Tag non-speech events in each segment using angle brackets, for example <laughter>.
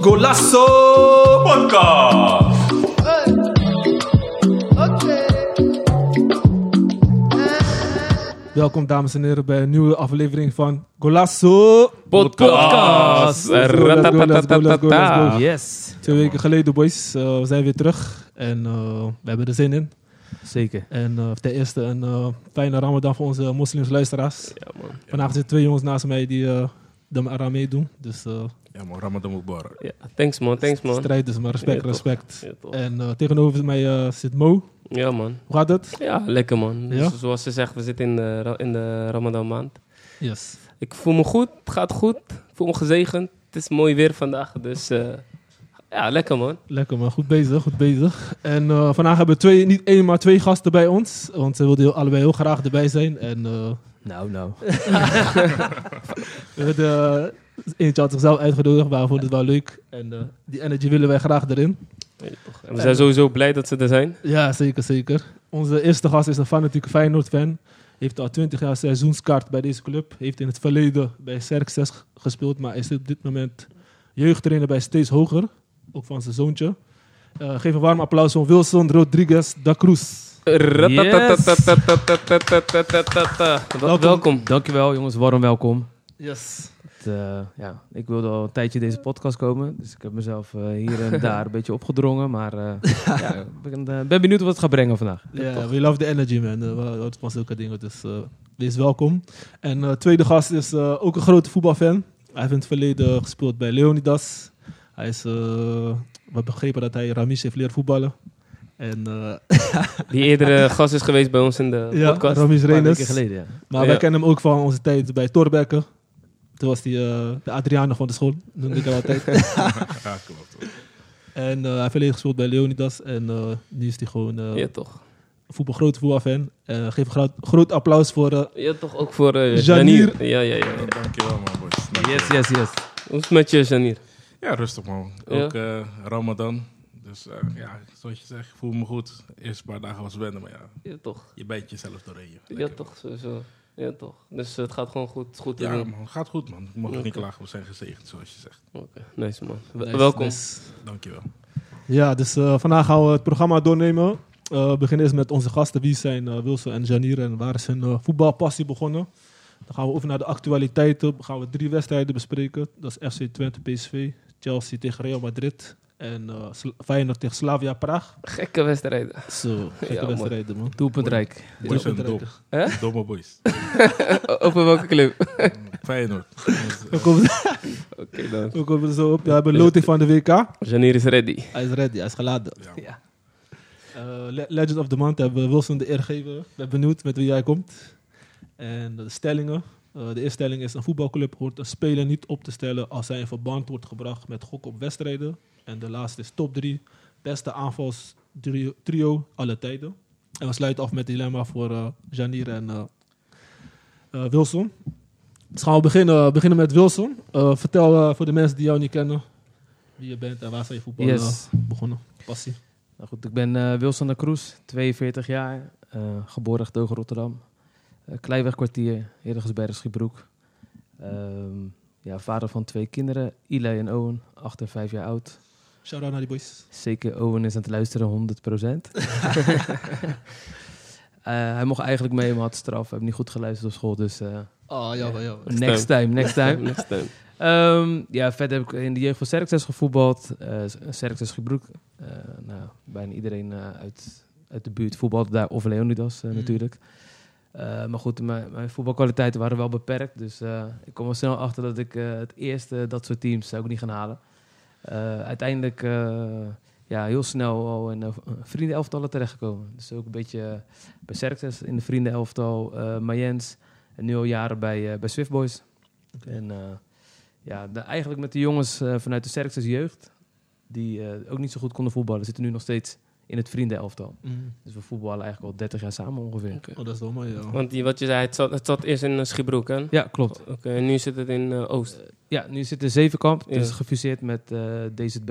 Golasso Podcast. Welkom dames en heren bij een nieuwe aflevering van Golasso. Podcast. Let's go, let's go, let's go, let's go, let's go. Yes, Twee weken geleden boys, Eh, we zijn weer terug en eh, we hebben er zin in. zeker. En eh, ten eerste een eh, fijne ramadan voor onze moslimsluisteraars. Vanavond zitten twee jongens naast mij die eh de eraan meedoen. Dus eh, Ja man, Ramadan Mubarak. Ja, thanks man, thanks man. strijd dus, maar respect, Ja, toch. respect. Ja, toch. En eh, tegenover mij eh, zit Mo. Ja man. Hoe gaat het? Ja, lekker man. Dus Ja? zoals ze zegt, we zitten in de, ra- in de Ramadan maand. Yes. Ik voel me goed, het gaat goed. Ik voel me gezegend. Het is mooi weer vandaag, dus eh, ja, lekker man. Lekker man, goed bezig, goed bezig. En eh, vandaag hebben we twee, niet één, maar twee gasten bij ons. Want ze wilden heel- allebei heel graag erbij zijn. En eh, Nou, nou. we hadden, eentje had zichzelf uitgenodigd, maar we vonden het wel leuk. En eh, die energy willen wij graag erin. En we zijn sowieso blij dat ze er zijn. Ja, zeker, zeker. Onze eerste gast is een fanatieke Feyenoord-fan. Heeft al 20 jaar seizoenskaart bij deze club. Heeft in het verleden bij Serxes gespeeld, maar is op dit moment jeugdtrainer bij Steeds Hoger. Ook van zijn zoontje. Eh, geef een warm applaus voor Wilson Rodriguez da Cruz. Ratatatatatatatatatatata. Wel- Welkom. Dankjewel jongens, warm welkom. Yes. Het, eh, ja, ik wilde al een tijdje deze podcast komen, dus ik heb mezelf eh, <laughs> hier en daar een beetje opgedrongen. Maar eh, ja, ik ben, eh, ben benieuwd wat het gaat brengen vandaag. Ja, we love the energy, man. Eh, we- Dat was zulke dingen, dus eh, wees welkom. En eh, tweede gast is eh, ook een grote voetbalfan. Hij heeft in het verleden gespeeld bij Leonidas. Hij is, eh, we hebben begrepen dat hij Ramis heeft leren voetballen. En, eh, Die <laughs> eerder eh, gast is geweest bij ons in de ja, podcast. Ramis Een paar weken Renes. geleden, ja. Maar wij Ja. kennen hem ook van onze tijd bij Torbekke. Toen was hij eh, de Adriano van de school, <laughs> noemde ik hem altijd. Ja, klopt. en eh, hij heeft verleden gespeeld bij Leonidas. En eh, nu is hij gewoon eh Ja, toch. voetbal, grote voetbalfan. Eh, geef een groot, groot applaus voor eh, Ja, toch ook voor eh Janier. Janier. Ja, ja, ja. Dankjewel man boys. Dankjewel. Yes, yes, yes. Hoe is het met je, Janier? Ja, rustig man. Ja. Ook eh, Ramadan. Dus eh, ja, zoals je zegt, ik voel me goed. Eerst een paar dagen was wennen, maar ja, Ja, toch. je bijt jezelf doorheen. joh. Ja, Lekker. toch, sowieso. Ja, toch. Dus het gaat gewoon goed. Het is goed te Ja doen. man, gaat goed man. Ik mag Oké. niet klagen, we zijn gezegend zoals je zegt. Oké, Nice, man. Wel- Nice, Welkom. nice. Dankjewel. Ja, dus eh, vandaag gaan we het programma doornemen. Eh, we beginnen eerst met onze gasten. Wie zijn eh, Wilson en Janier en waar is hun eh, voetbalpassie begonnen? Dan gaan we over naar de actualiteiten. Dan gaan we drie wedstrijden bespreken. Dat is FC Twente PSV, Chelsea tegen Real Madrid en eh, Sla- Feyenoord tegen Slavia Praag. Gekke wedstrijden. <laughs> Zo, gekke Ja, man. wedstrijden man. Doelpuntrijk. Boys zijn dom. Doelpuntrijk. Domme boys. Over welke club? Oké, Feyenoord. eh, <laughs> We komen, dan. we komen er zo op. Ja, we hebben loting van de WK. Janier is ready. <laughs> Hij is ready, hij is geladen. Ja, man. Ja. Eh, Le- Legend of the Month hebben we Wilson de eer gegeven. Ik ben benieuwd met wie jij komt. En de stellingen. Eh, de eerste stelling is: een voetbalclub hoort een speler niet op te stellen als hij in verband wordt gebracht met gokken op wedstrijden. En de laatste is top 3. Beste aanvalstrio trio alle tijden. En we sluiten af met het dilemma voor eh Janier en eh, eh, Wilson. Dus gaan we beginnen, beginnen met Wilson. Eh, vertel eh, voor de mensen die jou niet kennen wie je bent en waar zijn je voetbal eh, Yes. begonnen. Passie. Nou goed, ik ben eh, Wilson de Kroes, 42 jaar, eh, geboren getogen Rotterdam. Eh Kleiwegkwartier, Heerlijkersberg, Schiebroek. Ehm, ja, vader van twee kinderen, Ile en Owen, 8 en 5 jaar oud. Shout out naar die boys. Zeker Owen is aan het luisteren, 100 hij mocht eigenlijk mee, maar had straf. Hij heeft niet goed geluisterd op school, dus eh, Oh, jammer, jammer. next time, next time. <laughs> Next time. Ehm, ja, verder heb ik in de jeugd van Serktes gevoetbald. eh Serktes Gebroek. Eh, nou, bijna iedereen eh, uit, uit de buurt voetbalde daar. Of Leonidas eh, Mm. natuurlijk. Eh, maar goed, mijn, mijn voetbalkwaliteiten waren wel beperkt. Dus eh, ik kwam er snel achter dat ik eh, het eerste dat soort teams zou ik niet gaan halen. Eh, uiteindelijk eh, ja, heel snel al in eh, vriendenelftallen terechtgekomen. Dus ook een beetje eh, bij Serktes in de vriendenelftal. eh Mayens. En nu al jaren bij, eh bij Swift Boys. En eh, ja, de- eigenlijk met de jongens eh, vanuit de sterkste jeugd, die eh, ook niet zo goed konden voetballen, zitten nu nog steeds in het vriendenelftal. Mm. Dus we voetballen eigenlijk al 30 jaar samen ongeveer. Oké. Oh, dat is wel mooi, ja. Want die, wat je zei, het zat, het zat eerst in eh, Schiebroek, hè? Oké, Ja, klopt. en nu zit het in eh, Oost. Ja, nu zit de Zevenkamp, dus Ja. gefuseerd met eh, DZB.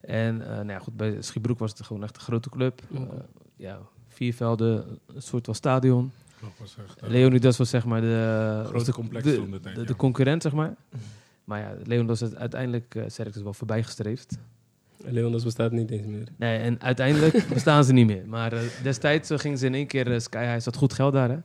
En eh, nou ja, goed, bij Schiebroek was het gewoon echt een grote club. Oké. Eh, ja, vier velden, een soort van stadion. Klopt, maar was echt... eh, Leonidas was zeg maar de, Grote de- complex de, toen de tijd, de, ja. de concurrent, zeg maar. Maar ja, Leonidas is uiteindelijk uh, Serkis wel voorbij gestreefd. Leonidas bestaat niet eens meer. Nee, en uiteindelijk bestaan ze niet meer. Maar eh, destijds eh, gingen ze in één keer eh, Sky High. Zat goed geld daar, hè?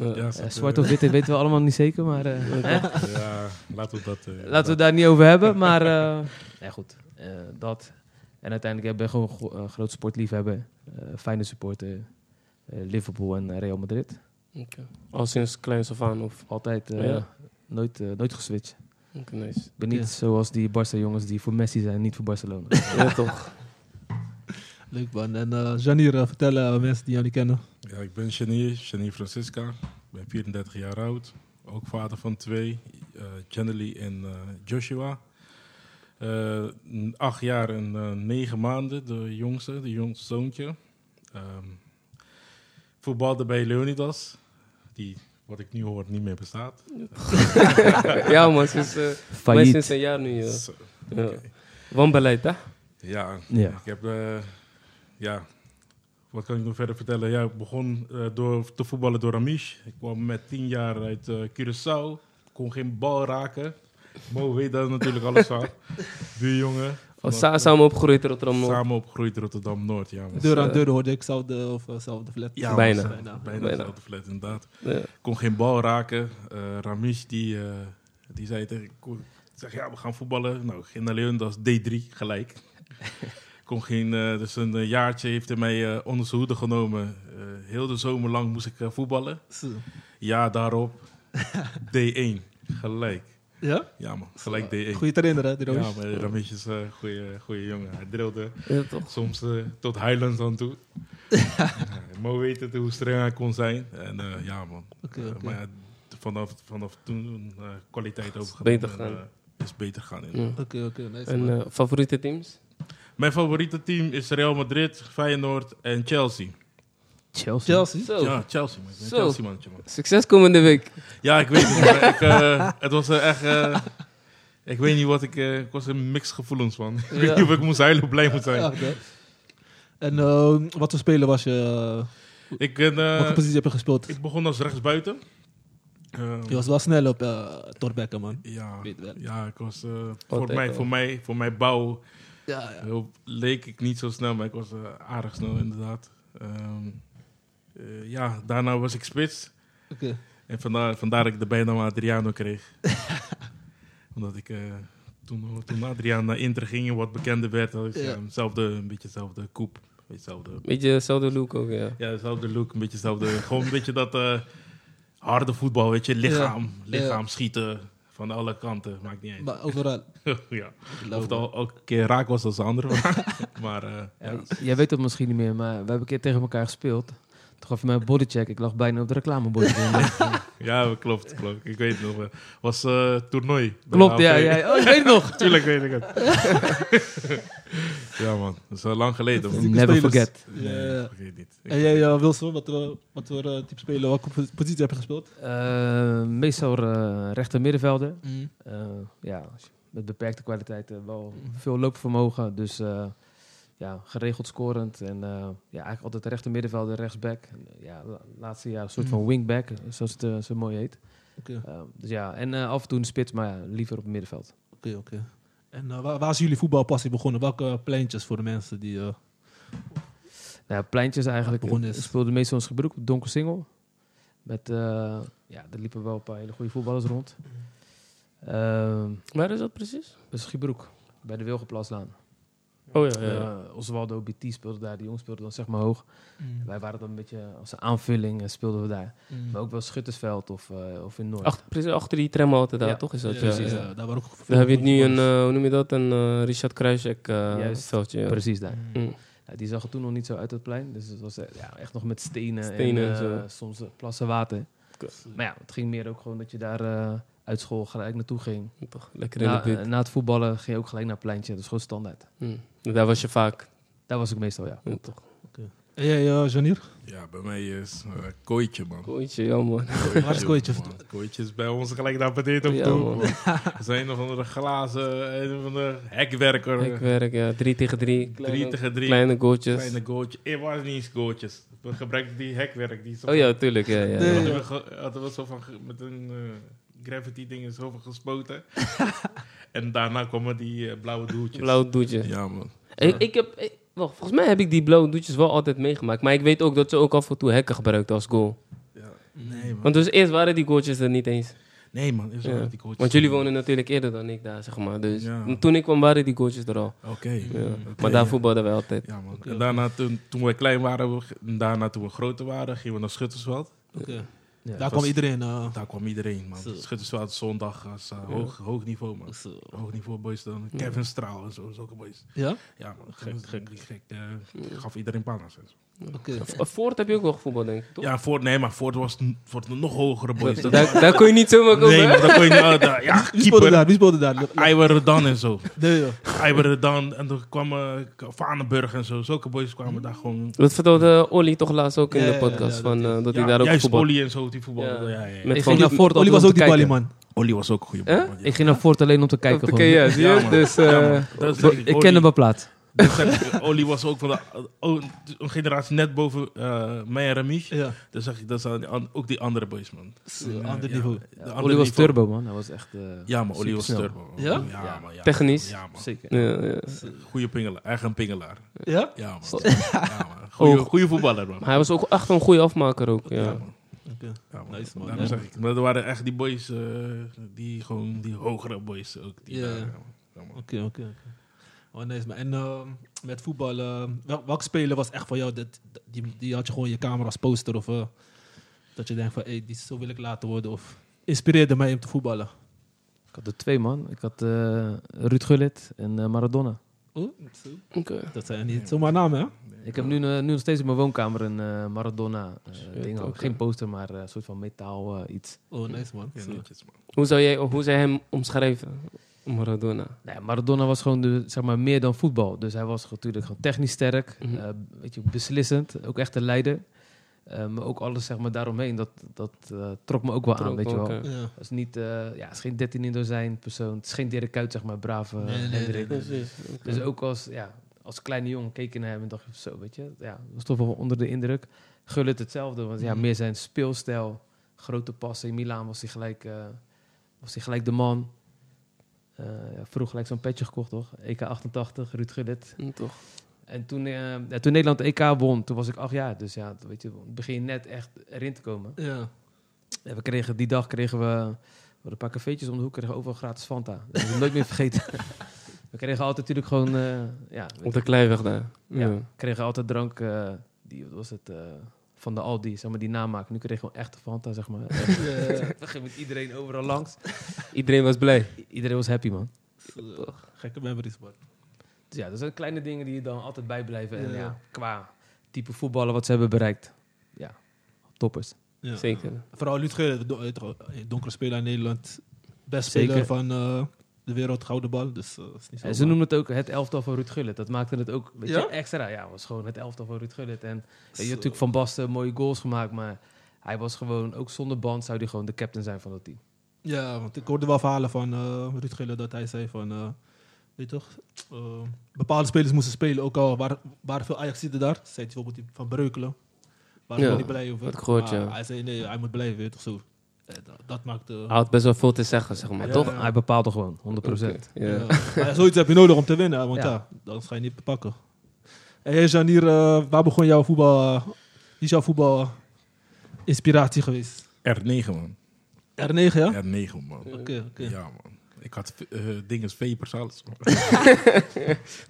Eh, ja, Eh, zat, zwart eh, of wit, dat weten we allemaal niet zeker. Maar eh, hè? Ja, laten we dat... eh, laten we het daar niet over hebben. Maar eh, nee, goed, eh, dat. En uiteindelijk ja, ben ik gewoon een gro- een groot sportliefhebber. eh fijne supporter. eh, Liverpool en Real Madrid. oké. Al sinds kleins af aan of... Altijd eh, Ja. nooit, eh, nooit geswitcht. Oké, nice. Ik ben niet Ja. zoals die Barca-jongens die voor Messi zijn, niet voor Barcelona. Ja, toch. Leuk man. En eh Janier, eh, vertel eh, aan mensen die jou niet kennen. Ja, ik ben Janier, Janier Francisca. Ik ben 34 jaar oud. Ook vader van twee, eh Janely en eh, Joshua. Eh, n- acht jaar en eh, negen maanden, de jongste, de jongste zoontje. Ehm, voetbalde bij Leonidas, die wat ik nu hoor niet meer bestaat. ja, man. Sinds, eh, mij Failliet. sinds een jaar nu. ja. Zo, Ja. oké. Wanbeleid, hè? Ja, Ja. ik heb... eh, ja, wat kan ik nog verder vertellen? Ja, ik begon eh, door te voetballen door Amish. Ik kwam met tien jaar uit eh, Curaçao. Kon geen bal raken. Mo weet daar natuurlijk alles van. Buurjongen. Oh, sa- samen opgegroeid in Rotterdam. Noord. Samen opgegroeid in Rotterdam-Noord, ja. man. Deur aan eh, deur hoorde ik zelfde of eh, zelfde flat. Ja, man, bijna. bijna. Bijna. dezelfde flat, inderdaad. Ja. Kon geen bal raken. Eh, Ramish, die, eh, die zei tegen ik zeg, ja, we gaan voetballen. Nou, ging naar Leeuwen, dat is D3 gelijk. <laughs> Kon geen, eh, dus een eh, jaartje heeft hij mij eh, onder zijn hoede genomen. Eh, heel de zomer lang moest ik eh, voetballen. Zo. Ja, <laughs> daarop D1 gelijk. Ja? Ja man, gelijk D1. Goeie trainer hè, die ja, Roos? maar Ramish is een goede goeie jongen. Hij drilde Ja, toch. soms eh, tot Highlands aan <laughs> toe. Eh, Ja, Mo weet het, hoe streng hij kon zijn. En eh, ja, man. Oké, Eh, oké. Maar ja, t- vanaf, vanaf toen eh, kwaliteit overgenomen. beter en, gaan. eh, is beter gaan. Ja. Oké, oké. nice, En man. eh, favoriete teams? Mijn favoriete team is Real Madrid, Feyenoord en Chelsea. Chelsea. Chelsea? Zo. Ja, Chelsea, man. Ik ben Zo. Chelsea mannetje, man. Succes komende week. Ja, ik weet het. maar ik, eh, het was eh, echt... eh, ik weet niet wat ik... eh, ik was een mix gevoelens, man. ik weet Ja. niet of ik moest huilen of blij moet zijn. Ja, oké. En eh, wat voor speler was je? eh, Ik, ben, eh, welke positie heb je gespeeld? ik begon als rechtsbuiten. Eh, Je was wel snel op eh Torbekken, man. ja, Weet wel. ja, ik was... eh, voor, Altijd mij, wel. voor, mij, voor mijn bouw Ja, ja. Heel- leek ik niet zo snel, maar ik was eh, aardig snel inderdaad. Ehm, eh, ja, daarna was ik spits. Oké. En vandaar, vandaar dat ik de bijnaam Adriano <laughs> kreeg. Omdat ik eh, toen, toen Adriaan naar Inter ging en wat bekender werd, had ik Ja. eh, hetzelfde, een beetje dezelfde koep. Een beetje hetzelfde- Beetje hetzelfde look ook, ja. ja, dezelfde look, een beetje hetzelfde. gewoon een beetje dat eh, harde voetbal, weet je. Lichaam, lichaam schieten van alle kanten, maakt niet uit. Maar overal. <laughs> ja. Of het al elke keer raak was <laughs> als de andere. maar eh, Ja, Jij weet dat misschien niet meer, maar we hebben een keer tegen elkaar gespeeld. Toen gaf je mij een bodycheck. Ik lag bijna op de reclamebord. <laughs> Ja, klopt, klopt. Ik weet het nog. Het was eh toernooi. bij Klopt, ja, AFC. ja. Oh, ik weet het <laughs> nog. Tuurlijk weet ik het. <laughs> ja, man. Dat is al lang geleden. Man. Never spelers. forget. Ja, Nee, ja. ik vergeet niet. Ik- En jij, eh, Wilson, wat, eh, wat voor eh, type speler, welke po- positie heb je gespeeld? Eh, meestal eh rechter middenvelder. Mm. Eh, ja, als je- met beperkte kwaliteiten. wel veel loopvermogen. Dus eh, ja, geregeld scorend. En eh, ja, eigenlijk altijd rechter middenvelder, rechtsback. En, eh, Ja, la- laatste jaar een soort van Mm. wingback, zoals het eh, zo mooi heet. Oké, Eh, dus ja, en eh, af en toe een spits, maar ja, liever op het middenveld. oké, oké. En eh, waar, waar is jullie voetbalpassie begonnen? Welke eh, pleintjes voor de mensen die... eh, Nou, ja, pleintjes eigenlijk. Ja, begonnen is- We speelden meestal ons gebroek op donker single. Met, eh, ja, er liepen wel een paar hele goede voetballers rond. Ehm Waar is dat precies? dat is Giebroek, bij de Wilgenplaslaan. Oh ja, ja. ja. Eh Oswaldo BT speelde daar, die jongens speelden dan zeg maar hoog. Wij waren dan een beetje als een aanvulling eh, speelden we daar. Mm. Maar ook wel Schuttersveld of, eh, of in Noord. Achter, precies achter die tram altijd daar, Ja, toch? Is Ja, dat, ja, precies. ja. ja, daar waren ook Daar heb je het nu een, voetballers. eh, hoe noem je dat, een eh, Richard Kruijsek eh, Juist. veldje. ja. Precies daar. Mm. Ja, die zag er toen nog niet zo uit dat plein. Dus het was eh, ja, echt nog met stenen, Stenen en en eh, zo. soms eh, plassen water. Kut. Maar ja, het ging meer ook gewoon dat je daar eh, uit school gelijk naartoe ging. Toch, lekker in Na, de eh, buurt. na het voetballen ging je ook gelijk naar het pleintje. Dat is gewoon standaard. Mm. Daar was je vaak. Daar was ik meestal, ja. Ja, toch. En jij, eh, Janier? Ja, bij mij is eh, Kooitje, man. Kooitje, ja man. Waar is Kooitje? man. Kooitje is bij ons gelijk naar beneden op Ja, toe, man. man. Er zijn nog andere glazen, een van de hekwerker. Ik werk, ja. Drie tegen drie. Kleine, drie Eh, tegen drie. Kleine goaltjes. Kleine goaltje. Het waren niet eens goaltjes. We gebruikten die hekwerk. Die zo Oh ja, tuurlijk. Ja, ja, ja. Nee. Hadden we, ge- hadden we zo van ge- met een eh, gravity ding zo van <laughs> gespoten. en daarna kwamen die eh, blauwe doeltjes. Blauw doetje. Ja, man. Ik, ik heb, ik- wacht, volgens mij heb ik die blauwe doetjes wel altijd meegemaakt. Maar ik weet ook dat ze ook af en toe hekken gebruikten als goal. Ja. Nee, man. Want dus eerst waren die goaltjes er niet eens. Nee, man. Is Ja. wel die coach. Want jullie wonen natuurlijk eerder dan ik daar, zeg maar. Dus Ja. toen ik kwam waren die goaltjes er al. Oké. Ja. Oké, Maar daar ja. voetbalden wij altijd. Ja, man. En daarna, toen, toen we klein waren, we, en daarna toen we groter waren, gingen we naar Schuttersveld. Oké. Ja. Daar kwam iedereen. eh, Daar kwam iedereen, man. Zo. Schuttersveld zondag, als, eh, hoog, hoog niveau, man. zo. Hoog niveau boys dan. Ja. Kevin Straal en zo, zulke boys. Ja? Ja, man. Gek, gek, gek. eh, gaf iedereen panas. en zo. Oké. V- Voort heb je ook wel gevoetbald, denk ik, toch? Ja, Ford, nee, maar Ford was n- Ford nog <laughs> hogere boys. Daar, Dat- daar kon je niet zomaar komen. nee, hè? maar dan kon je niet- eh, ja, Wie speelde keeper. daar? Wie speelde daar? Iwer Redan en zo. Nee, joh. Iwer Redan en toen kwam eh, Vanenburg en zo. Zulke boys kwamen daar gewoon. Dat vertelde Olly toch laatst ook in Ja, de ja, podcast. ja, van, dat eh, dat Ja, hij daar ook juist voetbal. Olly en zo, die voetballen. Ja. Ja, ja, ja. Met Ik van ging naar die... Fort Oli was ook die balie balieman. Olly was ook een goede Hè? man. man. Ja. Ik ging naar Fort alleen om te kijken. Oké, gewoon. ja, zie je? Ja, man. dus eh, Ja, man. Dat is Bo- denk Ik ken Olly. hem wel plaats. Dat zeg ik, Olly was ook van de, oh, een generatie net boven eh, mij en Ramish. Ja. Dan zag ik dat zijn die an- ook die andere boys, man. Zo, Ja, Ander ja. niveau. De Ja, andere Olly was niveau. turbo, man. Hij was echt... eh, Ja, maar Olly was supersnel. turbo. Ja? ja, man, ja. Technisch. Ja, man. Zeker. ja, ja. Goeie pingelaar. Eigen pingelaar. Ja? Ja, man. <laughs> Ja, man. Goeie, goeie voetballer, man. Maar hij was ook echt een goede afmaker ook. Ja. man. Oké. Ja, man. Nice, man. Daarom Ja. zeg ik. Maar er waren echt die boys, eh, die gewoon, die hogere boys ook. Die Ja, daar, ja. ja, man. Ja, man. Oké, oké. oké. Oh, nice. Maar en ehm, met voetbal, ehm, wel- welk speler was echt van jou? Dat, dat- die, die had je gewoon in je kamer als poster of eh, dat je denkt van, hey, die, zo wil ik laten worden of inspireerde mij om te voetballen. Ik had er twee, man. Ik had eh, Ruud Gullit en eh, Maradona. Oké. Dat zijn niet zomaar namen, hè? Ik heb nu, eh, nu nog steeds in mijn woonkamer een eh, Maradona-ding. Shit, ook. oké. Geen poster, maar eh, een soort van metaal eh, iets. Oh, nice man. Ja, Zo. netjes, man. Hoe, zou jij, hoe zou jij hem omschrijven? Maradona. Nee, Maradona was gewoon de, zeg maar, meer dan voetbal. Dus hij was natuurlijk gewoon technisch sterk, Mhm. eh, weet je, beslissend, ook echt een leider. Eh, maar ook alles zeg maar, daaromheen, dat, dat eh, trok me ook wel aan. Trok Weet je wel. ook, Het ja. Ja. is, niet, eh, ja, het is geen 13 in dozijn persoon. Het is geen Dirk Kuyt, zeg maar, brave Nee, nee, Hendrik. nee, Dus ook als, ja, als kleine jongen keek ik naar hem en dacht ik, zo, weet je. Ja, was toch wel onder de indruk. Gullit hetzelfde, want ja, Mhm. meer zijn speelstijl. Grote passen. In Milaan was hij gelijk, eh, was hij gelijk de man. Eh, ja, vroeg gelijk zo'n petje gekocht, toch? EK88, Ruud Gullit. Mm, Toch. En toen, eh, ja, toen Nederland EK won, toen was ik acht jaar. Dus ja, weet je, begin je net echt erin te komen. Ja. En we kregen, die dag kregen we, we hadden een paar cafeetjes om de hoek, kregen we overal gratis Fanta. Dat heb ik nooit meer vergeten. <laughs> we kregen altijd natuurlijk gewoon, eh, ja, Op de kleiweg daar. ja. Ja. kregen altijd drank, eh, die, wat was het, eh, van de Aldi, zeg maar, die namaak. Nu kregen we gewoon echte Fanta, zeg maar. Echt. <laughs> we gingen met iedereen overal langs. Iedereen was blij. I- iedereen was happy, man. Zo. Gekke memories man. Dus ja, dat zijn kleine dingen die je dan altijd bijblijven. En Ja. ja, qua type voetballen wat ze hebben bereikt. Ja, toppers. Ja. Zeker. Vooral Ruud Gullit, do- eh, toch, eh, donkere speler in Nederland. Best Zeker. speler van eh, de wereld, gouden bal. Dus eh, is niet zo. En ze noemden het ook het elftal van Ruud Gullit. Dat maakte het ook weet Ja? je, extra. Ja, het was gewoon het elftal van Ruud Gullit. En weet je Zo. natuurlijk Van Basten mooie goals gemaakt, maar hij was gewoon, ook zonder band zou hij gewoon de captain zijn van dat team. Ja, want ik hoorde wel verhalen van eh Ruud Gullit dat hij zei van, eh, weet je toch, eh, bepaalde spelers moesten spelen, ook al waren, waren veel Ajaxiden daar, zei hij bijvoorbeeld die van Breukelen, waar ik Ja, wel niet blij over. had ik gehoord, Maar ja. Hij zei nee, hij moet blijven, weet je toch zo. Eh, dat, dat maakt... eh, Hij had best wel veel te zeggen, zeg maar. Ja. Toch? Toch? Hij bepaalde gewoon, 100%. Ja. ja. eh, Maar ja, zoiets heb je nodig om te winnen, want Ja. ja, dan ga je niet pakken. En hey, Janier, eh, waar begon jouw voetbal, eh, wie is jouw voetbal eh, inspiratie geweest? R9, man. R9, ja? Oké, R9, man. oké. Ja, man. Ik had eh dingen, vapers, <laughs> alles. man.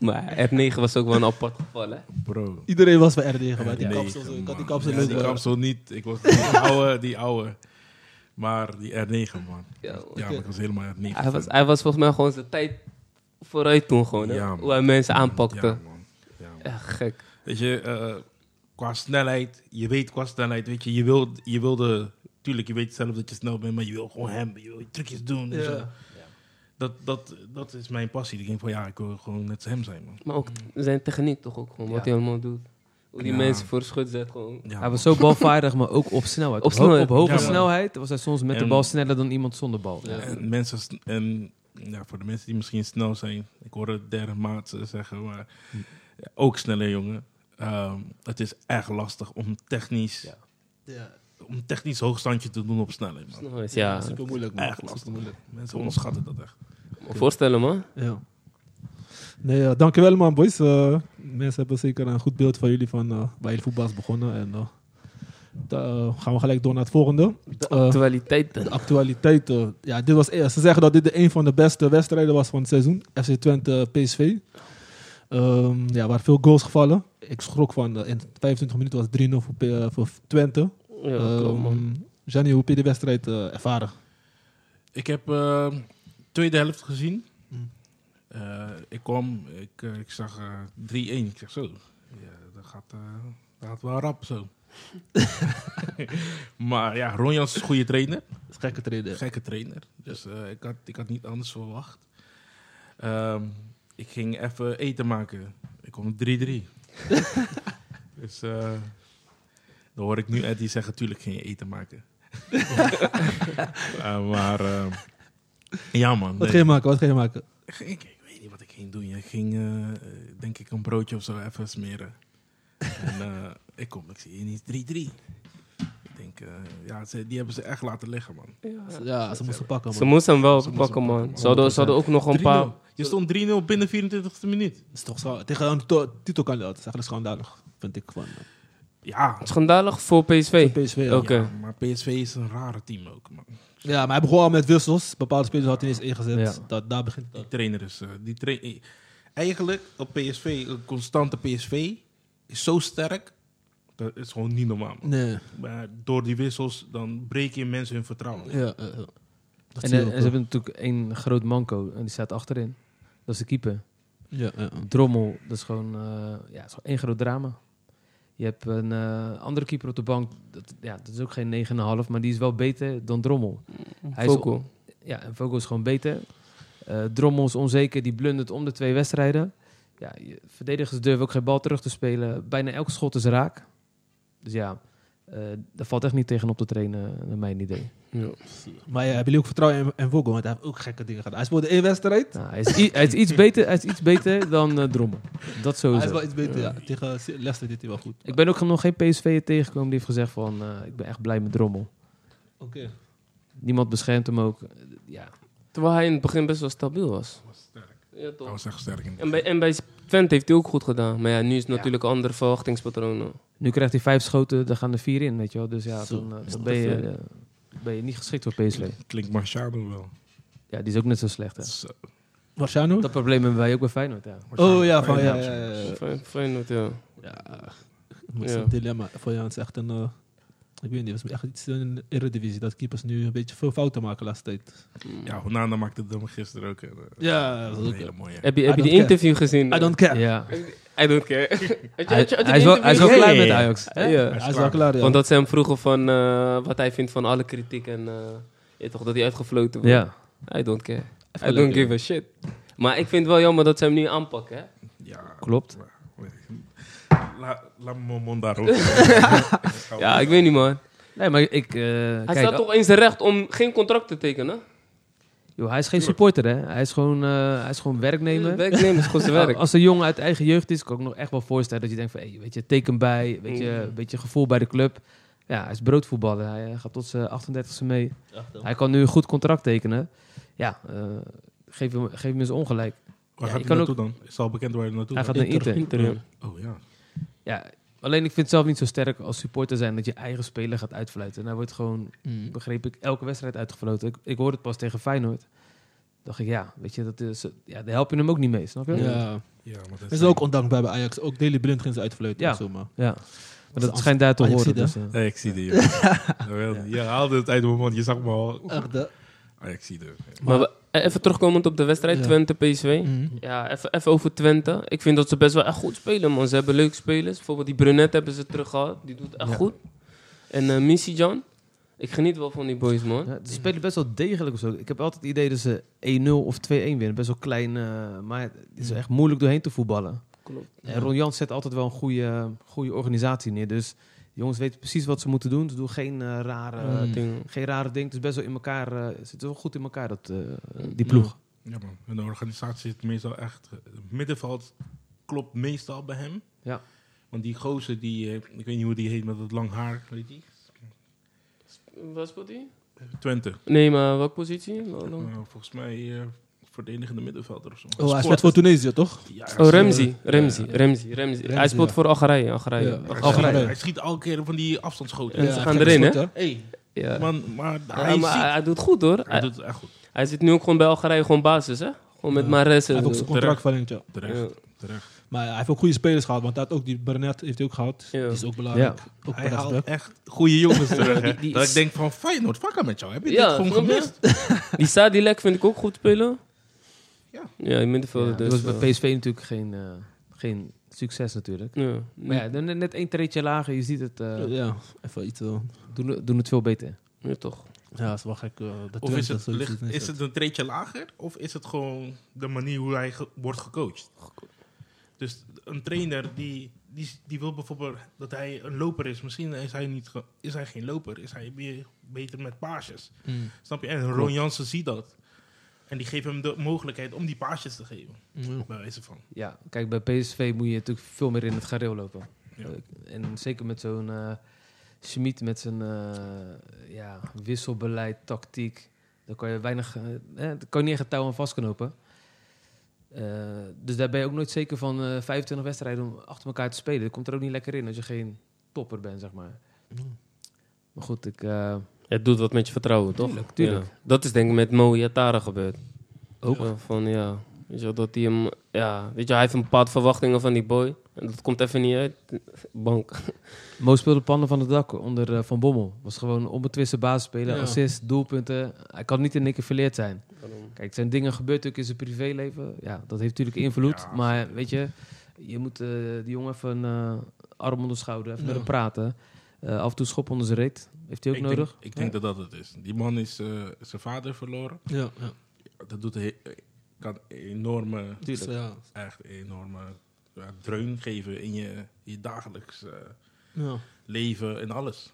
Maar R9 was ook wel een apart geval, hè? Bro. Iedereen was bij R9, maar die R9, kapsel, zo, ik had die man. kapsel Ja, leuk, eh, die hoor. kapsel niet. Ik <laughs> was die oude, die oude. Maar die R9, man. Ja, Ja, oké. maar ik was helemaal R9. Hij was, hij was volgens mij gewoon zijn tijd vooruit toen, gewoon. Hè? Ja, man. Hoe hij mensen aanpakte. Ja, man. Ja, man. Echt gek. Weet je, eh, qua snelheid, je weet qua snelheid, weet je, je, wil, je wilde... Tuurlijk, je weet zelf dat je snel bent, maar je wil gewoon hem, je wil je trucjes doen. en zo. Ja. Dat, dat, dat is mijn passie. Ik denk van, ja, ik wil gewoon net als hem zijn, man. Maar ook zijn techniek toch ook gewoon, wat Ja. hij allemaal doet. Hoe die Mm. Ja. mensen voor schut zet gewoon. Ja, Hij man. was zo balvaardig, maar ook op snelheid. Op Op, ho- snelheid. op hoge Ja, man. snelheid was hij soms met de En- bal sneller dan iemand zonder bal. Ja. En mensen, s- en ja, voor de Hm. mensen die misschien snel zijn, ik hoor het derde maat eh, zeggen, maar ja, ook sneller jongen. Ehm, het is echt lastig om technisch, Ja. Ja, om technisch hoogstandje te doen op snelheid. Man. Ja, super moeilijk. Man. Echt lastig. Super moeilijk. Mensen onderschatten dat echt. me voorstellen man. Ja. Nee, eh, dankjewel man, boys. Eh, mensen hebben zeker een goed beeld van jullie van eh, waar jullie voetbal is begonnen. En eh, da- eh, gaan we gelijk door naar het volgende. Eh, de Actualiteiten. actualiteit. eh, ja, dit was, eh, ze zeggen dat dit de een van de beste wedstrijden was van het seizoen. FC Twente eh, PSV. Ehm, ja, er waren veel goals gevallen. Ik schrok van, eh, in 25 minuten was het 3-0 voor, P- eh, voor Twente. Ja, klopt, man. Ehm, Gianni, hoe heb je de wedstrijd eh, ervaren? Ik heb eh, tweede helft gezien. Mm. Eh, ik kwam, ik, eh, ik zag eh, 3-1. Ik zeg zo, ja, dat, gaat, eh, dat gaat wel rap zo. <laughs> maar ja, Ron Jans is een goede trainer. Gekke treden. Gekke trainer. Dus eh, ik, had, ik had niet anders verwacht. Ehm, ik ging even eten maken. Ik kom 3-3. dus eh, dan hoor ik nu Eddie zeggen, tuurlijk ging je eten maken. Eh, maar eh, ja man. Wat nee. ga je maken? Wat ga je maken? Ik, ik- ik weet niet wat ik ging doen. Ik ging, eh, eh, denk ik, een broodje of zo even smeren. en eh, ik kom, ik zie ineens 3-3. Ik denk, eh, ja, ze- die hebben ze echt laten liggen, man. Ja, ze moesten pakken. Ze man. moesten hem wel Ze moesten pakken, hem pakken, man. man. Ze hadden, ze hadden ook nog een paar... 3-0. Je stond 3-0 binnen 24e minuut. Dat is toch zo. Tegen een to- titelkandidaat. Dat is eigenlijk schandalig, vind ik. Van, eh, Ja, Schandalig voor PSV. voor PSV. Ook. Ja. Oké. ja, maar PSV is een rare team ook, man. Ja, maar hij begon al met wissels. Bepaalde spelers had hij eens ingezet. Ja. Dat, daar begint Die het. trainer is... eh, die tra- eh, Eigenlijk, op PSV, een eh, constante PSV, is zo sterk. Dat is gewoon niet normaal. man. Nee. Maar door die wissels, dan breek je mensen hun vertrouwen. Ja, ja, ja. Dat En, zie eh, je ook, en ze hebben natuurlijk één groot manco en die staat achterin. Dat is de keeper. ja, ja, ja. Drommel, dat is gewoon, eh, ja, dat is gewoon één groot drama. Je hebt een eh, andere keeper op de bank, dat, ja, dat is ook geen 9,5, maar die is wel beter dan Drommel. Hij is Vogel. Ja, en Vogel is gewoon beter. Eh Drommel is onzeker, die blundert om de twee wedstrijden. Ja, je- verdedigers durven ook geen bal terug te spelen. Bijna elk schot is raak. Dus ja, eh daar valt echt niet tegen op te trainen, eh, naar mijn idee. Ja. Maar ja, hebben jullie ook vertrouwen in, in Vogel? Want hij heeft ook gekke dingen gedaan. Hij speelde één wedstrijd. Nou, hij, is i- hij, is iets beter, hij is iets beter dan eh, Drommel. Dat Hij is sowieso. wel iets beter. Ja. Tegen Leicester deed hij wel goed. Ik ben ook nog geen PSV'er tegengekomen die heeft gezegd van... eh, ik ben echt blij met Drommel. Oké. Niemand beschermt hem ook. Ja, Terwijl hij in het begin best wel stabiel was. Ja, Dat toch. was echt sterk. in- En bij, en bij Twente heeft hij ook goed gedaan. Maar ja, nu is het natuurlijk een andere verwachtingspatronen. nu krijgt hij vijf schoten, daar gaan er vier in, weet je wel. Dus ja, Zo, dan, eh, is dan dat ben, te je, veel. eh, ben je niet geschikt voor PSV. Klinkt Marciano wel. Dus, eh, Ja, die is ook net zo slecht. Hè. Zo. Marciano? Dat probleem hebben wij ook bij Feyenoord. Ja. Oh ja, van ja. ja, ja, ja. Fijn- Feyenoord, ja. Ja, dat is Ja. een dilemma. Voor jou is echt een. eh, ik weet niet, het is echt iets in de Eredivisie. Dat keepers nu een beetje veel fouten maken de laatste tijd. Ja, Honana maakte het dan gisteren ook. En, eh, Ja, dat was een hele mooie. Heb je, I heb je don't die care. interview gezien? eh, I don't care. Ja. <laughs> I don't care. <laughs> Had je- had je- Hij, had je die hij is wel, hij is wel interview klaar gezien? met Ajax. Ja. Hij Ja. is wel klaar, ja. Want dat ze hem vroegen van eh, wat hij vindt van alle kritiek en eh, ja, toch, dat hij uitgefloten wordt. Ja. I don't care. I lekker. don't give a shit. Maar ik vind het wel jammer dat ze hem nu aanpakken. Hè? Ja, Klopt. la- laat mijn mond daarover. ja, Ja, ik weet niet, man. Nee, maar ik... eh, Hij kijk, staat toch eens recht om geen contract te tekenen? joh, hij is geen supporter, hè. Hij is gewoon, eh, hij is gewoon werknemer. Werknemen is gewoon zijn Nou, werk. Als een jongen uit eigen jeugd is, kan ik me nog echt wel voorstellen dat je denkt van, hey, weet je, teken bij, weet je, Mm. een beetje gevoel bij de club. Ja, hij is broodvoetballer. Hij eh, gaat tot zijn 38e mee. Hij kan nu een goed contract tekenen. Ja, eh, geef, hem, geef hem eens ongelijk. Waar Ja, gaat je hij kan naartoe dan? Is al bekend waar hij naartoe Hij gaat naar Inter. Interim. Oh ja. Ja, alleen ik vind het zelf niet zo sterk als supporter zijn dat je eigen speler gaat uitfluiten. En hij wordt gewoon, Mm. begreep ik, elke wedstrijd uitgefloten. Ik, ik hoorde het pas tegen Feyenoord. Dacht ik, ja, weet je, dat is, ja, daar help je hem ook niet mee, snap je? Ja. ja maar dat Dat is ook ondankbaar bij Ajax. Ook Daily Blind ging ze uitfluiten. Ja. Ja. Zomaar. Ja. Maar dat Als- schijnt daar te als je horen. ziet, hè? Dus, eh. Nee, ik zie die. Jawel, Je haalde het uit mijn mond. Je zag me al. Echt, hè? Ah, ik zie die. Maar we- eh, even terugkomend op de wedstrijd Ja. Twente-PSV. Mm. Ja, even, even over Twente. Ik vind dat ze best wel echt goed spelen, man. Ze hebben leuke spelers. Bijvoorbeeld die Brunet hebben ze teruggehaald. Die doet echt Ja. goed. En eh Misijan. Ik geniet wel van die boys, man. Ja, ze spelen best wel degelijk of zo. Ik heb altijd het idee dat ze 1-0 of 2-1 winnen. Best wel klein, eh, maar het is echt moeilijk doorheen te voetballen. Klopt. En Ron Jans zet altijd wel een goede, goede organisatie neer. Dus de jongens weten precies wat ze moeten doen. Ze doen geen, eh, rare, Mm. Ding. geen rare ding. Het is best wel in elkaar, eh, het zit wel goed in elkaar, dat, eh, die ploeg. Ja, man. En de organisatie zit meestal echt. Het middenveld klopt meestal bij hem. Ja. Want die gozer, die, eh, ik weet niet hoe die heet, met dat lang haar, weet je? Wat speelt hij? Twente. Nee, maar welke positie? Wel- wel- Eh, volgens mij eh, verdedigende middenvelder of zo. Oh, hij Sport- speelt voor Tunesië, toch? Ja, Oh, hij- Ramsey. Ramsey, Ramsey, Ramsey. Hij Ramsey, speelt ja. voor Algerije. Algerije. Ja. hij, Algerije. schiet, hij schiet elke keer van die afstandsschoten. Oh, Ja. Ja. ze gaan gek is erin, goed, hè? Hey, Ja. man, maar Ja, hij maar hij, ziet... hij doet goed hoor. Hij Hij, doet het echt goed. hij zit nu ook gewoon bij Algerije gewoon basis, hè? Gewoon met Ja. Mares. Hij en heeft ook zo. zijn contract verlengd, ja. Terecht, Ja. terecht. Maar hij heeft ook goede spelers gehad, want hij had ook die Burnett heeft hij ook gehad. Ja. Die is ook belangrijk. Ja. Ook Hij Perez haalt weg. echt goede jongens terug. hè. Die- die dat is- ik denk van, Feyenoord, fucker met jou. Heb je Ja, dit gewoon snap je? gemist? Die Sadilek vind ik ook goed spelen. Ja. Ja, in middenveld. Ja, dus, dat was eh, bij PSV natuurlijk geen, eh, geen succes natuurlijk. ja. Maar ja, dan net- net één treetje lager, je ziet het, eh, Ja, even iets. eh, doen, doen het veel beter. Ja, toch. ja, dat is wel gek. eh, dat Of is Twente het, zoiets ligt- neerzet. is het een treetje lager? Of is het gewoon de manier hoe hij ge- wordt gecoacht? Dus een trainer die, die, die wil bijvoorbeeld dat hij een loper is. Misschien is hij, niet ge- is hij geen loper. Is hij meer, beter met paasjes. Mm. Snap je? En Ron Jansen ziet dat. En die geeft hem de mogelijkheid om die paasjes te geven. Ja. Bij wijze van. Ja, kijk, bij PSV moet je natuurlijk veel meer in het gareel lopen. Ja. Eh, En zeker met zo'n eh Schmid met zijn eh, ja, wisselbeleid, tactiek. Daar kan je weinig, eh, eh, daar kan je niet echt het touw aan vastknopen. Eh, dus daar ben je ook nooit zeker van eh, 25 wedstrijden om achter elkaar te spelen. Dat komt er ook niet lekker in als je geen topper bent, zeg maar. Maar goed, ik, eh, Het doet wat met je vertrouwen, toch? Tuurlijk, tuurlijk. Ja. Dat is denk ik met Mo Yatara gebeurd. Ook. Ja, van ja. Weet je, wel, dat hij hem. Ja, weet je, hij heeft een bepaald verwachtingen van die boy. En dat komt even niet uit. Bank. <laughs> Mo speelde pannen van het dak onder eh, Van Bommel. Was gewoon een onbetwiste basisspeler, Ja. assist, doelpunten. Hij kan niet in één keer verleerd zijn. Kijk, het zijn dingen gebeurd ook in zijn privéleven. Ja, dat heeft natuurlijk invloed. Ja, maar weet je, je moet eh, die jongen even een eh, arm onder schouder, even met Ja. hem praten. Eh, af en toe schop onder zijn reet. Heeft hij ook ik nodig? Denk, ik denk dat dat het is. Die man is eh, zijn vader verloren. Ja, ja. Dat doet he- kan enorme Dus, ja. echt een enorme ja, dreun geven in je, je dagelijks eh, Ja. leven en alles.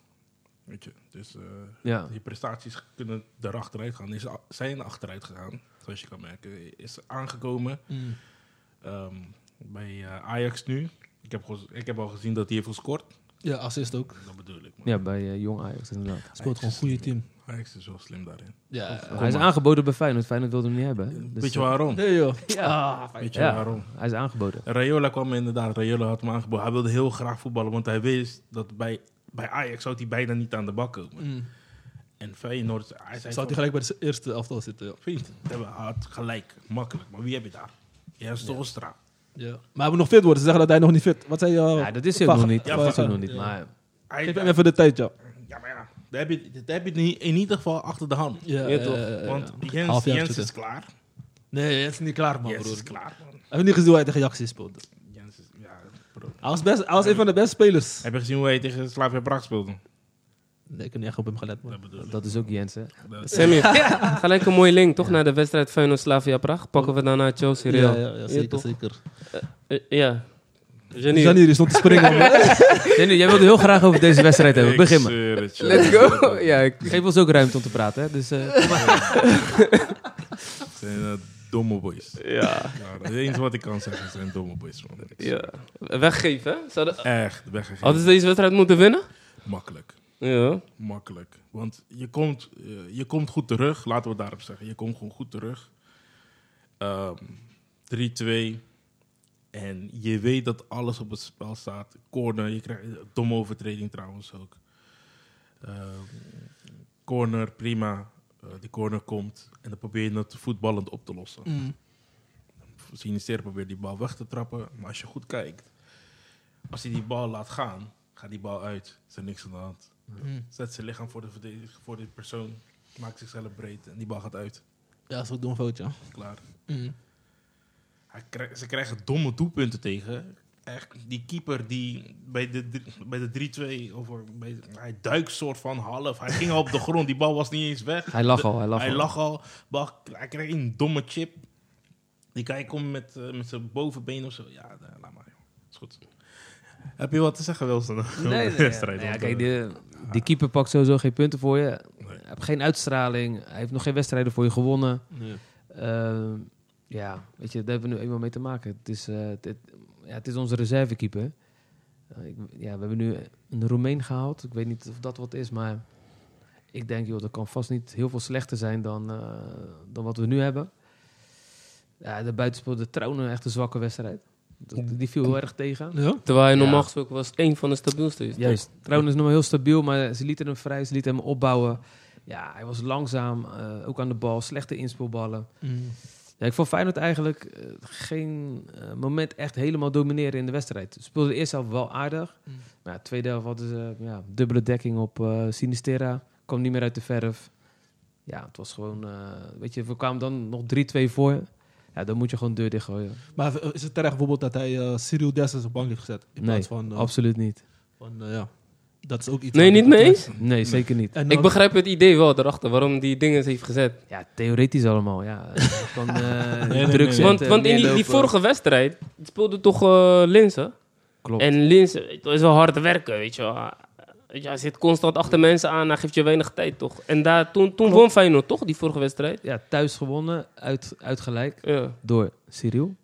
Weet je, dus eh, Ja. je prestaties kunnen daar achteruit gaan. Is, a- zijn achteruit gegaan, zoals je kan merken. Is aangekomen Mm. ehm, bij eh, Ajax nu. Ik heb, gez- ik heb al gezien dat hij heeft gescoord. ja, assist ook. Dat bedoel ik. man. Ja, bij eh, Jong Ajax inderdaad. Speelt gewoon een goede team. Ajax is wel slim daarin. Ja. hij is maar. aangeboden bij Feyenoord. Feyenoord wilde hem niet hebben. hè? Dus, Weet je eh, waarom? Nee joh. Ja, Weet je ja, waarom? hij is aangeboden. Rayola kwam inderdaad. Rayola had hem aangeboden. Hij wilde heel graag voetballen, want hij wist dat bij, bij Ajax zou hij bijna niet aan de bak komen. Mm. En Feyenoord, hij zei Zou hij van, gelijk bij de eerste elftal zitten? Ja. vriend, hij had gelijk, makkelijk. Maar wie heb je daar? Juist Torstra. Ja. Maar hij moet nog fit worden. Ze zeggen dat hij nog niet fit Wat zei je? Ja, dat is hij ook nog niet. Oh. Ja, dat is hij Vaga. nog niet. Ja. Maar Hij- Geef hem even de tijd, ja. Ja, maar ja, daar heb je, daar heb je het niet- in ieder geval achter de hand. Ja, Ja, toch. eh, eh, Want ja. Jens, Halfjaartje Jens is zitten. klaar. Nee, Jens is niet klaar, man, Jens broer. is klaar, man. Heb je niet gezien hoe hij tegen Jaxi speelde? Jens is, ja, bro. Hij was, best, hij was een van de beste spelers. Heb je gezien hoe hij tegen Slavia Praag speelde? Nee, ik heb niet echt op hem gelet, man. Dat bedoel ik. dat is ook Jensen. Sammy, gelijk een mooie link, toch? Naar de wedstrijd Feyenoord Slavia Praag. Pakken we daarna Chelsea Real. Ja, ja, ja, zeker, toch? zeker. Eh, ja. Janine. Janier die stond te <laughs> springen, man. Jensen, jij wilde heel graag over deze wedstrijd hebben. Begin maar. Let's <laughs> go. ja, ik- Geef ons ook ruimte om te praten. Hè? Dus, eh, kom maar. Het zijn eh, domme boys. ja, Ja, dat is eens wat ik kan zeggen. Het zijn domme boys, man. ja. Weggeven, hè? Zouden- Echt weggegeven. Hadden ze deze wedstrijd moeten winnen? Makkelijk. Ja. makkelijk. Want je komt, eh, je komt goed terug, laten we het daarop zeggen. Je komt gewoon goed terug. Ehm, 3-2. En je weet dat alles op het spel staat. Corner, je krijgt eh, domme overtreding trouwens ook. Ehm, corner, prima. Eh, die corner komt. En dan probeer je het voetballend op te lossen. Mm. Sinister probeert die bal weg te trappen. Maar als je goed kijkt, als hij die bal laat gaan, gaat die bal uit. Is er niks aan de hand. Mm. Zet zijn lichaam voor de, verdedig- voor de persoon. Maakt zichzelf breed en die bal gaat uit. Ja, dat is ook dom foutje. ja. Klaar. Mm. Hij krij- ze krijgen domme doelpunten tegen. Echt, die keeper die bij de, drie- bij de 3-2, over- bij- hij duikt soort van half. Hij ging al op de grond, die bal was niet eens weg. Hij lag al, hij lag hij al. lag al. Bal, hij kreeg een domme chip. Die guy komt met, eh, met zijn bovenbeen of zo. Ja, eh, laat maar. joh. Is goed. Heb je wat te zeggen, Wilson? <laughs> over de Nou wedstrijd? ja, Want, kijk, eh, die, die keeper pakt sowieso geen punten voor je. Hij heeft geen uitstraling. Hij heeft nog geen wedstrijden voor je gewonnen. Nee. Ehm, ja, weet je, daar hebben we nu eenmaal mee te maken. Het is, eh, het, het- ja, het is onze reservekeeper. Eh, ik- ja, we hebben nu een Roemeen gehaald. Ik weet niet of dat wat is, maar ik denk, joh, dat kan vast niet heel veel slechter zijn dan, eh, dan wat we nu hebben. Ja, de buitenspel, de Trouwen, echt een zwakke wedstrijd. Dat- Die viel heel erg tegen. Ja? Terwijl je Ja. normaal gesproken was één van de stabielste. is. Juist. Trouwen Dus is nog wel heel stabiel, maar ze lieten hem vrij, ze lieten hem opbouwen. Ja, hij was langzaam, eh, ook aan de bal, slechte inspeelballen. Ja, ik vond Feyenoord eigenlijk eh, geen eh, moment echt helemaal domineren in de wedstrijd. Ze speelden de eerste helft wel aardig. Mm. Maar ja, de tweede helft hadden ze ja, dubbele dekking op eh, Sinistera. Kwam niet meer uit de verf. Ja, het was gewoon... eh, weet je, we kwamen dan nog 3-2 voor. Ja, dan moet je gewoon deur dichtgooien. Maar is het terecht bijvoorbeeld dat hij eh Cyril Dessers op bank heeft gezet? In Nee, plaats van, eh, Absoluut niet. van eh, ja, dat is ook iets... Nee, niet mee eens? Nee, zeker niet. En dan- Ik begrijp het idee wel erachter, waarom die dingen heeft gezet. Ja, theoretisch allemaal. Ja, van eh nee, druk nee. zetten, Want, want in die, die neerlopen. vorige wedstrijd speelde toch eh Linsen. Klopt. En Linsen dat is wel hard werken, weet je wel. Ah, weet je, Hij zit constant achter mensen aan, hij geeft je weinig tijd, toch? En daar, toen, toen won Feyenoord, toch, die vorige wedstrijd? Ja, thuis gewonnen, uit, uitgelijk. Ja. door Cyril.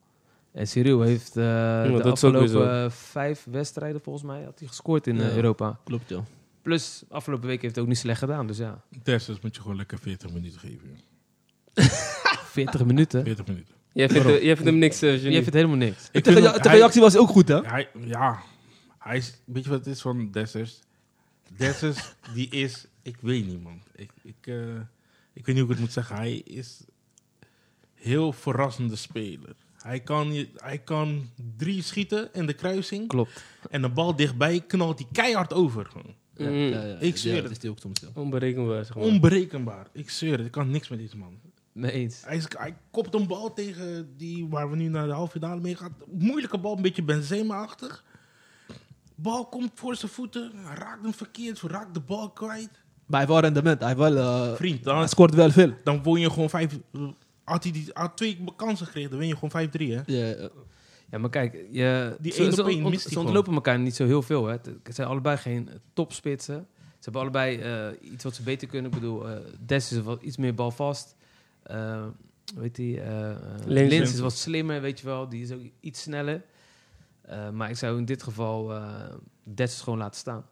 En Cyril heeft eh, de dat is ook weer afgelopen eh, vijf wedstrijden volgens mij had hij gescoord in eh, Ja. Europa. Klopt, ja. Plus, afgelopen week heeft hij ook niet slecht gedaan. Dus ja, Dessers moet je gewoon lekker 40 minuten geven. joh. 40 minuten. 40 minuten. Jij vindt, Waarom? jij vindt hem niks, eh, Je Genie. vindt helemaal niks. De Ik vind dat hij- reactie was ook goed, hè? Hij, ja, hij is, weet je wat het is van Dessers? Dessers, die is, ik weet niet man. Ik, ik, eh, ik weet niet hoe ik het moet zeggen. Hij is heel verrassende speler. Hij kan, je- hij kan drie schieten in de kruising Klopt. en de bal dichtbij knalt hij keihard over. gewoon. Ja, Mm. ja, ja. Ik zweer Ja, het. Dat is die ook soms, ja. Onberekenbaar, zeg maar. Onberekenbaar. Ik zweer het, ik kan niks met deze man. Mee eens. Hij, is- hij kopt een bal tegen die waar we nu naar de halve finale mee gaan. Moeilijke bal, een beetje Benzema-achtig. Bal komt voor zijn voeten, hij raakt hem verkeerd, raakt de bal kwijt. Maar hij heeft wel rendement. Hij, heeft wel, eh, Vriend, hij dan, scoort wel veel. dan won je gewoon vijf... Had hij die, had twee kansen gekregen, dan win je gewoon 5-3, hè? Ja, ja. Ja, maar kijk, je, Die ze, één ze op één ont- mist hij ze ontlopen elkaar niet zo heel veel. Hè. Het het zijn allebei geen eh, topspitsen. Ze hebben allebei eh, iets wat ze beter kunnen. Ik bedoel, eh Des is wat iets meer balvast. Eh weet die, eh, eh, Lins. Lins. is wat slimmer, weet je wel. Die is ook iets sneller. Eh, maar ik zou in dit geval eh Des gewoon laten staan.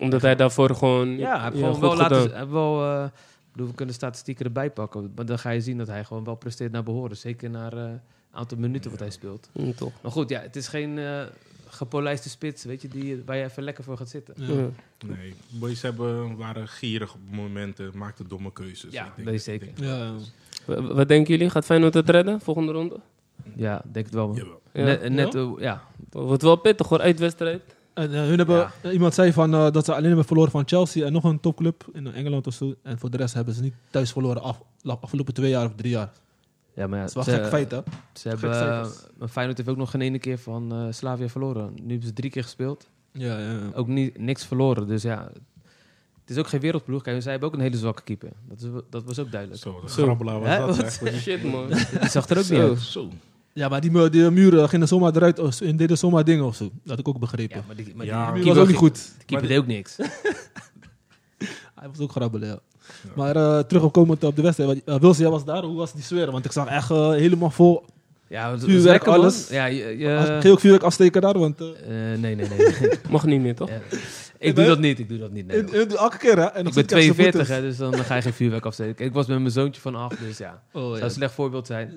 Omdat hij daarvoor gewoon... Ja, hij heeft ja, gewoon goed wel laten... gedaan. hij heeft wel, eh, ik bedoel, we kunnen statistieken erbij pakken. Maar dan ga je zien dat hij gewoon wel presteert naar behoren. Zeker naar eh aantal minuten wat hij speelt. Mm, toch. Maar goed, ja, het is geen eh, gepolijste spits, weet je, die, waar je even lekker voor gaat zitten. Ja. Ja. Nee, boys hebben, waren gierig op momenten, maakten domme keuzes. Ja, Ik denk- dat is ik denk- zeker. Ja, ja. Wa- wa- Wat denken jullie? Gaat Feyenoord het redden, volgende ronde? Ja, denk het wel. Man. Jawel. Ja. Net, net, eh, ja. Wordt wel pittig, hoor, uitwedstrijd. En eh, hun hebben, Ja. eh, iemand zei van, eh, dat ze alleen hebben verloren van Chelsea en nog een topclub in Engeland of zo. En voor de rest hebben ze niet thuis verloren af, la- afgelopen twee jaar of drie jaar. ja, maar ja, Dat is wel ze, een gek feit, hè? Ze Gek hebben, cijfers. eh, maar Feyenoord heeft ook nog geen ene keer van eh, Slavia verloren. Nu hebben ze drie keer gespeeld, Ja, ja, ja. ook niet, niks verloren. Dus ja, het is ook geen wereldploeg. Kijk, zij hebben ook een hele zwakke keeper. Dat, is, dat was ook duidelijk. Zo, dat Zo. grabbelaar was Hè, dat, wat- hè? <laughs> Voor die- Shit, man. Die zag er ook niet Zo. uit. Zo. Ja, maar die, mu- die muren gingen zomaar eruit of zo- en deden zomaar dingen of zo. Dat had ik ook begrepen. Ja, maar die, maar Ja, die die keeper, was ook niet goed. die keeper deed ook niks. Hij was ook grabbelen, ja. Maar eh, terugkomend op de wedstrijd. want, eh, Wilson, jij was daar. Hoe was die sfeer? Want ik zag echt eh, helemaal vol. Ja, het was Vuurwerk, lekker, man. alles. Ja, je, je- Als- Ging je ook vuurwerk afsteken daar? Want, eh, eh, nee, nee, nee. <laughs> nee. Mag niet meer, toch? Ja. Ik Ik doe ben- dat niet, ik doe dat niet. nee, in- hoor. in- elke keer, hè? En nog Ik ben zit echt zo goed 42, in. hè, dus dan ga je geen vuurwerk afsteken. Ik was met mijn zoontje van acht, dus ja, Oh, zou ja. een slecht voorbeeld zijn.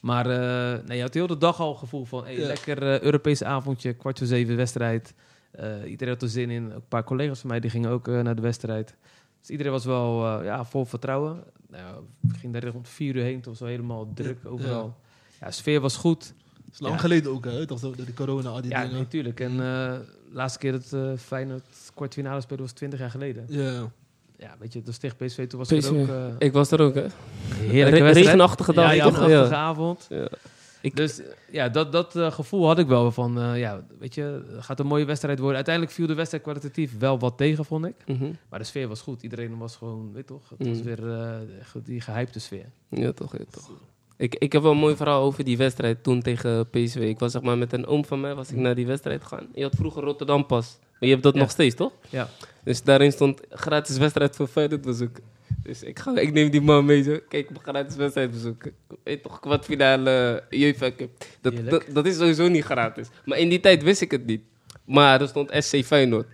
Maar eh, nee, je had heel de dag al het gevoel van, hey, Ja. lekker eh, Europees avondje, kwart voor zeven wedstrijd. Eh, iedereen had er zin in. Ook Een paar collega's van mij die gingen ook eh, naar de wedstrijd. Dus iedereen was wel eh, ja, vol vertrouwen. Nou, ik ging daar rond vier uur heen, toen was wel helemaal druk overal. Ja, sfeer was goed. Dat is lang Ja. geleden ook, hè? Toch zo, door die corona, al die Ja, dingen. natuurlijk. En eh laatste keer dat eh Feyenoord kwartfinale speelde was twintig jaar geleden. Ja. Ja, weet je, dat was tegen PSV, toen was het PSV. ook... eh, Ik was er ook, hè? Heerlijke Re- wedstrijd. regenachtige dag, Ja, toch? regenachtige Ja. avond. Ja. Ik, dus eh, ja, dat, dat eh, gevoel had ik wel van, eh, ja, weet je, gaat een mooie wedstrijd worden. Uiteindelijk viel de wedstrijd kwalitatief wel wat tegen, vond ik. Mhm. Maar de sfeer was goed. Iedereen was gewoon, weet toch, het was Mm. weer eh, echt die gehypte sfeer. Ja, toch, ja, toch. Ik, ik heb wel een mooi verhaal over die wedstrijd toen tegen PSV. Ik was zeg maar met een oom van mij was ik naar die wedstrijd gegaan. Je had vroeger Rotterdam pas. Maar je hebt dat Ja. nog steeds, toch? Ja. Dus daarin stond gratis wedstrijd voor Feyenoord bezoeken. Dus ik, ga, ik neem die man mee zo. Kijk, op gratis wedstrijd bezoeken. Weet toch, kwartfinale eh, UEFA Cup. Dat, dat, Heerlijk. dat is sowieso niet gratis. Maar in die tijd wist ik het niet. Maar er stond SC Feyenoord.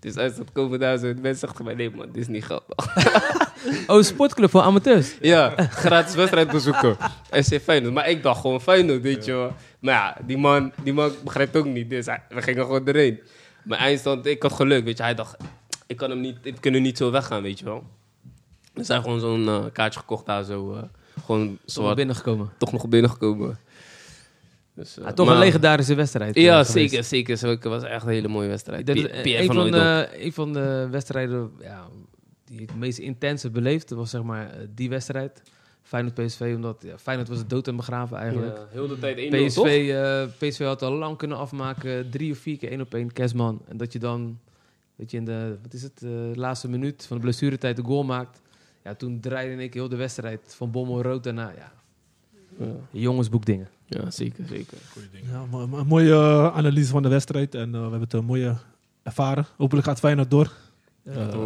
Dus als dat komen daar zo mensen zegt mij, nee man, dit is niet grappig. Oh, sportclub voor amateurs. Ja, gratis wedstrijd bezoeken. SC Feyenoord. Maar ik dacht gewoon Feyenoord, weet je wel. Maar ja, die man, die man begrijpt ook niet. Dus hij- we gingen gewoon erheen. Maar eindstand, ik had geluk, weet je. Hij dacht, ik kan hem niet, ik kan hem niet zo weggaan, weet je wel. Dus hij heeft gewoon zo'n eh, kaartje gekocht daar zo. eh, gewoon Zo wel zwart, binnengekomen. toch nog binnengekomen. Dus, eh, Ja, toch een maar- legendarische wedstrijd. eh, Ja, geweest. zeker, zeker. Zo, Het was echt een hele mooie wedstrijd. Ik denk dat, Pierre eh, Pierre een, van van Hooydonk. de, een van de wedstrijden ja, die ik het meest intens heb beleefd, was zeg maar eh, die wedstrijd. Feyenoord PSV, omdat ja, Feyenoord was dood en begraven eigenlijk. Ja, heel de tijd 1-0, PSV, toch? eh, PSV had al lang kunnen afmaken. Drie of vier keer één op één Kersman. En dat je dan, weet je, in de wat is het, eh, laatste minuut van de blessuretijd de goal maakt. Ja, toen draaide in één keer heel de wedstrijd. Van Bommel rood daarna. Ja, Ja. jongensboekdingen. Ja, zeker, zeker. Goeie ding. Ja, maar, maar een mooie eh, analyse van de wedstrijd. En eh, we hebben het een mooie ervaren. Hopelijk gaat Feyenoord door. Eh, Maar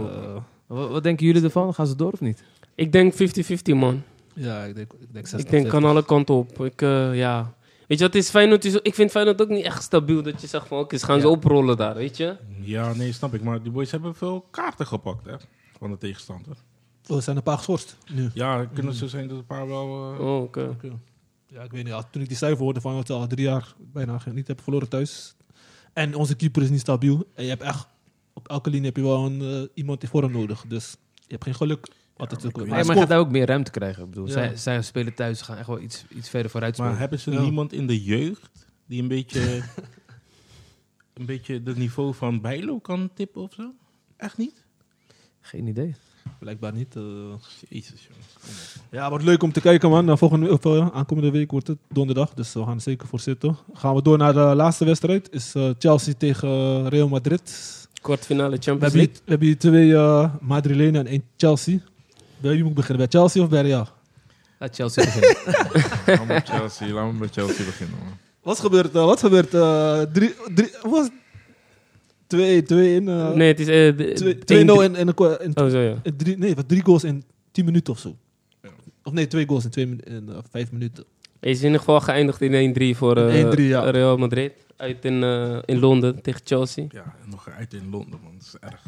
Wat, wat denken jullie ervan? Gaan ze door of niet? Ik denk 50-50, man. ja, ik denk, ik denk 60. Ik denk kan alle kanten op. Ik, eh, ja. Weet je, wat het is Feyenoord is, ik vind Feyenoord ook niet echt stabiel. Dat je zegt van, oké, ze gaan ze Ja. oprollen daar, weet je? Ja, nee, snap ik. Maar die boys hebben veel kaarten gepakt, hè? Van de tegenstander. Oh, er zijn een paar geschorst nu. Ja, kunnen ze zijn dat een paar wel... eh, Oh, oké. Oké. Ja, ik weet niet. ja, Toen ik die cijfer hoorde van dat ze al drie jaar bijna geen- niet hebben verloren thuis. En onze keeper is niet stabiel. En je hebt echt, op elke linie heb je wel een, eh, iemand in vorm nodig. Dus je hebt geen geluk. Altijd te komen. Maar, maar hij gaat daar ook meer ruimte krijgen. Ik bedoel, Ja. zij, zij spelen thuis, ze gaan echt wel iets, iets verder vooruit spelen. Maar hebben ze Ja. niemand in de jeugd die een <laughs> beetje, een beetje het niveau van Bijlo kan tippen of zo? Echt niet? Geen idee. scoort blijkbaar niet. eh. Jezus, jongen. Ja, wordt leuk om te kijken, man. Eh, Volgende, of, eh, aankomende week wordt het donderdag, dus we gaan er zeker voor zitten. Gaan we door naar de laatste wedstrijd. Is eh, Chelsea tegen eh, Real Madrid. Kwartfinale We Champions hebben, hier, League. we hebben hier twee eh, Madrilenen en één Chelsea. Bij wie moet ik beginnen? Bij Chelsea of bij Real? Laat Chelsea beginnen. Laten we met Chelsea, laten we met Chelsea beginnen. Man. Wat is gebeurd? eh, wat is gebeurd? eh, drie, drie, wat was het? twee, twee in... eh, nee, het is... eh, de- twee- 2-0 één- in, in, een kwa- in, Oh, zo ja. in drie, nee, wat, drie goals in 10 minuten of zo. Ja. Of nee, twee goals in, twee, min- in eh, vijf minuten. Hij is in ieder geval geëindigd in 1-3 voor eh, 1-3, ja. Real Madrid. Uit in, eh, in Londen tegen Chelsea. Ja, en nog uit in Londen, man. Dat is erg.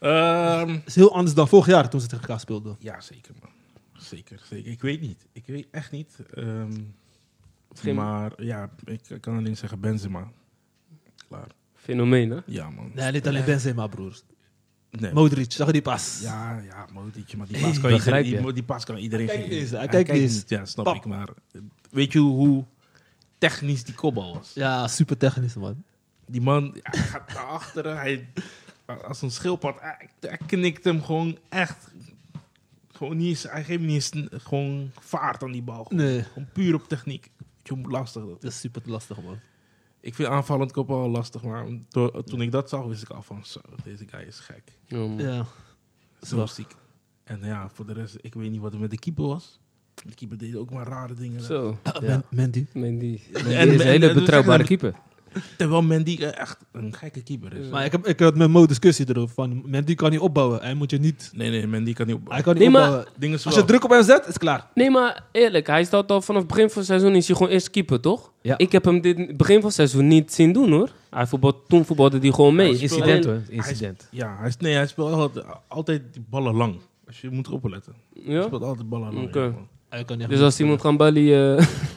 Ehm, is heel anders dan vorig jaar toen ze tegen elkaar speelden. ja, zeker, man. Zeker, zeker. Ik weet niet. Ik weet echt niet. Ehm, Misschien- maar ja, ik kan alleen zeggen Benzema. Klaar. Fenomeen, hè? Oh, Ja, man. Nee, niet alleen Benzema, broer. Nee. Modric, zag je die pas? Ja, ja, Modric, maar die paas kan, begrijp iedereen, je. die- die paas kan iedereen Hij kijkt geven. eens, hij kijkt eens. niet, ja, snap Pap. ik, maar eh, weet je hoe technisch die kopbal was? Ja, super technisch, man. Die man ja, hij gaat naar achteren, hij, als een schildpad, hij, hij knikt hem gewoon echt. Gewoon niet eens, hij geeft niet eens een- gewoon vaart aan die bal. Gewoon, Nee, gewoon puur op techniek. Weet je hoe lastig dat is? dat is super lastig, man. Ik vind aanvallend kopbal al lastig, maar to- toen ik dat zag, wist ik al van zo, deze guy is gek. Ja, man. Ja. Zo ziek. En ja, voor de rest, ik weet niet wat er met de keeper was. De keeper deed ook maar rare dingen. Zo, Men- Mandy. Mendy. Die is een hele betrouwbare keeper. Terwijl Mandy eh, echt een gekke keeper is. Maar ik, heb, ik had met Mo discussie erover. Van, Mandy kan niet opbouwen. Hij moet je niet... Nee, nee, Mandy kan niet op. Hij kan niet Nee, maar- opbouwen. Dingen Als je druk op hem zet, is het klaar. Nee, maar eerlijk, hij staat al vanaf begin van het seizoen is hij gewoon eerst keeper, toch? Ja. Ik heb hem dit begin van het seizoen niet zien doen, hoor. Hij voetbal, toen voetbalde hij gewoon mee. Hij speelde- Incident Alleen- hoor, incident. Ja, hij, is- nee, hij speelt altijd, altijd die ballen lang. Als je moet erop letten. Hij Ja? speelt altijd ballen lang. Oké. ja, man. Hij kan niet Dus als iemand gaan balie, eh, <laughs>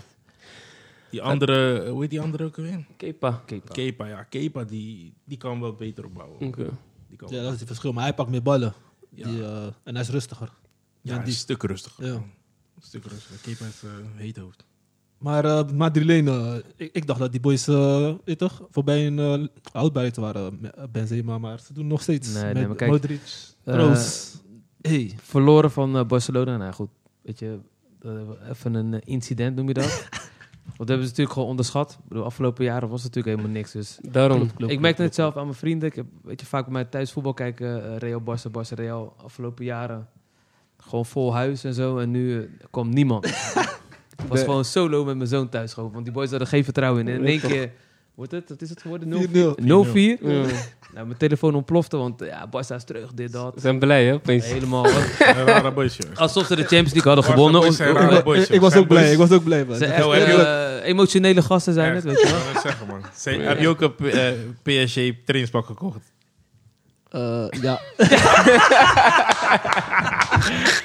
Die andere, eh, hoe heet die andere ook weer? Kepa. Kepa, ja. Kepa, die, die kan wel beter opbouwen. Oké. Die kan Hm. Ja, dat is het verschil. Maar hij pakt meer ballen. ja. Die, eh, en hij is rustiger. Ja, hij Mandy. is een stuk rustiger. Ja. man. Een stuk rustiger. Kepa heeft eh, een heet hoofd. Maar eh Madrilene, eh, ik, ik dacht dat die boys eh, weet toch, voorbij een eh houdbaarheid waren. Me- eh, Benzema, maar ze doen nog steeds. Nee, nee, Met maar kijk, Modric, eh, Kroos. hey. Verloren van eh, Barcelona. Nou goed, weet je, eh, even een eh, incident noem je dat. Want dat hebben ze natuurlijk gewoon onderschat. Ik bedoel, afgelopen jaren was het natuurlijk helemaal niks. Dus Daarom. ik merkte het zelf aan mijn vrienden. Ik heb weet je, vaak bij mij thuis voetbal kijken. eh, Real, Barca, Barca, Real. Afgelopen jaren gewoon vol huis en zo. En nu eh, kwam <laughs> niemand. Ik was De- gewoon solo met mijn zoon thuis. Gewoon, want die boys hadden geen vertrouwen in. En in Nee, één toch. keer Wordt het? Wat is het geworden? 4-0. 0-4? 0-4? Nou, mijn telefoon ontplofte, want ja, Barca is terug, dit, We dat. zijn blij, hè? Opeens. Helemaal. wat- Een rare boysje. Alsof ze de Champions League hadden gewonnen. Boys Of, zijn rare boys, Ik, joh. was Zijn ook blij, boys- ik was ook blij. man. ze Dat echt Yo, heb je eh, emotionele gasten zijn het, Echt. weet je wel. Ik wou net zeggen, man. Ze- Heb je ook een P- eh, PSG trainingspak gekocht? Eh, ja.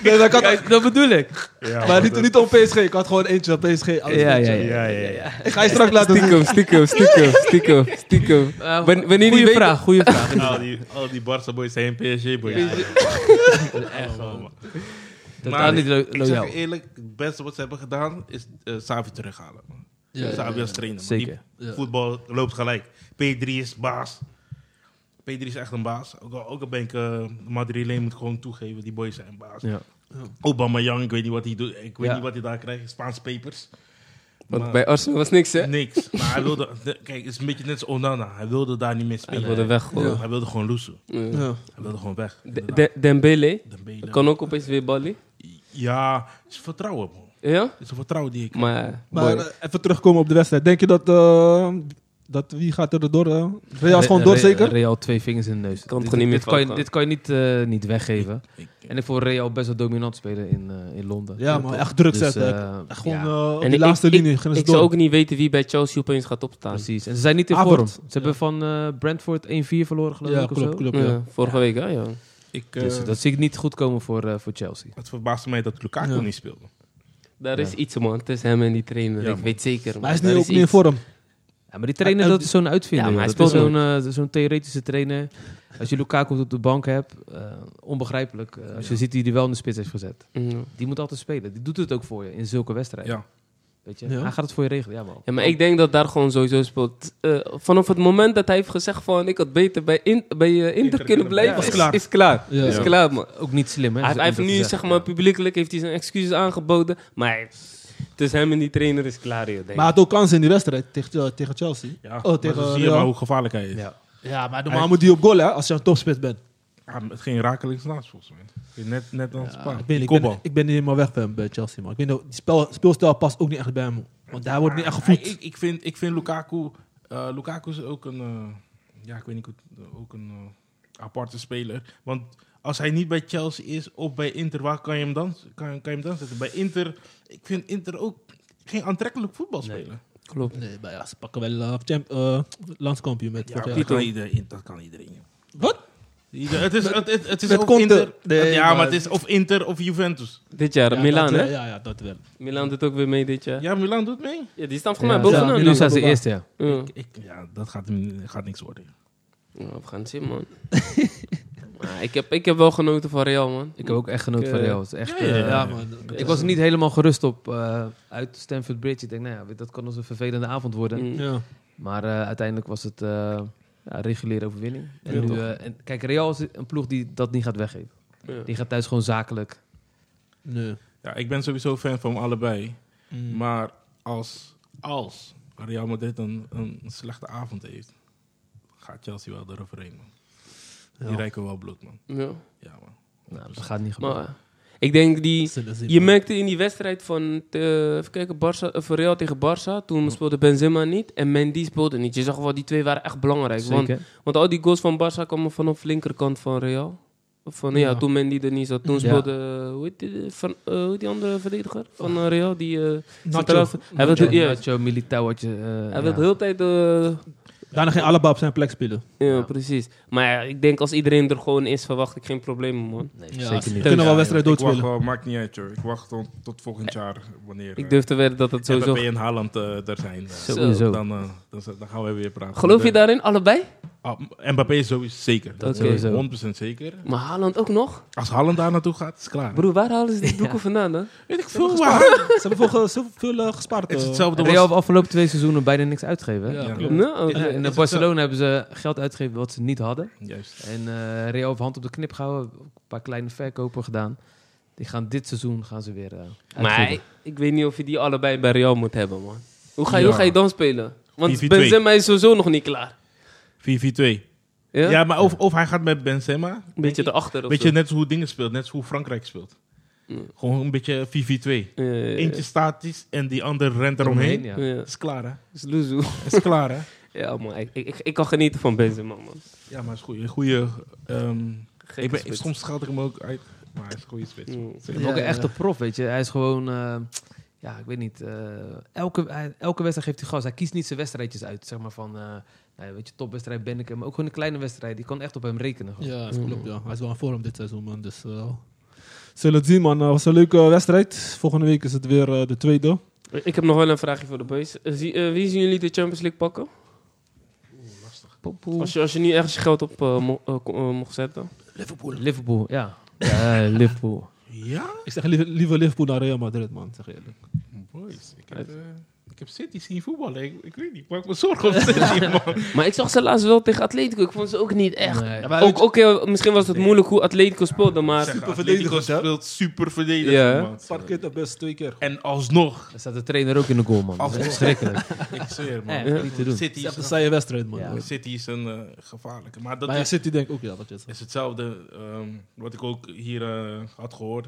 nee, dat kan, Kijk, dat bedoel ik. Ja, maar niet, niet om PSG. Ik had gewoon eentje op PSG. alles Ja, goed, ja, joh. ja. Ik ga je straks laten zien. Stiekem, stiekem, stiekem, stiekem, stiekem. <laughs> Eh, Wan- wanneer die goeie weet- vraag, goede <laughs> vraag. Al die, al die Barca boys zijn PSG boys. <laughs> Echt, man. Totaal Maar niet lo- ik zeg loyaal. je eerlijk, het beste wat ze hebben gedaan is eh, Savi terughalen. man. Ja, Savi ja, als trainer. man. Zeker. Die Ja. Voetbal loopt gelijk. P3 is baas. P3 is echt een baas. Ook al, ook al ben ik eh Madrileen moet gewoon toegeven, die boys zijn baas. Ja. Obama Young, ik weet niet wat hij doet. Ik weet Ja. niet wat hij daar krijgt. Spaanse papers. Want Maar- bij Arsenal was niks, hè? Niks. Maar hij wilde... de- Kijk, het is een beetje net als Onana. Hij wilde daar niet meer Hij spelen. wilde weg, gewoon. Hij wilde gewoon loesen. Ja. Ja. Hij wilde gewoon weg. De- de- Dembele Dembele. kan ook opeens weer ballen. Ja, het is vertrouwen, man. Ja? Het is een vertrouwen die ik... Maar, Maar boy, eh, even terugkomen op de wedstrijd. Denk je dat, eh, dat wie gaat er door? eh? Real is gewoon Re- door, Re- zeker? Real twee vingers in de neus. Kan dit, toch niet meer dit kan je, fout dit kan je niet, eh, niet weggeven. ik- En ik vond Real best wel dominant spelen in, eh, in Londen. Ja, man, echt druk zetten. eh, Echt gewoon ja, eh, op En die ik- laatste ik- linie. Gaan ze ik zou door. ook niet weten wie bij Chelsea opeens gaat opstaan. precies. En ze zijn niet in Avond. vorm. Ze hebben van eh Brentford 1-4 verloren, geloof Ja, ik. of klopt, zo. klopt. Ja, Ja. vorige week, hè? Ja. Ik, Dus eh, dat zie ik niet goed komen voor, eh, voor Chelsea. Het verbaasde mij dat Lukaku Ja. niet speelde. Daar Ja. is iets, man, tussen hem en die trainer. Ja, ik man. weet zeker. man. Maar hij is Daar nu ook niet iets. in vorm. Ja, maar die trainer, Eh, eh, dat is zo'n uitvinder. ja, maar joh. hij dat is speelt zo'n eh, zo'n theoretische trainer. Als je Lukaku op de bank hebt, eh, onbegrijpelijk. Eh, als je ziet die die wel in de spits heeft gezet. Ja. Die moet altijd spelen. Die doet het ook voor je in zulke wedstrijden. Ja. Weet je? Ja. Hij gaat het voor je regelen. Ja, man. Ja, maar ik denk dat daar gewoon sowieso speelt. Eh, vanaf het moment dat hij heeft gezegd van ik had beter bij, in, bij eh, Inter, kunnen kunnen blijven, blijven. is Ja, klaar. Is klaar, Ja. is Ja. klaar man. Ook niet slim, hè? Hij, hij om heeft dat te nu zeggen. zeg maar publiekelijk heeft hij zijn excuses aangeboden, maar hij- tussen hem en die trainer is klaar joh, denk ik. Maar hij had ook kansen in die wedstrijd tegen, eh, tegen Chelsea. Ja, oh, maar tegen dan zie je maar Real. hoe gevaarlijk hij is. Ja. Ja, maar normaal moet hij op goal hè, als je een topspits bent. Ja, maar Ah, het ging rakelings naast volgens mij. Het ging Net, net aan het Ja, Spaan. ik, ben, Die ik, ben, kopbal. ik ben niet helemaal weg bij, hem bij Chelsea, man. Ik weet niet, die spel, speelstijl past ook niet echt bij hem. Want hij wordt niet echt Ja, gevoed. ik, ik, vind, ik vind Lukaku... eh, Lukaku is ook een... eh, ja, ik weet niet goed. Ook een eh, aparte speler. Want als hij niet bij Chelsea is of bij Inter... Waar kan je hem dan, kan, kan je hem dan zetten? Bij Inter... Ik vind Inter ook geen aantrekkelijk voetbal spelen. Klopt. Nee, maar ja, ze pakken wel eh, champ, eh, landskampioen met Ja, vorig dat, kan jaar. iedereen, dat kan iedereen. Wat? Ieder- Het is, het, het, het is Met of Conte. Inter... Nee, ja, maar- maar het is of Inter of Juventus. Dit jaar, Ja, Milan dat hè? wel, Ja, ja, dat wel. Milan doet ook weer mee dit jaar. Ja, Ja, Milan doet mee. die staan voor Ja, mij ja, bovenaan. nu nu. zijn ze eerste, ja. Ja. Ik, ja, dat gaat, hem- gaat niks worden. Ja, we gaan het <laughs> zien man. Maar ik, heb, ik heb wel genoten van Real man. Ik heb ook echt genoten Ik, van eh, Real. Het is echt, ja, ja, eh, ja. Ja, man. dat- Ik was er niet helemaal gerust op eh, uit Stanford Bridge. Ik denk, nou ja, weet- dat kan ons een vervelende avond worden. Mm. Ja. Maar eh, uiteindelijk was het eh ja, reguliere overwinning. En Ja, nu, toch. eh, en, kijk, Real is een ploeg die dat niet gaat weggeven. Ja. Die gaat thuis gewoon zakelijk. Nee. Ja, ik ben sowieso fan van allebei. Mm. Maar als, als Real Madrid een, een slechte avond heeft, gaat Chelsea wel eroverheen, man. Die Ja. rijken wel bloed, man. Ja. Ja, man. Nou, dat gaat niet gebeuren. Maar eh, ik denk die, Zullen zien, Je man. merkte in die wedstrijd van eh, even kijken, Barca, of Real tegen Barça, toen speelde Benzema niet en Mendy speelde niet. Je zag wel, die twee waren echt belangrijk. Want, Zeker. want al die goals van Barça kwamen vanaf de linkerkant van Real. Van, ja. Ja. toen Mendy er niet zat. Toen Ja. speelde, eh, hoe heet die, van, eh, hoe heet die andere verdediger van eh, Real? Die, eh, centraal- Nacho. Hij wil Ja, ja, Nacho, Militao had je... eh, hij ja. wil de hele tijd... eh, Daarna ging Alaba op zijn plek spelen. ja, Ja. precies. Maar ja, ik denk als iedereen er gewoon is, verwacht ik geen problemen, man. Nee, Ja, zeker ze niet. kunnen wel Ja, wedstrijd joh, ik doodspelen. wacht wel, maakt niet uit, joh. Ik wacht tot, tot volgend jaar, wanneer Ik durf te wedden dat het eh, sowieso... Mbappé en Haaland eh, er zijn. eh, Sowieso. Dan, eh, dan, z- dan gaan we weer praten. Geloof je Want, daarin, allebei? eh, ah, Mbappé is sowieso zeker. Dat Oké. is Sowieso. 100% zeker. Maar Haaland ook nog? Als Haaland daar naartoe gaat, is het klaar. Broer, waar halen ze <laughs> die doeken vandaan, hè? Weet ik veel waar. Ze hebben veel, ge- zoveel, veel eh, gespaard. Het is eh. hetzelfde Real was- heeft afgelopen twee seizoenen bijna niks uitgegeven. hè? Ja, Ja. klopt. Nou, En, en is in het Barcelona hebben ze geld uitgegeven wat ze niet hadden. Juist. En eh, Real heeft hand op de knip gehouden. Een paar kleine verkopen gedaan. Die gaan dit seizoen gaan ze weer eh, uitgeven. Maar ik, ik weet niet of je die allebei bij Real moet hebben, man. Hoe ga je, Ja. hoe ga je dan spelen? Want 4-4-2. Benzema is sowieso nog niet klaar. 4-4-2. Ja? Ja, maar of, of hij gaat met Benzema. Een beetje erachter of Weet zo. je, net als hoe dingen speelt, net als hoe Frankrijk speelt. Gewoon een beetje 4-4-2. Ja, ja, ja. Eentje statisch en die ander rent Eromheen, eromheen. ja. Eh. Ja, Is klaar, hè? is loezoe. <laughs> Is klaar, hè? Ja, man. Ik, ik, ik, ik kan genieten van Benzema, man. Ja, maar is goed. Goeie, ehm Gekke ik ben, spits. soms schat ik hem ook uit, maar hij is een goede spits. Mm. Het is ook een echte prof, weet je. Hij is gewoon, eh, ja, ik weet niet. eh, elke, hij- elke wedstrijd geeft hij gas. Hij kiest niet zijn wedstrijdjes uit, zeg maar van, eh, nou, weet je, topwedstrijd ben ik hem. Maar ook gewoon een kleine wedstrijd. Die kan echt op hem rekenen. gewoon. Ja, Mm. dat klopt. Ja. Hij is wel een vorm dit seizoen, man. Dus, eh, zullen het zien, man. Het was een leuke eh, wedstrijd. Volgende week is het weer eh, de tweede. Ik heb nog wel een vraagje voor de boys. Eh, zie- eh, wie zien jullie de Champions League pakken? Poepoe. Als je, als je nu ergens je geld op eh, mo- eh, ko- eh, mocht zetten. Liverpool. Liverpool, ja. Ja, Liverpool. Ja, Ik zeg liever, liever Liverpool dan Real Madrid, man. Zeg je eerlijk. boys. Ik heb, eh, ik heb City zien voetballen. Ik, ik weet niet, ik maak me zorgen om City, man. Maar ik zag ze laatst wel tegen Atletico. Ik vond ze ook niet echt. Nee. Ja, maar Ook, ook heel- misschien was het moeilijk hoe Atletico speelde, maar... Super verdedigend, verdedigend. hè? speelt super verdedigend, Ja. man. Parkeert dat best twee keer. En alsnog. Daar staat de trainer ook in de goal, man. Dat is Alsnog. verschrikkelijk. Ik zweer, man. Echt niet te doen. Het City is is echt een een, saaie wedstrijd, man. Ja. Dus- City is een eh, gevaarlijke. Maar dat Maar ja, is, City denk ik ook, ja, wat je zegt. is hetzelfde ehm, wat ik ook hier eh, had gehoord.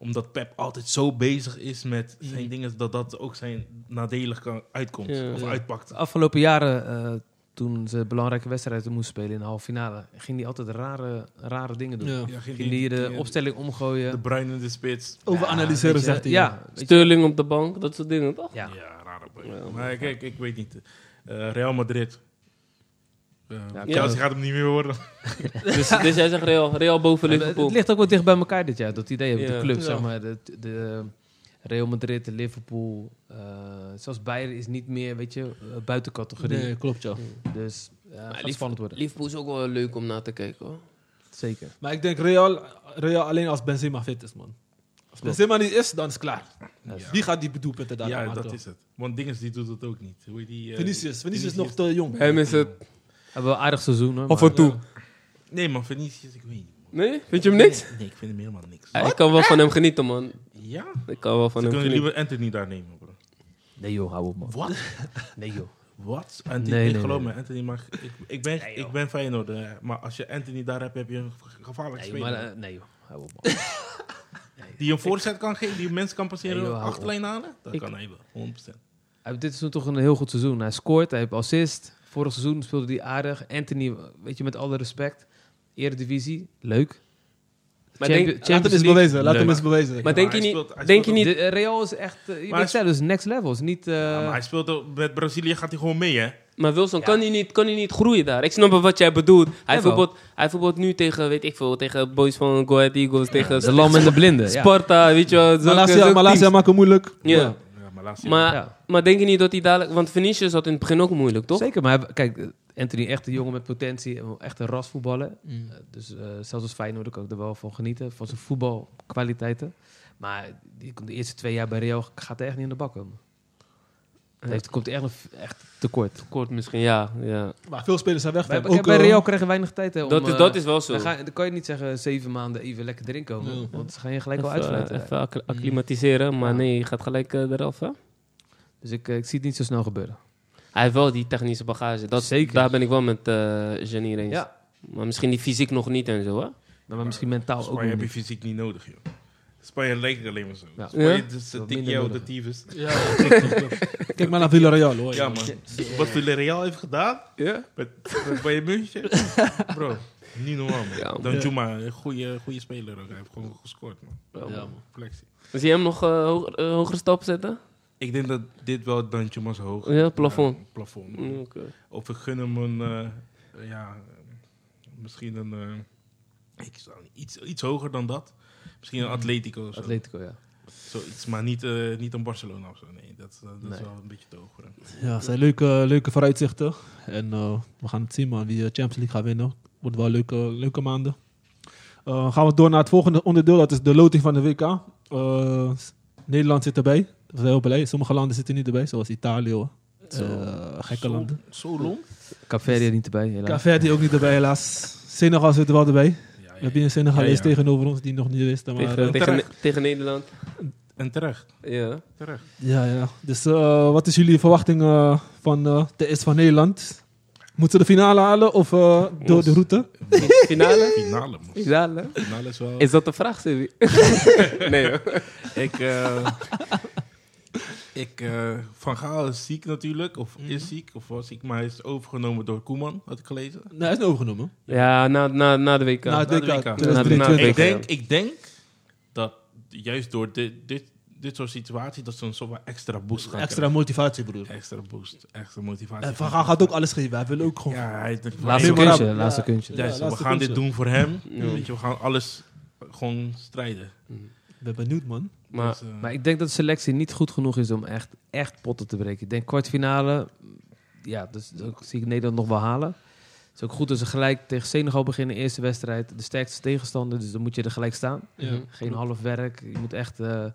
Omdat Pep altijd zo bezig is met zijn dingen, dat dat ook zijn nadelig kan, uitkomt. Ja. of Ja. uitpakt. De afgelopen jaren, eh, toen ze belangrijke wedstrijden moesten spelen in de halve finale, ging hij altijd rare, rare dingen doen. Ja. Ja, geen Ging hij die- de die- opstelling omgooien. De bruin in de spits. Over analyseren, Weet je, zegt hij. Ja, weet je, Sterling op de bank, dat soort dingen, toch? ja. Ja, rare boy. maar kijk, ik weet niet. Eh, Real Madrid. Eh Chelsea gaat hem niet meer worden. <laughs> dus, dus jij zegt Real, Real boven Het, Liverpool. het ligt ook wel dicht bij elkaar dit jaar, dat idee. hebben Ja. De club, Ja. zeg maar. De, de Real Madrid, de Liverpool. eh, zelfs Bayern is niet meer, weet je, eh, buiten categorie. Nee, klopt, ja. Dus eh, het gaat Liverpool- spannend worden. Liverpool is ook wel leuk om naar te kijken, hoor. Zeker. Maar ik denk Real, Real alleen als Benzema fit is, man. Als Benzema niet is, dan is het klaar. Die gaat die doelpunten daar ja, maken. dat is het. Want Dinges die doet het ook niet. Hoe heet die, eh, Vinicius. Vinicius is nog te jong. Hem is het. Hebben we een aardig seizoen, hoor. Af maar- en toe. Nee, man, Vinicius, ik weet niet. Nee? Vind je hem niks? Nee, ik vind hem helemaal niks. Ja, ik kan wel van hem genieten, man. Ja? Ik kan wel van Ze hem genieten. kunnen liever Anthony daar nemen, bro. Nee joh, hou op man. Wat? Nee joh. Wat? Anthony, Nee, ik nee, geloof nee. me, Anthony mag... Ik, ik ben, ik ben Feyenoord, eh, maar als je Anthony daar hebt, heb je een ge- gevaarlijk Nee, speler. maar, eh, nee joh, hou op man. die een voorzet kan geven, die mensen kan passeren, Nee, joh, hou op. achterlijn halen. Dat Ik- kan hij wel, 100%. Hij heeft dit seizoen toch een heel goed seizoen. Hij scoort, hij heeft assist. Vorig seizoen speelde hij aardig. Anthony, weet je, met alle respect. Eredivisie, leuk. Maar Champion- denk- Laat hem eens League, bewezen. Laat leuk. hem eens bewezen. Maar denk je hij niet... speelt- hij denk je speelt niet... De- eh, Real is echt, eh, je hij weet sp- zelf, is next level. Is niet, eh, Ja, maar hij speelt ook- met Brazilië, gaat hij gewoon mee, hè? Maar Wilson, Ja. kan, hij niet, kan hij niet groeien daar? Ik snap wel wat jij bedoelt. Hij Jawel. voetbalt, hij voetbalt nu tegen, weet ik veel, tegen boys van Go Ahead Eagles, tegen de lam en de blinden. ja. Sparta, weet je wel. zulke- Malasia, zulke Malasia teams. maakt het moeilijk. Ja. Ja, maar laatst... Maar, Ja. maar denk je niet dat hij dadelijk... Want Vinicius had in het begin ook moeilijk, toch? Zeker, maar hij- kijk, eh, Anthony echt een jongen met potentie. en Echt een rasvoetballer. Mm. Eh, dus eh, zelfs als Feyenoord kan ik er wel van genieten. Van zijn voetbalkwaliteiten. Maar die, komt de eerste twee jaar bij Real gaat hij echt niet in de bak komen. Ja. Hij heeft- komt echt, nog- echt tekort. Kort misschien, ja. ja. Maar veel spelers zijn weg. Bij, Ook kijk, bij eh, Real krijg je weinig tijd. Hè, om, Dat is, eh, dat is wel zo. dan, ga, je- dan kan je niet zeggen zeven maanden even lekker erin komen. Ja. Want ze gaan je gelijk Even, wel uitfluiten. eh, even acc- acclimatiseren, maar Ja. nee, je gaat gelijk eh, eraf, hè? Dus ik, eh, ik zie het niet zo snel gebeuren. Hij heeft wel die technische bagage. Dat, Zeker. Daar ben ik wel met eh Janine eens. Ja. Maar misschien die fysiek nog niet en zo, hè? Maar, maar misschien mentaal ook Spanje nog heb je niet. fysiek niet nodig, joh. Spanje lijkt alleen maar zo. Ja. Spanje, Ja? dus, Wat eh, tik minder jou nodig. de tyfus. Ja, <laughs> Kijk maar naar Villarreal, hoor. Ja, man. Wat Villarreal heeft gedaan Ja. met, met Bayern <laughs> München. Bro, niet normaal, man. Ja, man. Dan Juma, een goede, goede speler ook. Hij heeft gewoon gescoord, man. Ja, man. Flexie. Zie je hem nog eh, hoger- eh, hogere stap zetten? Ik denk dat dit wel Dan Juma's hoog Ja, het plafond. Ja, plafond. man. Mm, oké. Of ik gun hem een, eh, eh, ja, eh, misschien een, eh, ik zou niet- iets, iets hoger dan dat. Misschien een Atletico of zo. Atletico, ja. Zoiets, maar niet, eh, niet een Barcelona of zo. Nee, dat, eh, dat is Nee. wel een beetje te hoog. voor hem. Ja, het zijn leuke, leuke vooruitzichten. En eh, we gaan het zien, man. Wie de Champions League gaat winnen. Wordt wel leuke, leuke maanden. Eh, gaan we door naar het volgende onderdeel. Dat is de loting van de WK. Eh, s- Nederland zit erbij. We zijn heel blij. Sommige landen zitten niet erbij, zoals Italië. hoor. Eh, gekke Zo- landen. Zo long? Caveria niet erbij, helaas. Caverdi ook niet erbij, helaas. Senegal zit er wel erbij. Ja, We ja, hebben een Senegalees Ja, ja. tegenover ons die nog niet wist. Maar, Tegen, eh, tegen, terecht. Ne- tegen Nederland. <laughs> En terecht. Ja. terecht. Ja, ja. Dus eh, wat is jullie verwachting eh, van eh, de S van Nederland? Moeten ze de finale halen of eh, door de route? <laughs> Finale? Finale, man. Finale? Finale is <laughs> wel... Is dat de vraag, Sebi? nee hoor. ik, eh, Ik, eh, Van Gaal is ziek natuurlijk, of is ziek, of was ziek, maar hij is overgenomen door Koeman, had ik gelezen. Nee, hij is niet overgenomen. Ja, na, na, na de WK. Na het na WK de WK. Na de 2023. WK. Ik denk, ik denk dat juist door dit, dit, dit soort situaties, dat ze een soort van extra boost gaan Extra motivatie, broer. krijgen. Extra boost, extra motivatie. En Van Gaal gaat ook alles geven. Hij wil ook gewoon... Ja, hij denkt, van, Laatste hey, maar- kunstje, ja. laatste kunstje. Ja, Juist, we laatste gaan dit kunstje. doen voor hem. Ja. Weet je, we gaan alles gewoon strijden. Ik ben benieuwd, man. Maar Dus, eh, Maar ik denk dat de selectie niet goed genoeg is om echt, echt potten te breken. Ik denk kwartfinale, ja, dus dat zie ik Nederland nog wel halen. Het is ook goed dat ze gelijk tegen Senegal beginnen, eerste wedstrijd. De sterkste tegenstander, dus dan moet je er gelijk staan. Mhm. Ja. Geen half werk. Je moet echt, eh, nou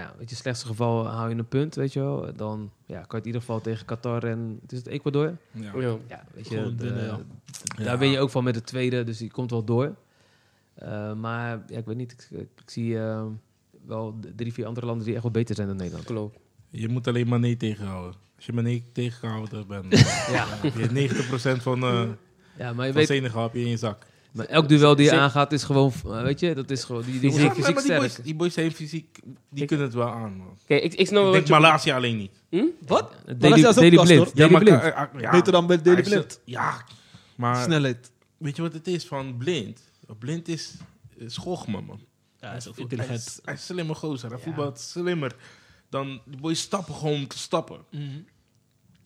ja, weet je, slechtste geval hou je een punt, weet je wel. Dan ja, kan je het in ieder geval tegen Qatar en, het is het Ecuador? ja. ja. oh Ja, weet je, Gewoon de- winnen, ja. daar Ja. ben je ook van met de tweede, dus die komt wel door. Eh, maar ja, ik weet niet, ik, ik zie eh, wel d- drie, vier andere landen die echt wel beter zijn dan Nederland. Klopt. Je moet alleen Mané tegenhouden. Als je Mané tegengehouden <laughs> bent, eh, Ja, heb je 90% van, eh ja maar je van weet, Senegal heb je in je zak. maar elk duel die je Zin- aangaat is gewoon, eh, weet je, dat is gewoon, die, die Ja, fysiek, maar fysiek die, sterk. Oh, boys, die boys zijn fysiek, die kunnen het wel aan. Man. Kijk, ik, ik snap wel Ik wat denk je... Malasia alleen niet. Wat? Daily, dat is ook Daily last, Blind, hoor. Daily maar, Blind. eh, eh, ja. Beter dan bij Hij Daily is- Blind. Ja, maar Snelheid. weet je wat het is van blind? Blind is, is gochme, man. Ja, hij is ook Hij intelligent. is, hij is slimmer gozer. Hij voetbalt slimmer dan die boys stappen gewoon te stappen.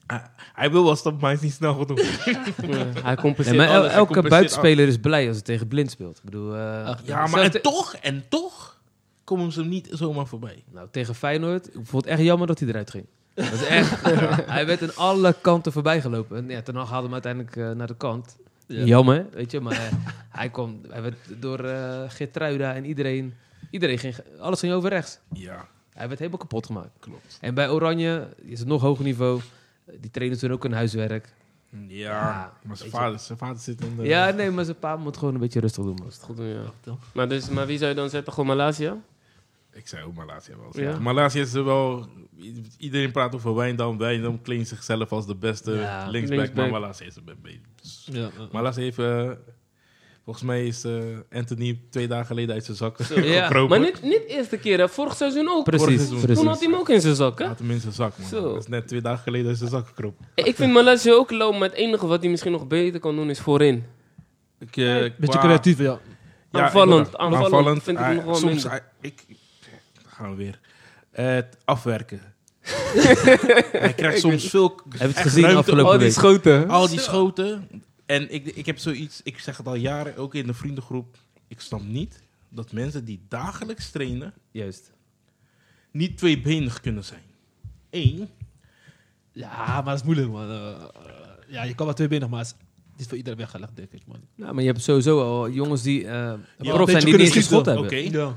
Hij, hij wil wel stappen, maar hij is niet snel genoeg. Ja, hij Nee, compenseert maar el- alles. elke compenseert buitenspeler is blij als hij tegen blind speelt. Ik bedoel, eh, Ach, ja, maar en toch, en toch komen ze hem niet zomaar voorbij. nou, tegen Feyenoord, ik vond het echt jammer dat hij eruit ging. Dat is echt, hij werd aan alle kanten voorbij gelopen. En ja, ten Hag haalde hem uiteindelijk eh, naar de kant. Ja. Jammer, weet je, maar eh, hij, kwam, hij werd door eh Geertruida en iedereen, iedereen ging, alles ging over rechts. Ja, Hij werd helemaal kapot gemaakt. klopt. En bij Oranje is het nog hoger niveau. Die trainers doen ook hun huiswerk. Ja, Ja, maar zijn weet je. vader, zijn vader zit in de... Ja, nee, maar zijn pa moet gewoon een beetje rustig doen. Man. Goed doen, ja. toch? Maar, dus, maar wie zou je dan zetten? Gewoon Malasia? Ik zei ook Malasia wel. Ja. Ja. Malasia is er wel... i- Iedereen praat over Wijndam. Wijndam klinkt zichzelf als de beste Ja, linksback, linksback. maar Malasia is er be- be- Ja, ja. Malasia heeft... eh, volgens mij is eh, Anthony twee dagen geleden uit zijn zak <laughs> Ja, gekropen. Maar niet, niet eerste keer, hè. vorig seizoen ook. Precies, seizoen. precies. Toen had hij hem ook in zijn zak, hè? Hij had hem in zijn zak, man. Zo. Dat is net twee dagen geleden uit zijn zak gekropen. Ik vind Malasia ook low, maar het enige wat hij misschien nog beter kan doen is voorin. Oh, Ik, eh, Beetje qua- creatief, ja. Ja, Aanvallend, ik- aanvallend vind ik ah, hem nog wel soms, minder. ah, ik, daar gaan we weer. Eh, het <laughs> afwerken. hij krijgt soms zulk Heb je het echt gezien ruimte Oh, afgelopen op. week? schoten. Al die schoten. En ik, ik heb zoiets, ik zeg het al jaren, ook in de vriendengroep. Ik snap niet dat mensen die dagelijks trainen, Juist. niet tweebenig kunnen zijn. Eén, Ja, maar dat is moeilijk, man. Eh, eh, ja, je kan wel twee benen, maar het is- het is voor iedereen weggelegd, denk ik, man. Nou, maar je hebt sowieso al jongens die eh een prof beetje zijn die kunnen niet eens een schieten. schot hebben. oké, Ja.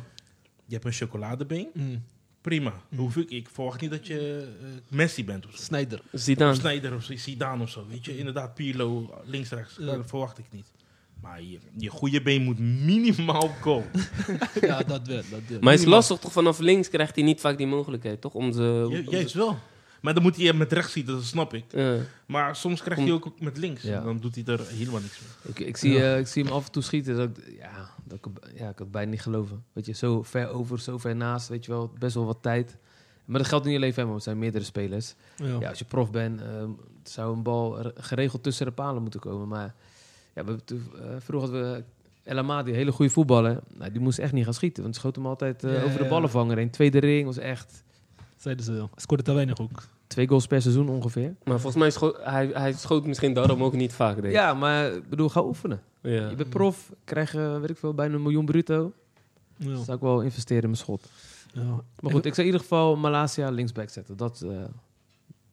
je hebt een chocoladebeen, Mm. prima. Hoef ik, ik verwacht niet dat je eh, Messi bent of zo. Snyder. Zidane. Snijder of Zidane of zo, weet je. Inderdaad, Pirlo, links, rechts, Ja. dat verwacht ik niet. Maar je, je goede been moet minimaal op goal. <laughs> ja, dat wel. Dat wel. Maar het is lastig, toch? Vanaf links krijgt hij niet vaak die mogelijkheid, toch? Om ze... Ju- om Juist ze- wel. Maar dan moet hij hem met rechts schieten, dat snap ik. Ja. Maar soms krijgt hij ook met links. Ja. Dan doet hij er helemaal niks mee. Ik, ik, zie, eh, ik zie hem af en toe schieten. Dat ik, ja, dat ik, ja, ik kan het bijna niet geloven. Weet je, zo ver over, zo ver naast. Weet je wel, best wel wat tijd. Maar dat geldt niet alleen voor hem, want het zijn meerdere spelers. Ja. Ja, als je prof bent, ehm, zou een bal er- geregeld tussen de palen moeten komen. Maar ja, we, hebben toen, eh, vroeger hadden we El Amadi, een hele goede voetballer. Nou, die moest echt niet gaan schieten, want schoot hem altijd eh, Ja, over de ja. ballenvanger heen. Tweede ring was echt Zeiden ze wel. Scoorde te weinig ook. twee goals per seizoen ongeveer. Maar volgens mij scho- hij, hij schoot misschien daarom ook niet vaak, denk ik. Ja, maar ik bedoel, ga oefenen. Ja. Je bent prof, krijg eh, weet ik veel, bijna een miljoen bruto. Ja. Zou ik wel investeren in mijn schot. Ja. Maar goed, ik zou in ieder geval Malasia linksback zetten. Dat, eh,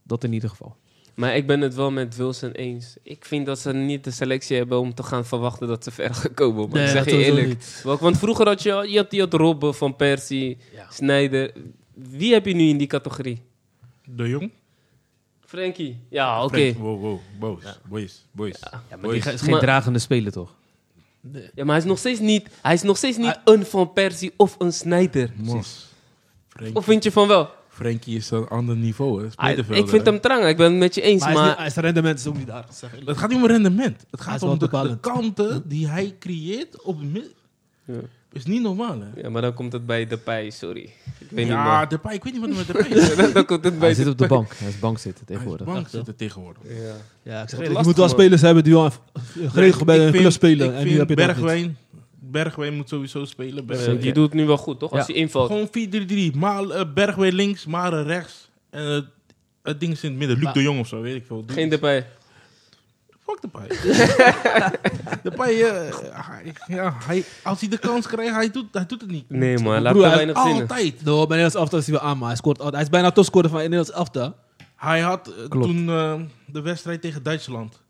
dat in ieder geval. Maar ik ben het wel met Wilson eens. Ik vind dat ze niet de selectie hebben om te gaan verwachten dat ze ver gaan komen. Maar Nee, ik dat zeg je sowieso eerlijk. niet. Welk- want vroeger had je, je had, je had Robben, Van Persie, Ja. Snijder. Wie heb je nu in die categorie? De Jong? Frankie. Ja, Ah, oké. Frank, Wow, wow, boys, boys, boys. Ja, maar Boys. die ga- is geen Maar- dragende speler, toch? Ja, maar hij is nog steeds niet, hij is nog steeds niet een Van Persie of een Snijder. Mos. Frank- Of vind je van wel? Frankie is een ander niveau. Hè. Is Hij- middenvelder, ik vind hè. hem trang, ik ben het met je eens. Maar, Maar, hij is niet- hij is rendement is ook niet daar. Zeg. Het gaat niet om rendement. Het Hij is gaat wel om de, de bepalend. kanten die hij creëert op de mid- Ja. Is niet normaal, hè? ja, maar dan komt het bij de pij, sorry. weet niet, ja, <laughs> man. Depay, ik weet niet wat er met Depay is. Dan komt het Hij bij zit <laughs> op de bank. bank. Hij is bank zitten Hij is tegenwoordig. bang Echt, zit er tegenwoordig. Ja. Ja, ik zeg Wat eerlijk, je lastig, moet wel man. spelers hebben die al geregeld bij Ik een vind- club spelen. Ik En vind die heb je dan niet. Bergwijn, Bergwijn moet sowieso spelen. Eh, Bergwijn. Die doet het nu wel goed, toch? Als Ja. hij invalt. Gewoon 4-3-3. Maar eh, Bergwijn links, Mare rechts. En het- het ding is in het midden. Luc Maar- de Jong of zo, weet ik veel. Doe Geen iets. erbij. Fuck de paai. de paai, eh, hij, ja, hij, als hij de kans krijgt, hij doet, hij doet het niet. Nee, man. Laat Broer, te hij- weinig zin in. Altijd. No, bij Nederlands elftal is hij wel aan, maar hij, scoort altijd. hij is bijna topscorer van Nederlands elftal. Hij had eh, Klopt. toen eh, de wedstrijd tegen Duitsland.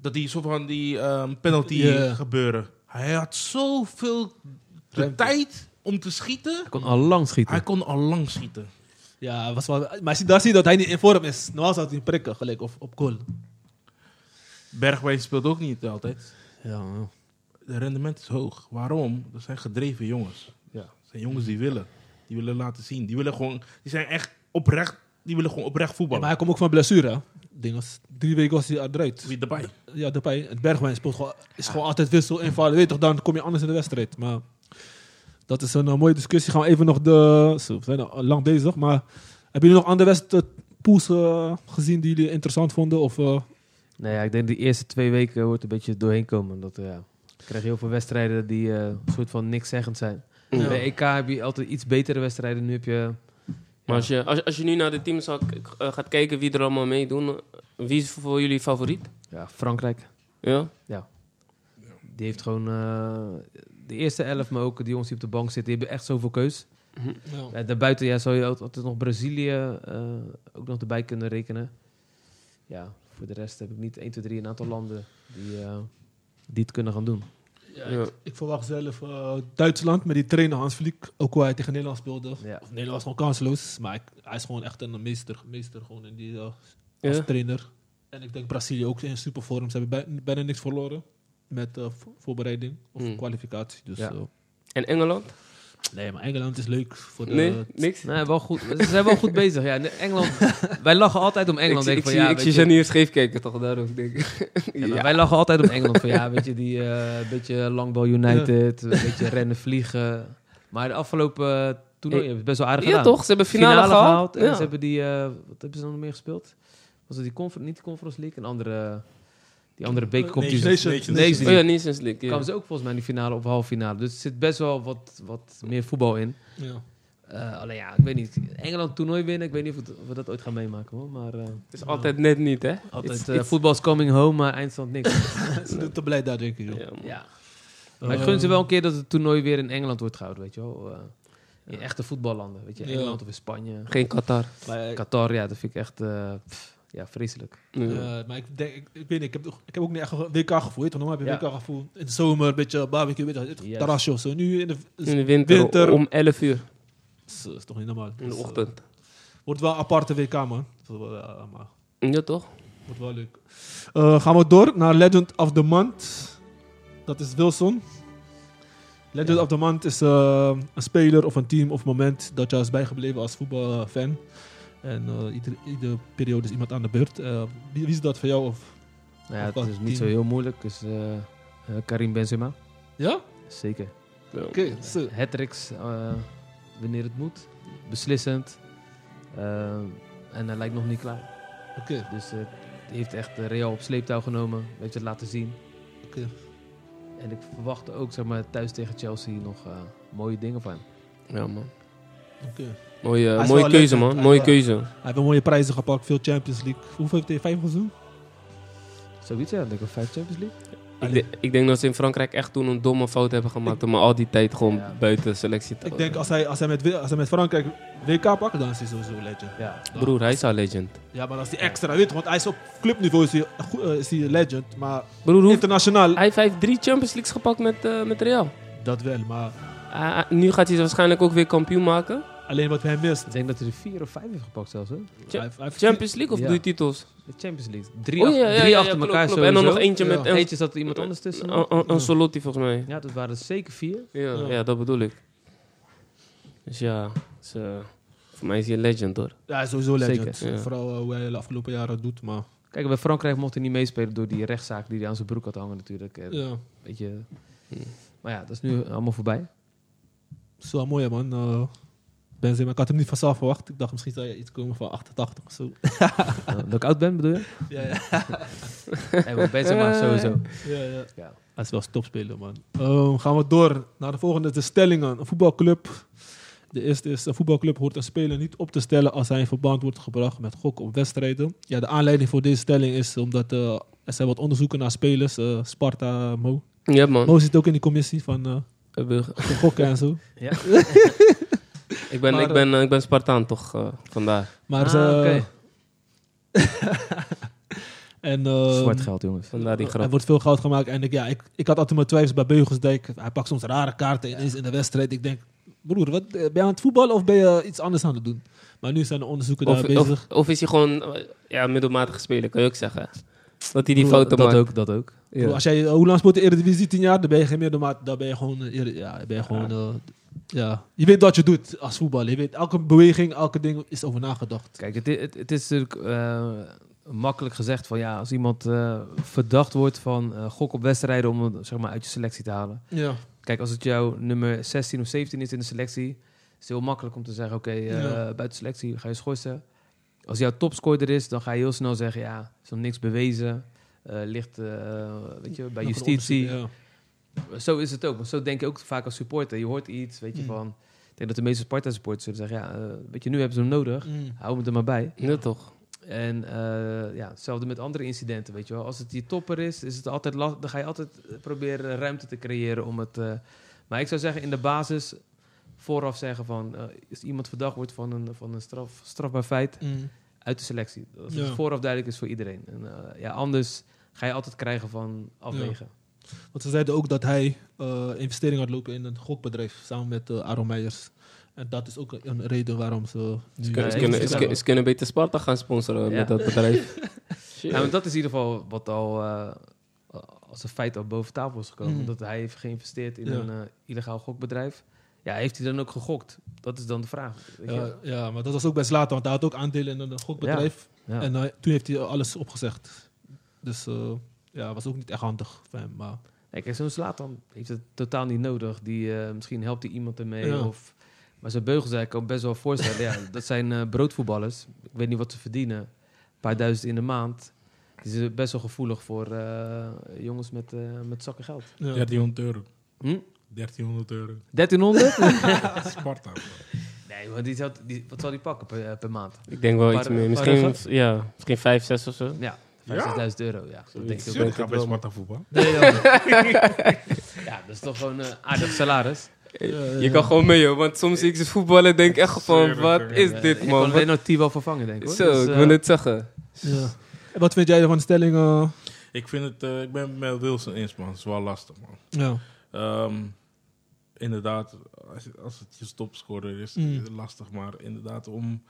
Dat die zo van die ehm, penalty Ja. gebeuren. Hij had zoveel de Ruimte. tijd om te schieten. Hij kon al lang Hij schieten. kon al lang schieten. Ja, was wel, maar zie- daar zie je dat hij niet in vorm is. Normaal zou hij hem prikken gelijk of op goal. Bergwijn speelt ook niet altijd. Ja, man. De rendement is hoog. Waarom? Dat zijn gedreven jongens. Ja. Dat zijn jongens die willen. Die willen laten zien. Die willen gewoon. Die zijn echt oprecht. Die willen gewoon oprecht Ja, voetballen. maar hij komt ook van blessure. hè. Ding was, drie weken was hij eruit. Wie erbij? Ja, Depay. Het Bergwijn speelt gewoon, is gewoon altijd wissel invallen. Weet toch, dan kom je anders in de wedstrijd. Maar dat is een eh, mooie discussie. Gaan we even nog de... Zo, we zijn al lang bezig, maar... Hebben jullie nog andere wedstrijdpools eh, gezien die jullie interessant vonden? Of, eh, Nou ja, ik denk de eerste twee weken wordt een beetje doorheen komen. Dat, eh, ja. Ik krijg heel veel wedstrijden die eh, een soort van niks zeggend zijn. Ja. Bij EK heb je altijd iets betere wedstrijden. Nu heb je... Maar als je, als, als je nu naar de teams zou k- eh, gaat kijken wie er allemaal meedoen, eh, wie is voor jullie favoriet? Ja, Frankrijk. Ja? Die heeft gewoon eh, de eerste elf, maar ook die jongens die op de bank zitten, die hebben echt zoveel keus. Nou, Ja, daarbuiten ja, zou je al- altijd nog Brazilië eh, ook nog erbij kunnen rekenen. Ja, voor de rest heb ik niet 1, 2, 3 een aantal landen die, eh, die het kunnen gaan doen. Ja, Ja. Ik, ik verwacht zelf eh, Duitsland met die trainer Hans Vliek. Ook hoe hij tegen Nederland speelde. Ja. Of Nederland was gewoon kansloos. Maar ik- hij is gewoon echt een meester. meester gewoon in die, eh, als Ja? trainer. En ik denk Brazilië ook in supervorm. Ze hebben bij- bijna niks verloren. Met eh, vo- voorbereiding of Hmm. kwalificatie. Dus, Ja. eh, En Engeland? nee, maar Engeland is leuk voor eh, de... Nee, niks. Nee, wel goed. Ze zijn wel goed bezig. Ja, Nee, <laughs> Engeland, wij lachen altijd om Engeland. ik denk zie, ik van, zie, ja, ik weet zie je, Janier scheef kijken, toch? Daarom denk ik. <laughs> ja, maar Ja. Wij lachen altijd om Engeland. Van, ja, weet je, die eh, beetje langbal United, een beetje rennen, vliegen. Maar de afgelopen eh, toernooi Hey. hebben ze best wel aardig Ja, gedaan. toch? Ze hebben finale, gehaald. En Ja. ze hebben die, eh, wat hebben ze dan nog meer gespeeld? Was het die confer niet de Conference League? Een andere, die andere bekercompetitie. Nations- Nations League. Oh ja, Nations League. Ja. Kwamen ze ook volgens mij in die finale of halve finale. Dus er zit best wel wat, wat meer voetbal in. Ja. Eh, alleen ja, ik weet niet. Engeland toernooi winnen, ik weet niet of, het- of we dat ooit gaan meemaken hoor. Maar eh, Het is altijd net niet, hè? altijd It's- eh, it's- voetbal is coming home, maar eindstand niks. <laughs> Ze doen te blij daar, denk ik. joh. Ja, man. ja. Maar ik gun ze wel een keer dat het toernooi weer in Engeland wordt gehouden, weet je wel. Eh, in echte voetballanden, weet je. Ja. Engeland of in Spanje. Geen Qatar. Maar, eh, Qatar, ja, dat vind ik echt eh, pff, ja, vreselijk. Ja. eh, maar ik denk, ik, ik weet niet, ik heb, toch- ik heb ook niet echt een WK-gevoel. Toch normaal heb je Ja. WK-gevoel. In de zomer een beetje barbecue, weet je, wel, Yes. terrasje of zo. Nu in de... In de winter, Winter. om 11 uur Dat is toch niet normaal. in de Dus, eh, ochtend. Wordt wel een aparte WK, man. Zo, eh, maar Ja, toch? wordt wel leuk. Eh, gaan we door naar Legend of the Month. Dat is Wilson. Legend Ja. of the Month is eh, een speler of een team of moment dat jou is bijgebleven als voetbalfan. En eh, ieder- iedere periode is iemand aan de beurt. Eh, wie, wie is dat voor jou? Of... Nou ja, Of wat het is team? niet zo heel moeilijk. Dus eh, eh, Karim Benzema, Ja? Oké. zeker. Ja. zo. Hattricks, eh, wanneer het moet. Beslissend. Eh, en hij lijkt nog niet klaar. Oké, Dus eh, hij heeft echt eh, Real op sleeptouw genomen. Weet je, het laten zien. oké. En ik verwacht ook zeg maar, thuis tegen Chelsea nog eh, mooie dingen van hem. Ja, man. oké. Mooie, Hij is mooie wel keuze, leuk, man. hè? Mooie Hij is keuze. Hij heeft een mooie prijzen gepakt, veel Champions League. Hoeveel heeft hij? Vijf gezoen? Zoiets, ja. Ik denk ik vijf Champions League. Ik, de- ik denk dat ze in Frankrijk echt toen een domme fout hebben gemaakt om hem al die tijd gewoon Ja. buiten selectie te Ik denk als hij, als, hij met, als hij met Frankrijk WK pakt, dan is hij sowieso legend. Ja. Broer, hij is al legend. Ja, maar als die extra, weet je, want hij is op clubniveau is hij, een goe- eh, is hij een legend, maar Broer, hoe- internationaal, hij heeft, hij heeft drie Champions Leagues gepakt met, eh, met Real. dat wel, maar Ah, nu gaat hij ze waarschijnlijk ook weer kampioen maken. alleen wat hij mist. Ik denk dat hij er vier of vijf heeft gepakt zelfs. Hè? Cha- Hij- hij- Champions League of Ja. doe je titels? De Champions League. Drie, Oh, achter, drie achter klopt, elkaar klopt. En dan nog sowieso. eentje Ja. met Oh, Eentje zat er iemand anders tussen. An- An- Ancelotti volgens mij. Ja, dat waren er zeker vier. Ja, Ja. ja. dat bedoel ik. Dus ja, dus, eh, voor mij is hij een legend hoor. Ja, hij is sowieso legend. Zeker, ja. Vooral eh, hoe hij de afgelopen jaren doet, maar Kijk, bij Frankrijk mocht hij niet meespelen door die rechtszaak die hij aan zijn broek had hangen natuurlijk. Eh, ja, Weet je. Hm. Maar ja, dat is nu allemaal voorbij. zo mooi hè, man. Eh, Benzema. Ik had hem niet vanzelf verwacht. Ik dacht misschien zou je iets komen van 88 of zo. Eh, dat ik oud ben, bedoel je? <laughs> ja, ja. Nee, maar Eh. Benzema sowieso. ja, ja. Ja. Hij is wel een topspeler, man. Ehm, gaan we door naar de volgende. De stellingen. Een voetbalclub. De eerste is, een voetbalclub hoort een speler niet op te stellen als hij in verband wordt gebracht met gokken op wedstrijden. Ja, de aanleiding voor deze stelling is omdat eh, er zijn wat onderzoeken naar spelers. eh, Sparta, Mo. Ja, man. Mo zit ook in die commissie van eh, Ik ben- <laughs> van gokken en zo. Ik ben, Maar, ik ben, eh, ik ben Spartaan toch eh, vandaag. Maar eh, ze- Ah, oké. en, ehm, Zwart geld, jongens. Vandaar die Er grap. wordt veel goud gemaakt. En ik, ja, ik, ik had altijd mijn twijfels bij Beugelsdijk. Hij pakt soms rare kaarten ineens in de wedstrijd. Ik denk, broer, wat, eh, ben je aan het voetballen of ben je iets anders aan het doen? Maar nu zijn de onderzoeken Of, daar bezig. of, of is hij gewoon eh, ja, middelmatige speler, kan je ook zeggen. Dat hij die Broer, fouten dat maakt. ook, dat ook. Ja. Broer, als jij, eh, hoe lang speelt de Eredivisie? 10 jaar? Dan ben je geen middelmaat. Dan ben je gewoon... eh, Ere- Ja, dan ben je, gewoon eh, ja. je weet wat je doet als voetballer. Je weet, elke beweging, elke ding is over nagedacht. Kijk, het, i- het, het is natuurlijk eh, makkelijk gezegd van ja, als iemand eh, verdacht wordt van eh, gok op wedstrijden om het, zeg maar uit je selectie te halen. Ja. Kijk, als het jouw nummer 16 of 17 is in de selectie, is het heel makkelijk om te zeggen: oké, eh, Ja. buiten selectie ga je schorsen. Als jouw topscorer is, dan ga je heel snel zeggen: ja, is nog niks bewezen. eh, ligt eh, weet je, bij justitie. Ja. Zo is het ook. Want zo denk je ook vaak als supporter. Je hoort iets, weet je Mm. van. Ik denk dat de meeste Sparta-supporters zullen zeggen: ja, eh, weet je, nu hebben ze hem nodig. Mm. Hou hem er maar bij. Ja, toch? En eh, ja, hetzelfde met andere incidenten, weet je wel. Als het die topper is, is het altijd last, dan ga je altijd eh, proberen ruimte te creëren om het... eh, maar ik zou zeggen, in de basis vooraf zeggen van... eh, als iemand verdacht wordt van een, van een straf, strafbaar feit, Mm. uit de selectie. Dat Ja. het vooraf duidelijk is voor iedereen. En, eh, ja, anders ga je altijd krijgen van afwegen. Want ze zeiden ook dat hij eh investering had lopen in een gokbedrijf samen met eh Aaron Meijers. En dat is ook een reden waarom ze. Nu Ze kunnen, Ja, ze ik- kunnen, ik- ze kunnen- ze kunnen beter Sparta gaan sponsoren Ja. met dat <laughs> bedrijf. Shit. Ja, want dat is in ieder geval wat al... eh, als een feit al boven tafel is gekomen. Mm. Dat hij heeft geïnvesteerd in Ja. een eh, illegaal gokbedrijf. Ja, heeft hij dan ook gegokt? Dat is dan de vraag. Weet je? ja, ja, maar dat was ook bij Zlatan, want hij had ook aandelen in een gokbedrijf. Ja. En eh, toen heeft hij alles opgezegd. Dus eh, ja, was ook niet echt handig van hem. Maar Nee, kijk, zo'n Zlatan heeft het totaal niet nodig. Die, eh, misschien helpt hij iemand ermee. Ja. Of, maar zijn beugels, ik kan me best wel voorstellen. ja, dat zijn eh, broodvoetballers. Ik weet niet wat ze verdienen. Een paar duizend in de maand. Die zijn best wel gevoelig voor eh, jongens met, eh, met zakken geld. ja, 1300 euro. Hm? 1300 euro. 1300? Sparta. <laughs> nee, maar die zal, die, wat zal die pakken per, eh, per maand? Ik denk wel iets Paar- meer. paar Misschien, ja, misschien 5, 6 of zo. Ja, Ja? 5000 euro. Ja, dat denk ik ook. Ik ga bij Sparta voetbal. Nee, <laughs> joh. ja, dat is toch gewoon een aardig salaris. ja, Je kan gewoon mee, joh. Want soms zie ik ze voetballen en denk echt van, Zeker, wat zeker. is Ja, dit, Eh, je man? kan Wat- Lennart wel vervangen, denk ik. Hoor. Zo, Dus, ik eh, wil het zeggen. ja. En wat vind jij van de stelling? eh? Ik vind het, eh, ik ben het met Wilson eens, man. Het is wel lastig, man. ja. Ehm, inderdaad, als, als het je topscorer is, Mm. is het lastig. Maar inderdaad, om,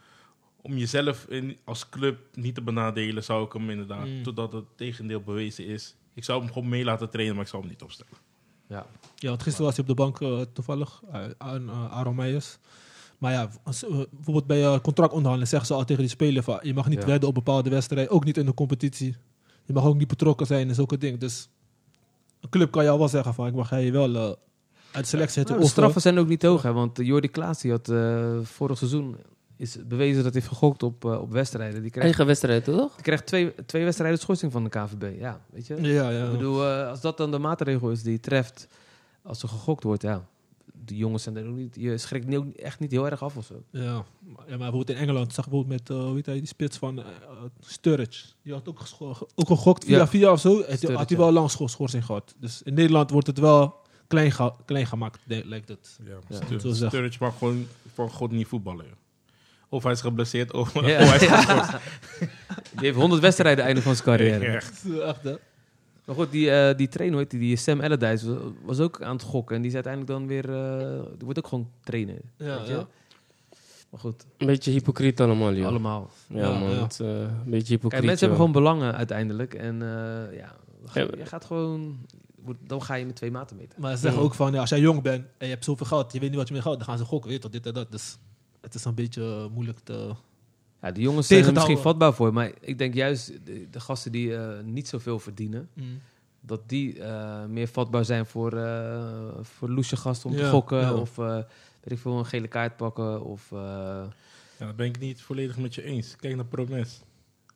om jezelf in, als club niet te benadelen, zou ik hem inderdaad, Mm. totdat het tegendeel bewezen is. Ik zou hem gewoon mee laten trainen, maar ik zou hem niet opstellen. ja. ja, want gisteren was hij op de bank eh, toevallig eh, aan eh, Aaron Meijers. Maar ja, als, eh, bijvoorbeeld bij eh, contractonderhandeling zeggen ze al tegen die speler van je mag niet Ja. wedden op bepaalde wedstrijden, ook niet in de competitie. Je mag ook niet betrokken zijn in zulke dingen. Dus een club kan jou wel zeggen van ik mag jij wel eh, uit de selectie zetten. Nou, of, de eh, straffen zijn ook niet hoog, hè, want eh, Jordi Klaas die had eh, vorig seizoen is bewezen dat hij heeft gegokt op, eh, op wedstrijden. Die krijgt, Eigen wedstrijd, toch? die krijgt twee, twee wedstrijden schorsing van de KVB. Ja, weet je? ja, ja. Ik bedoel, eh, als dat dan de maatregel is die treft als er gegokt wordt, ja. De jongens zijn er ook niet. Je schrikt niet, ook echt niet heel erg af of zo. Ja, maar, ja, maar bijvoorbeeld in Engeland zag ik bijvoorbeeld met, eh, hoe heet hij, die spits van eh, eh, Sturridge. Die had ook, gescho- ge- ook gegokt via Ja. via of zo. Had- Sturridge, had hij ja. wel lang scho- schorsing gehad. Dus in Nederland wordt het wel klein, ge- klein gemaakt, de- lijkt <laughs> het. Ja, Ja. Stur- Zo zeg. Sturridge mag gewoon van God niet voetballen. joh. Of hij is geblesseerd, <laughs> of, Ja. of Oh, hij is geschorst. Die heeft 100 wedstrijden einde van zijn carrière. Echt. Echt, hè? Maar goed, die, eh, die trainer, hoe heet die, die Sam Allardyce, was, was ook aan het gokken. En die is uiteindelijk dan weer... eh, die wordt ook gewoon trainer. Ja, weet je? ja. Maar goed, Een beetje hypocriet allemaal, joh. allemaal. Ja, Ja, man. ja. het is, eh, een beetje hypocriet, Kijk, mensen hebben joh. gewoon belangen uiteindelijk. En eh, ja, ga- Ja, maar- je gaat gewoon... wordt- Dan ga je met twee maten meten. Maar ze zeggen ook van, ja, als jij jong bent en je hebt zoveel geld, je weet niet wat je met geld, dan gaan ze gokken, weet je, tot dit en dat. Dus het is een beetje eh, moeilijk te... Ja, de jongens zijn er Tegenhouden. misschien vatbaar voor. Maar ik denk juist de, de gasten die eh, niet zoveel verdienen... dat die eh, meer vatbaar zijn voor, eh voor loesje gasten om Ja, te gokken. ja. Of eh, weet ik veel, een gele kaart pakken. Of, eh, Ja, dat ben ik niet volledig met je eens. Kijk naar Promes.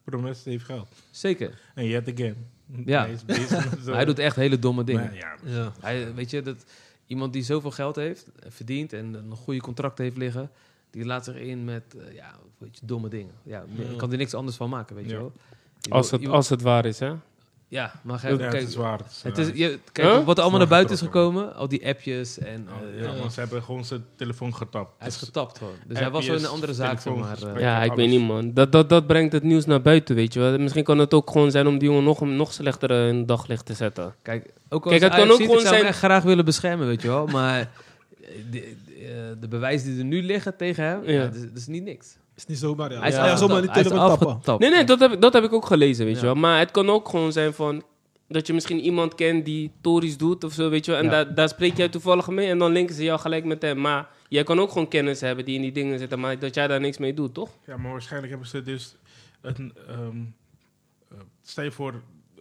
Promes heeft geld. zeker. En yet again. Ja. Hij <laughs> is bezig met zo- Maar hij doet echt hele domme dingen. Maar ja, Ja. Hij, weet je, dat iemand die zoveel geld heeft, eh, verdient en een goede contract heeft liggen, die laat zich in met eh, ja, weet je, domme dingen. Ja, Ja. ik kan er niks anders van maken, weet je Ja. wel. Je Als wil- het, iemand- als het waar is, hè? ja, maar Ja, kijk, het kijk, is waar. Het is, het waar. is, je, kijk Huh? wat er allemaal naar buiten is Teruggetrokken. gekomen, al die appjes en Ja, eh, Oh, ja, Nou, want ze hebben gewoon zijn telefoon getapt. hij is Dus- getapt gewoon. Dus hij was zo in een appjes, andere zaak, zeg maar. telefoons, eh. Ja, Ja, ik alles. weet niet, man. Dat, dat, dat brengt het nieuws naar buiten, weet je wel. Misschien kan het ook gewoon zijn om die jongen nog, nog slechter eh, in het daglicht te zetten. Kijk, ook als Kijk, het kan Ajax ook ziet, gewoon ik zou hem zijn- echt graag willen beschermen, weet je wel. Maar eh, de, de, de bewijzen die er nu liggen tegen hem, Ja. ja. dat, is, dat is niet niks. Is niet zomaar, ja. Hij is ja, afgetapt. zomaar niet Hij is telefoon tappen. afgetapt. Nee, nee, dat heb, ik- dat heb ik ook gelezen, weet Ja. je wel. Maar het kan ook gewoon zijn van... Dat je misschien iemand kent die Tories doet of zo, weet je wel. En Ja. daar- daar spreek jij toevallig mee en dan linken ze jou gelijk met hem. Maar jij kan ook gewoon kennis hebben die in die dingen zitten, maar dat jij daar niks mee doet, toch? Ja, maar waarschijnlijk hebben ze dus... Een, ehm, eh, stel je voor,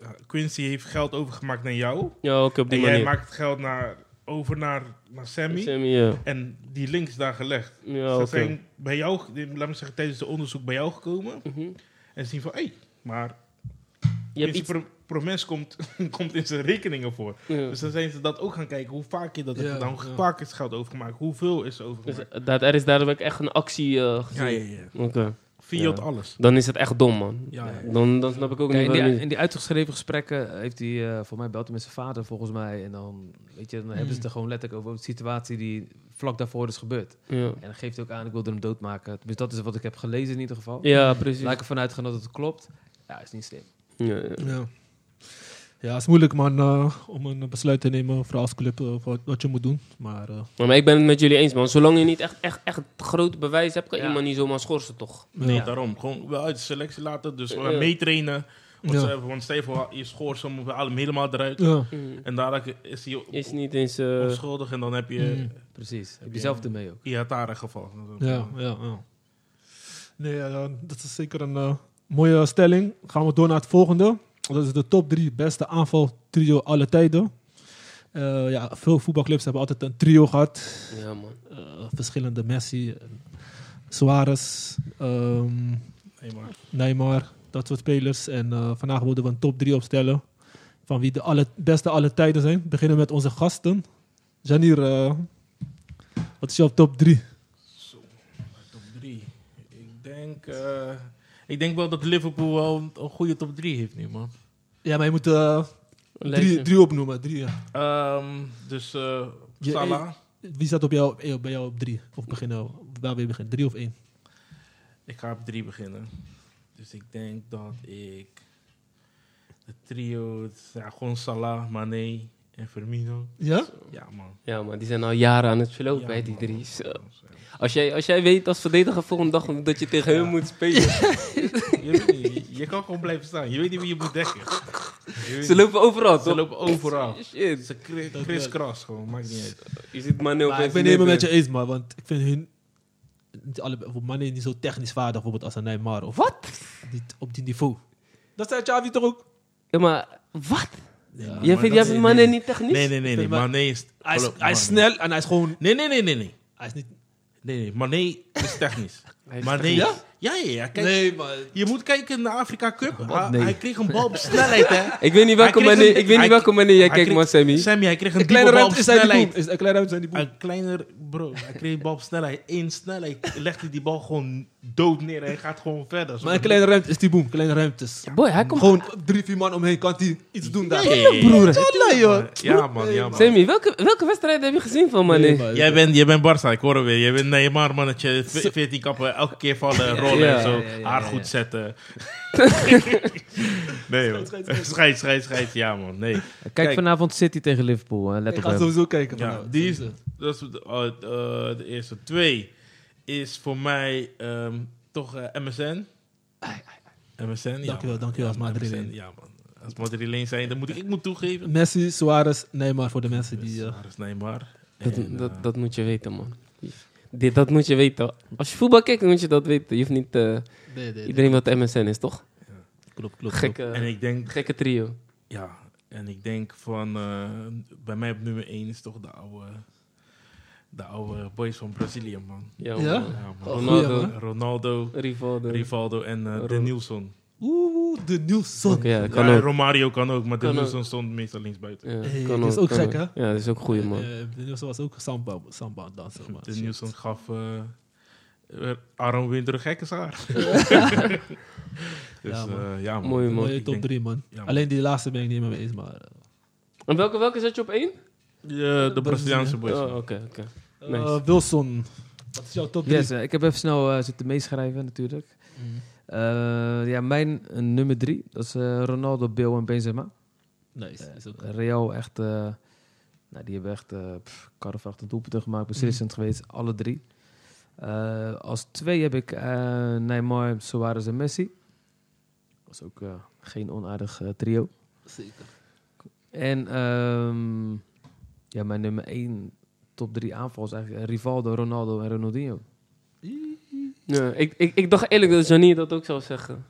eh, Quincy heeft geld overgemaakt naar jou. Ja, ook op En die jij manier. maakt het geld naar, over naar, naar Sammy. Sammy, ja. En die link is daar gelegd. Ja, Ze oké. zijn bij jou, laat me zeggen, tijdens het onderzoek bij jou gekomen. Mhm. En zien van, hé, maar Je hebt iets... pro promes komt, <laughs> komt in zijn rekeningen voor. ja. Dus dan zijn ze dat ook gaan kijken. Hoe vaak je dat hebt Ja, gedaan. ja. Hoe vaak is geld overgemaakt. Hoeveel is er Dus, overgemaakt. eh, dat, er is duidelijk echt een actie eh gezien. Ja, ja, ja. Oké. Fiat Dus- Ja. alles. Dan is het echt dom, man. Ja, ja. Dan, dan snap ik ook Ja, niet in, die, waarom in die uitgeschreven gesprekken heeft hij, eh, voor mij belt hij met zijn vader volgens mij. En dan, weet je, dan hebben ze het er gewoon letterlijk over de situatie die vlak daarvoor is gebeurd. je- Ja. En dan geeft hij ook aan, ik wilde hem doodmaken. Dus dat is wat ik heb gelezen in ieder geval. ja, precies. Laat ik ervan uitgaan dat het klopt. Ja, is niet slim. Ja, ja. Ja. Ja, het is moeilijk man eh, om een besluit te nemen voor als club eh, wat, wat je moet doen. Maar eh, Maar ik ben het met jullie eens, man. Zolang je niet echt, echt, echt groot bewijs hebt, kan Ja. iemand niet zomaar schorsen, toch? Nee, Ja. daarom. Gewoon wel uit de selectie laten. Dus Ja. meetrainen. Want, Ja. ze hebben- want stel je voor, je schoort hem, we halen hem helemaal eruit. ja. En daarna is hij Is niet eens... eh, onschuldig. En dan heb je Mm. Precies. Heb je je- zelf ermee ook. Iatara gevallen. Ja, ja, ja. Nee, eh, dat is zeker een eh, mooie stelling. Gaan we door naar het volgende. Dat is de top drie beste aanvaltrio alle tijden. Eh, ja, veel voetbalclubs hebben altijd een trio gehad. Ja, man. Eh, verschillende Messi, eh, Suarez, ehm, Nee, maar. Neymar, dat soort spelers. En eh, vandaag wilden we een top 3 opstellen. Van wie de alle, beste alle tijden zijn. Beginnen met onze gasten. Janir, eh, wat is jouw top 3? Zo, top 3. Ik denk, eh, ik denk wel dat Liverpool wel een, een goede top 3 heeft nu, man. Ja, maar je moet eh, drie, Lijstje. drie opnoemen. Drie, ja. Ehm, dus eh Je- Salah. Wie staat op jou, eh, bij jou op 3? Of beginnen, waar wil je beginnen? 3 of 1? Ik ga op 3 beginnen. Dus ik denk dat ik de trio, ja, gewoon Salah, Mane en Firmino. Ja? Ja, man. Ja, man. Die zijn al jaren aan het verlopen Ja, bij die man. drie. Zo. Als, jij, als jij weet als verdediger volgende dag dat je tegen hem moet spelen. Je, weet niet, je kan gewoon blijven staan. Je weet niet wie je moet dekken. Je weet Ze niet. lopen overal, Ze toch? lopen overal. Shit. Ze kri- kriskras gewoon, maakt niet uit. Je zit maar nul Maar ik ben even met je eens, maar want ik vind hun niet alle mannen niet zo technisch vaardig, bijvoorbeeld als een Neymar of Wat? niet op die niveau. Dat zei Xavi toch ook? Ja, maar wat? Ja. jij vindt, jij dat- vindt nee, mannen niet technisch? Nee, nee, nee. nee. Maar- Mane is... Hij is, geloof- hij is Mane. snel en hij is gewoon. Nee, nee, nee, nee, nee. Hij is niet. Nee, nee. Mané is <laughs> technisch. Hij is Mané. technisch. Ja? Ja, ja, ja. Kijk, nee, maar. je moet kijken naar de Afrika Cup. Hij- nee. Hij kreeg een bal op snelheid, <laughs> hè. Ik weet niet welke Hij kreeg manier, een- ik weet hij- niet welke manier jij Hij kijkt, kreeg- man, Sammy. Sammy, hij kreeg een Een kleine diepe bal op ruimte is hij die snelheid. boem. Is een kleine ruimte zijn die boem. Een kleiner, bro. Hij kreeg een bal op snelheid. Eén snelheid legt hij die bal gewoon dood neer. Hij gaat gewoon verder. Maar een kleine ruimte is die boem. Kleine ruimtes. Boy, hij komt... Gewoon drie, vier man omheen kan hij iets doen daar. Ja, ja, ja. Tjallah, joh. Ja, man, ja, man. Sammy, welke, welke wedstrijd heb je gezien van Mané? Nee, maar- Jij bent, jij bent Barca, ik hoor het weer. Jij bent Neymar, mannetje. 14 kappen, elke keer vallen, rollen ja, en zo. ja, ja, ja, haar ja. goed zetten. nee, joh. Schijt, schijt, schijt. Ja, man. Nee. Kijk, Kijk. vanavond City tegen Liverpool. eh, hè. Let Ik op ga hem. sowieso kijken. Ja, vanavond. die is, dat is de, eh, eh, de eerste. Twee is voor mij ehm, toch eh, MSN. MSN, ja. Dankjewel, man. dankjewel, als Ja, man, Madrileen. MSN, Ja, man. Als Madrileen zijn, dan moet ik, ik moet toegeven. Messi, Suarez, Neymar voor de mensen die. eh, Suarez, Neymar. Dat, En, eh, dat, dat moet je weten, man. Dit, dat moet je weten. Als je voetbal kijkt, moet je dat weten. Je hoeft niet... eh, nee, nee, nee. iedereen wat MSN is, toch? Klopt, klopt. klopt. Gekke, en ik denk, gekke trio. ja, en ik denk van, eh, bij mij op nummer 1 is toch de oude De oude boys van Brazilië, man. Ja, Ja? man. Ja, man. Oh, Ronaldo, goeie, man. Ronaldo, Rivaldo. Rivaldo en eh Ro- Denilson. Oeh, de Nielsen. Oké, ja, kan Ja, ook. Romario kan ook, maar Kan Denilson stond meestal linksbuiten. Ja, Hey, kan dat is ook kan gek, hè? Ja, dat is ook een goeie, man. Eh, de Nielsen was ook samba, samba dan, zeg maar. Denilson gaf eh eh, Aaron Winter gekkensaar. <laughs> dus Ja, ja, man. ja, man. Mooi, man. Mooie Ik top denk- 3, man. Ja, man. Alleen die laatste ben ik niet meer mee eens, maar... eh, En welke, welke zet je op één? Ja, de Braziliaanse boys. Oh, man. oké, oké. eh, Nice. Wilson, wat is jouw top 3? Yes, eh, ik heb even snel eh, zitten meeschrijven natuurlijk. Mhm. Eh, ja, mijn eh, nummer drie, dat is eh, Ronaldo, Bill en Benzema. Nice, is ook... Real echt, eh, nou, die hebben echt eh pff, karrevrachtend doelpunten gemaakt, beslissend geweest, alle drie. Eh, als twee heb ik eh, Neymar, Suarez en Messi. Dat was ook eh, geen onaardig eh, trio. Zeker. En ehm, ja, mijn nummer één top drie aanval is eigenlijk eh, Rivaldo, Ronaldo en Ronaldinho. Ja, ik, ik, ik dacht eerlijk dat Janier dat ook zou zeggen.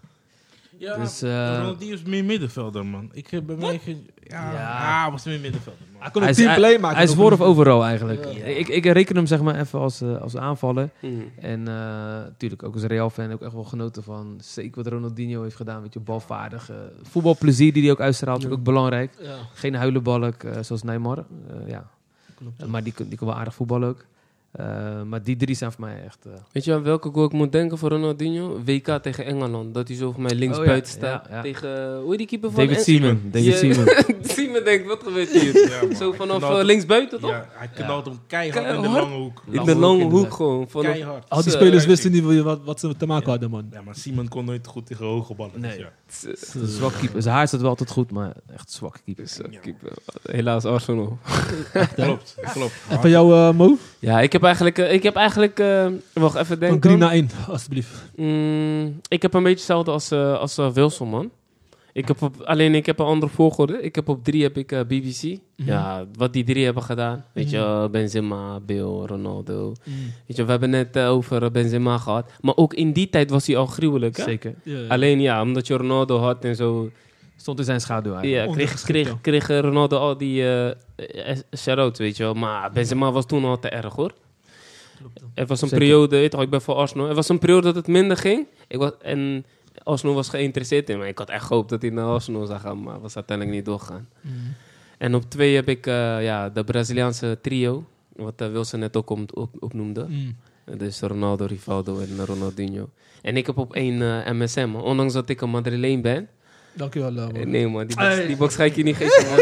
Ja, Dus, eh, Ronaldinho is meer middenvelder, man. Ik heb bij mij geen... Ja, Ja. hij was meer middenvelder, man. Hij kon Hij een is- team play maken. Hij is ook. voor of overal eigenlijk. Ja. Ik, ik reken hem zeg maar even als, eh, als aanvaller. Hmm. En eh, natuurlijk ook als Real-fan ook echt wel genoten van zeker wat Ronaldinho heeft gedaan. Weet je, balvaardig. eh, voetbalplezier die hij ook uitstraalt, is ook belangrijk. Ja, Geen huilenbalk eh, zoals Neymar. Eh, ja. klopt. Eh, maar die, kan- die kan wel aardig voetballen ook. Eh, maar die drie zijn voor mij echt... eh, Weet je aan welke goal ik moet denken voor Ronaldinho? WK tegen Engeland. Dat hij zo voor mij links Oh, ja, buiten staat. ja, ja. Tegen, hoe heet die keeper van David Engeland? Seaman. David Ja. Seaman. <laughs> Siemen denkt, wat gebeurt hier? <laughs> Ja, man. zo Hij vanaf knalt- eh, links buiten toch? Ja, nou, hij knalt hem keihard in de Keihard? lange hoek. In de lange hoek inderdaad. gewoon. Vanaf, Ah. Keihard. Al die Zo, spelers wisten niet wie- wat, wat ze te maken hadden, man. Ja, maar Simon kon nooit goed tegen hoge ballen. Nee. dus ja. zwak keeper. Zijn haar staat wel altijd goed, maar echt zwak keeper. Dus, eh, keeper. Helaas Arsenal. <laughs> Klopt, klopt. En van jou, eh, Mo? Ja, ik heb eigenlijk... eh, ik heb eigenlijk eh, wacht, even Van denken. 3 naar 1, alsjeblieft. Mm, ik heb een beetje hetzelfde als, eh als eh, Wilson, man. Ik heb op, alleen ik heb een andere volgorde. Ik heb op drie heb ik eh, BBC. Ja, wat die drie hebben gedaan. Weet je, eh, Benzema, Bill, Ronaldo. Mm. Weet je, we hebben net eh, over eh, Benzema gehad. Maar ook in die tijd was hij al gruwelijk, hè? Zeker. Ja. Alleen ja, omdat je Ronaldo had en zo. Stond in zijn schaduw eigenlijk. Ja, kreeg, ondergeschikt, kreeg, ja. kreeg eh, Ronaldo al die eh, eh, shout-outs, weet je wel. Maar Benzema was toen al te erg, hoor. Er was een Zeker. periode, weet je, ik ben voor Arsenal. Er was een periode dat het minder ging. Ik was, en Arsenal was geïnteresseerd in me. Ik had echt gehoopt dat hij naar Arsenal zou gaan, maar was uiteindelijk niet doorgegaan. En op twee heb ik eh, ja, de Braziliaanse trio, wat eh, Wilson net ook om- op, opnoemde. Mm. Dus Ronaldo, Rivaldo en eh, Ronaldinho. En ik heb op één eh, MSM, man. ondanks dat ik een Madrileen ben. Dankjewel, eh, Mo. Eh, Nee man, die box, die box ga ik je niet geven. man.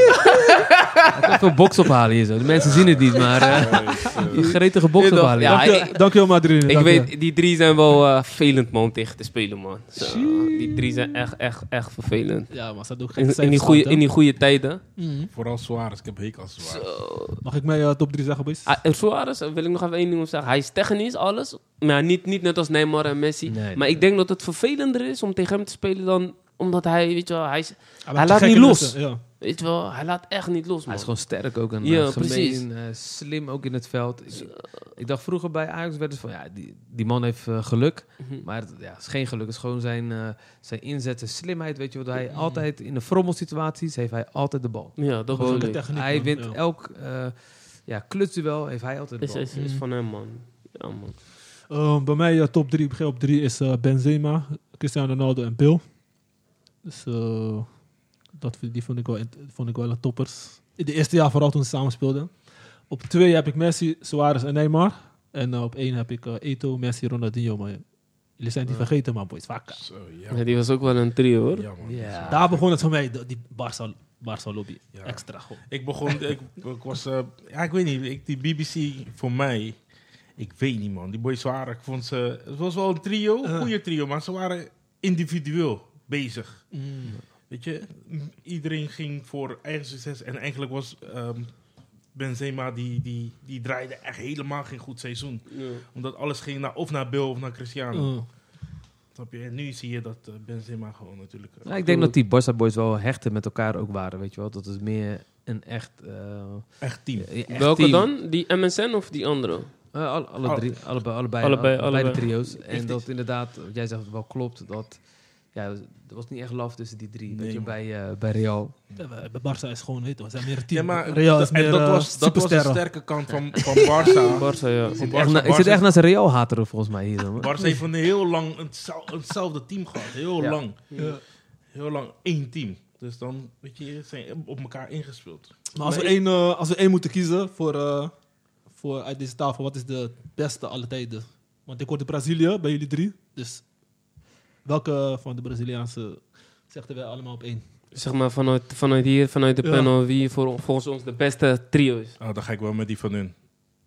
Hij kan veel box ophalen hier zo. De mensen zien het niet, maar... eh <laughs> gretige box Ja, ophalen. ja, Dankjewel, ik- dankjewel Madrid. Ik weet, die drie zijn wel eh, vervelend man om tegen te spelen man. Zo, die drie zijn echt, echt, echt vervelend. Ja, maar ze had Mm. ook geen In, in, die goede, in die goede tijden. Vooral Suarez, ik heb hekel aan Suarez. Mag ik mij eh, top 3 zeggen, boys? Ah, en Suarez, daar wil ik nog even één ding op zeggen. Hij is technisch, alles. Maar niet, niet net als Neymar en Messi. Nee. maar ik denk dat het vervelender is om tegen hem te spelen dan... Omdat hij, weet je wel, hij, is- Hij laat maakt gekke niet los. mensen, Ja. weet je wel, hij laat echt niet los man. Hij is gewoon sterk ook en Ja, ja, precies. gemeen, eh, slim ook in het veld. Ik, ik dacht vroeger bij Ajax werd het van, ja, die, die man heeft eh, geluk. Mhm. Maar het ja, het is geen geluk, het is gewoon zijn, eh, zijn inzet, zijn slimheid. Weet je wat hij altijd in de frommelsituaties heeft hij altijd de bal. Ja, dat Gewoon bedoel de ik. techniek, hij man. wint Ja. elk eh ja, klutsduel, heeft hij altijd de Is, bal. is, is van hem man. Ja man. Ehm, bij mij eh, top 3, begin op 3 is eh, Benzema, Cristiano Ronaldo en Bill. Dus eh, dat, vind- die vond ik, wel, int- vond ik wel een toppers. In de eerste jaar vooral toen ze samen speelden. Op 2 heb ik Messi, Suarez en Neymar. En eh, op 1 heb ik eh, Eto, Messi, Ronaldinho. Maar jullie zijn die vergeten, man, boys. Vaak. Zo, ja, Ja, die was ook wel een trio hoor. ja, man. Ja. Daar begon het voor mij, de- die Barca, Barca lobby. Ja. Extra goed. Ik begon, <laughs> ik, ik was, eh, ja, ik weet niet, ik, die BBC voor mij, ik weet niet man, die boys waren, ik vond ze, het was wel een trio, Eh. een goede trio, maar ze waren individueel bezig. Mm. Weet je, m- iedereen ging voor eigen succes en eigenlijk was ehm, Benzema, die, die, die draaide echt helemaal geen goed seizoen. Ja. Omdat alles ging naar, of naar Bill of naar Cristiano. Mm. Snap je? En nu zie je dat eh, Benzema gewoon natuurlijk... eh, Ja, Nou, ik denk dat die Barca boys wel hechten met elkaar ook waren, weet je wel. Dat is meer een echt... eh, echt team. echt Welke team. dan? Die MSN of die andere? Eh, al- alle Alle- drie, allebei, allebei, Allebei, allebei, de allebei. trio's. En dat inderdaad, wat jij zegt, wel klopt, dat ja, er was niet echt love tussen die drie. Nee, weet je, man. bij, eh, bij Real. Ja, maar bij Barca is gewoon, weet je, we zijn meer een team. Ja, maar Real is en meer eh, dat, was, dat was de sterke kant van, van <laughs> Barça. Barca, ja. Ik zit, Barca- echt, na- ik Barca- zit echt naast een Real-hater volgens mij hier. man. Barça heeft een heel lang hetzel- hetzelfde team gehad. Heel Ja. lang. Ja. Heel lang één team. Dus dan, weet je, ze zijn op elkaar ingespeeld. Maar als we, één, eh, als we één moeten kiezen voor, eh, voor uit deze tafel, wat is de beste alle tijden? Want ik hoorde Brazilië bij jullie drie. Dus welke van de Braziliaanse zegden wij allemaal op één? Zeg maar vanuit, vanuit hier, vanuit de Ja. panel, wie voor, volgens ons de beste trio is. Ah, dan ga ik wel met die van hun.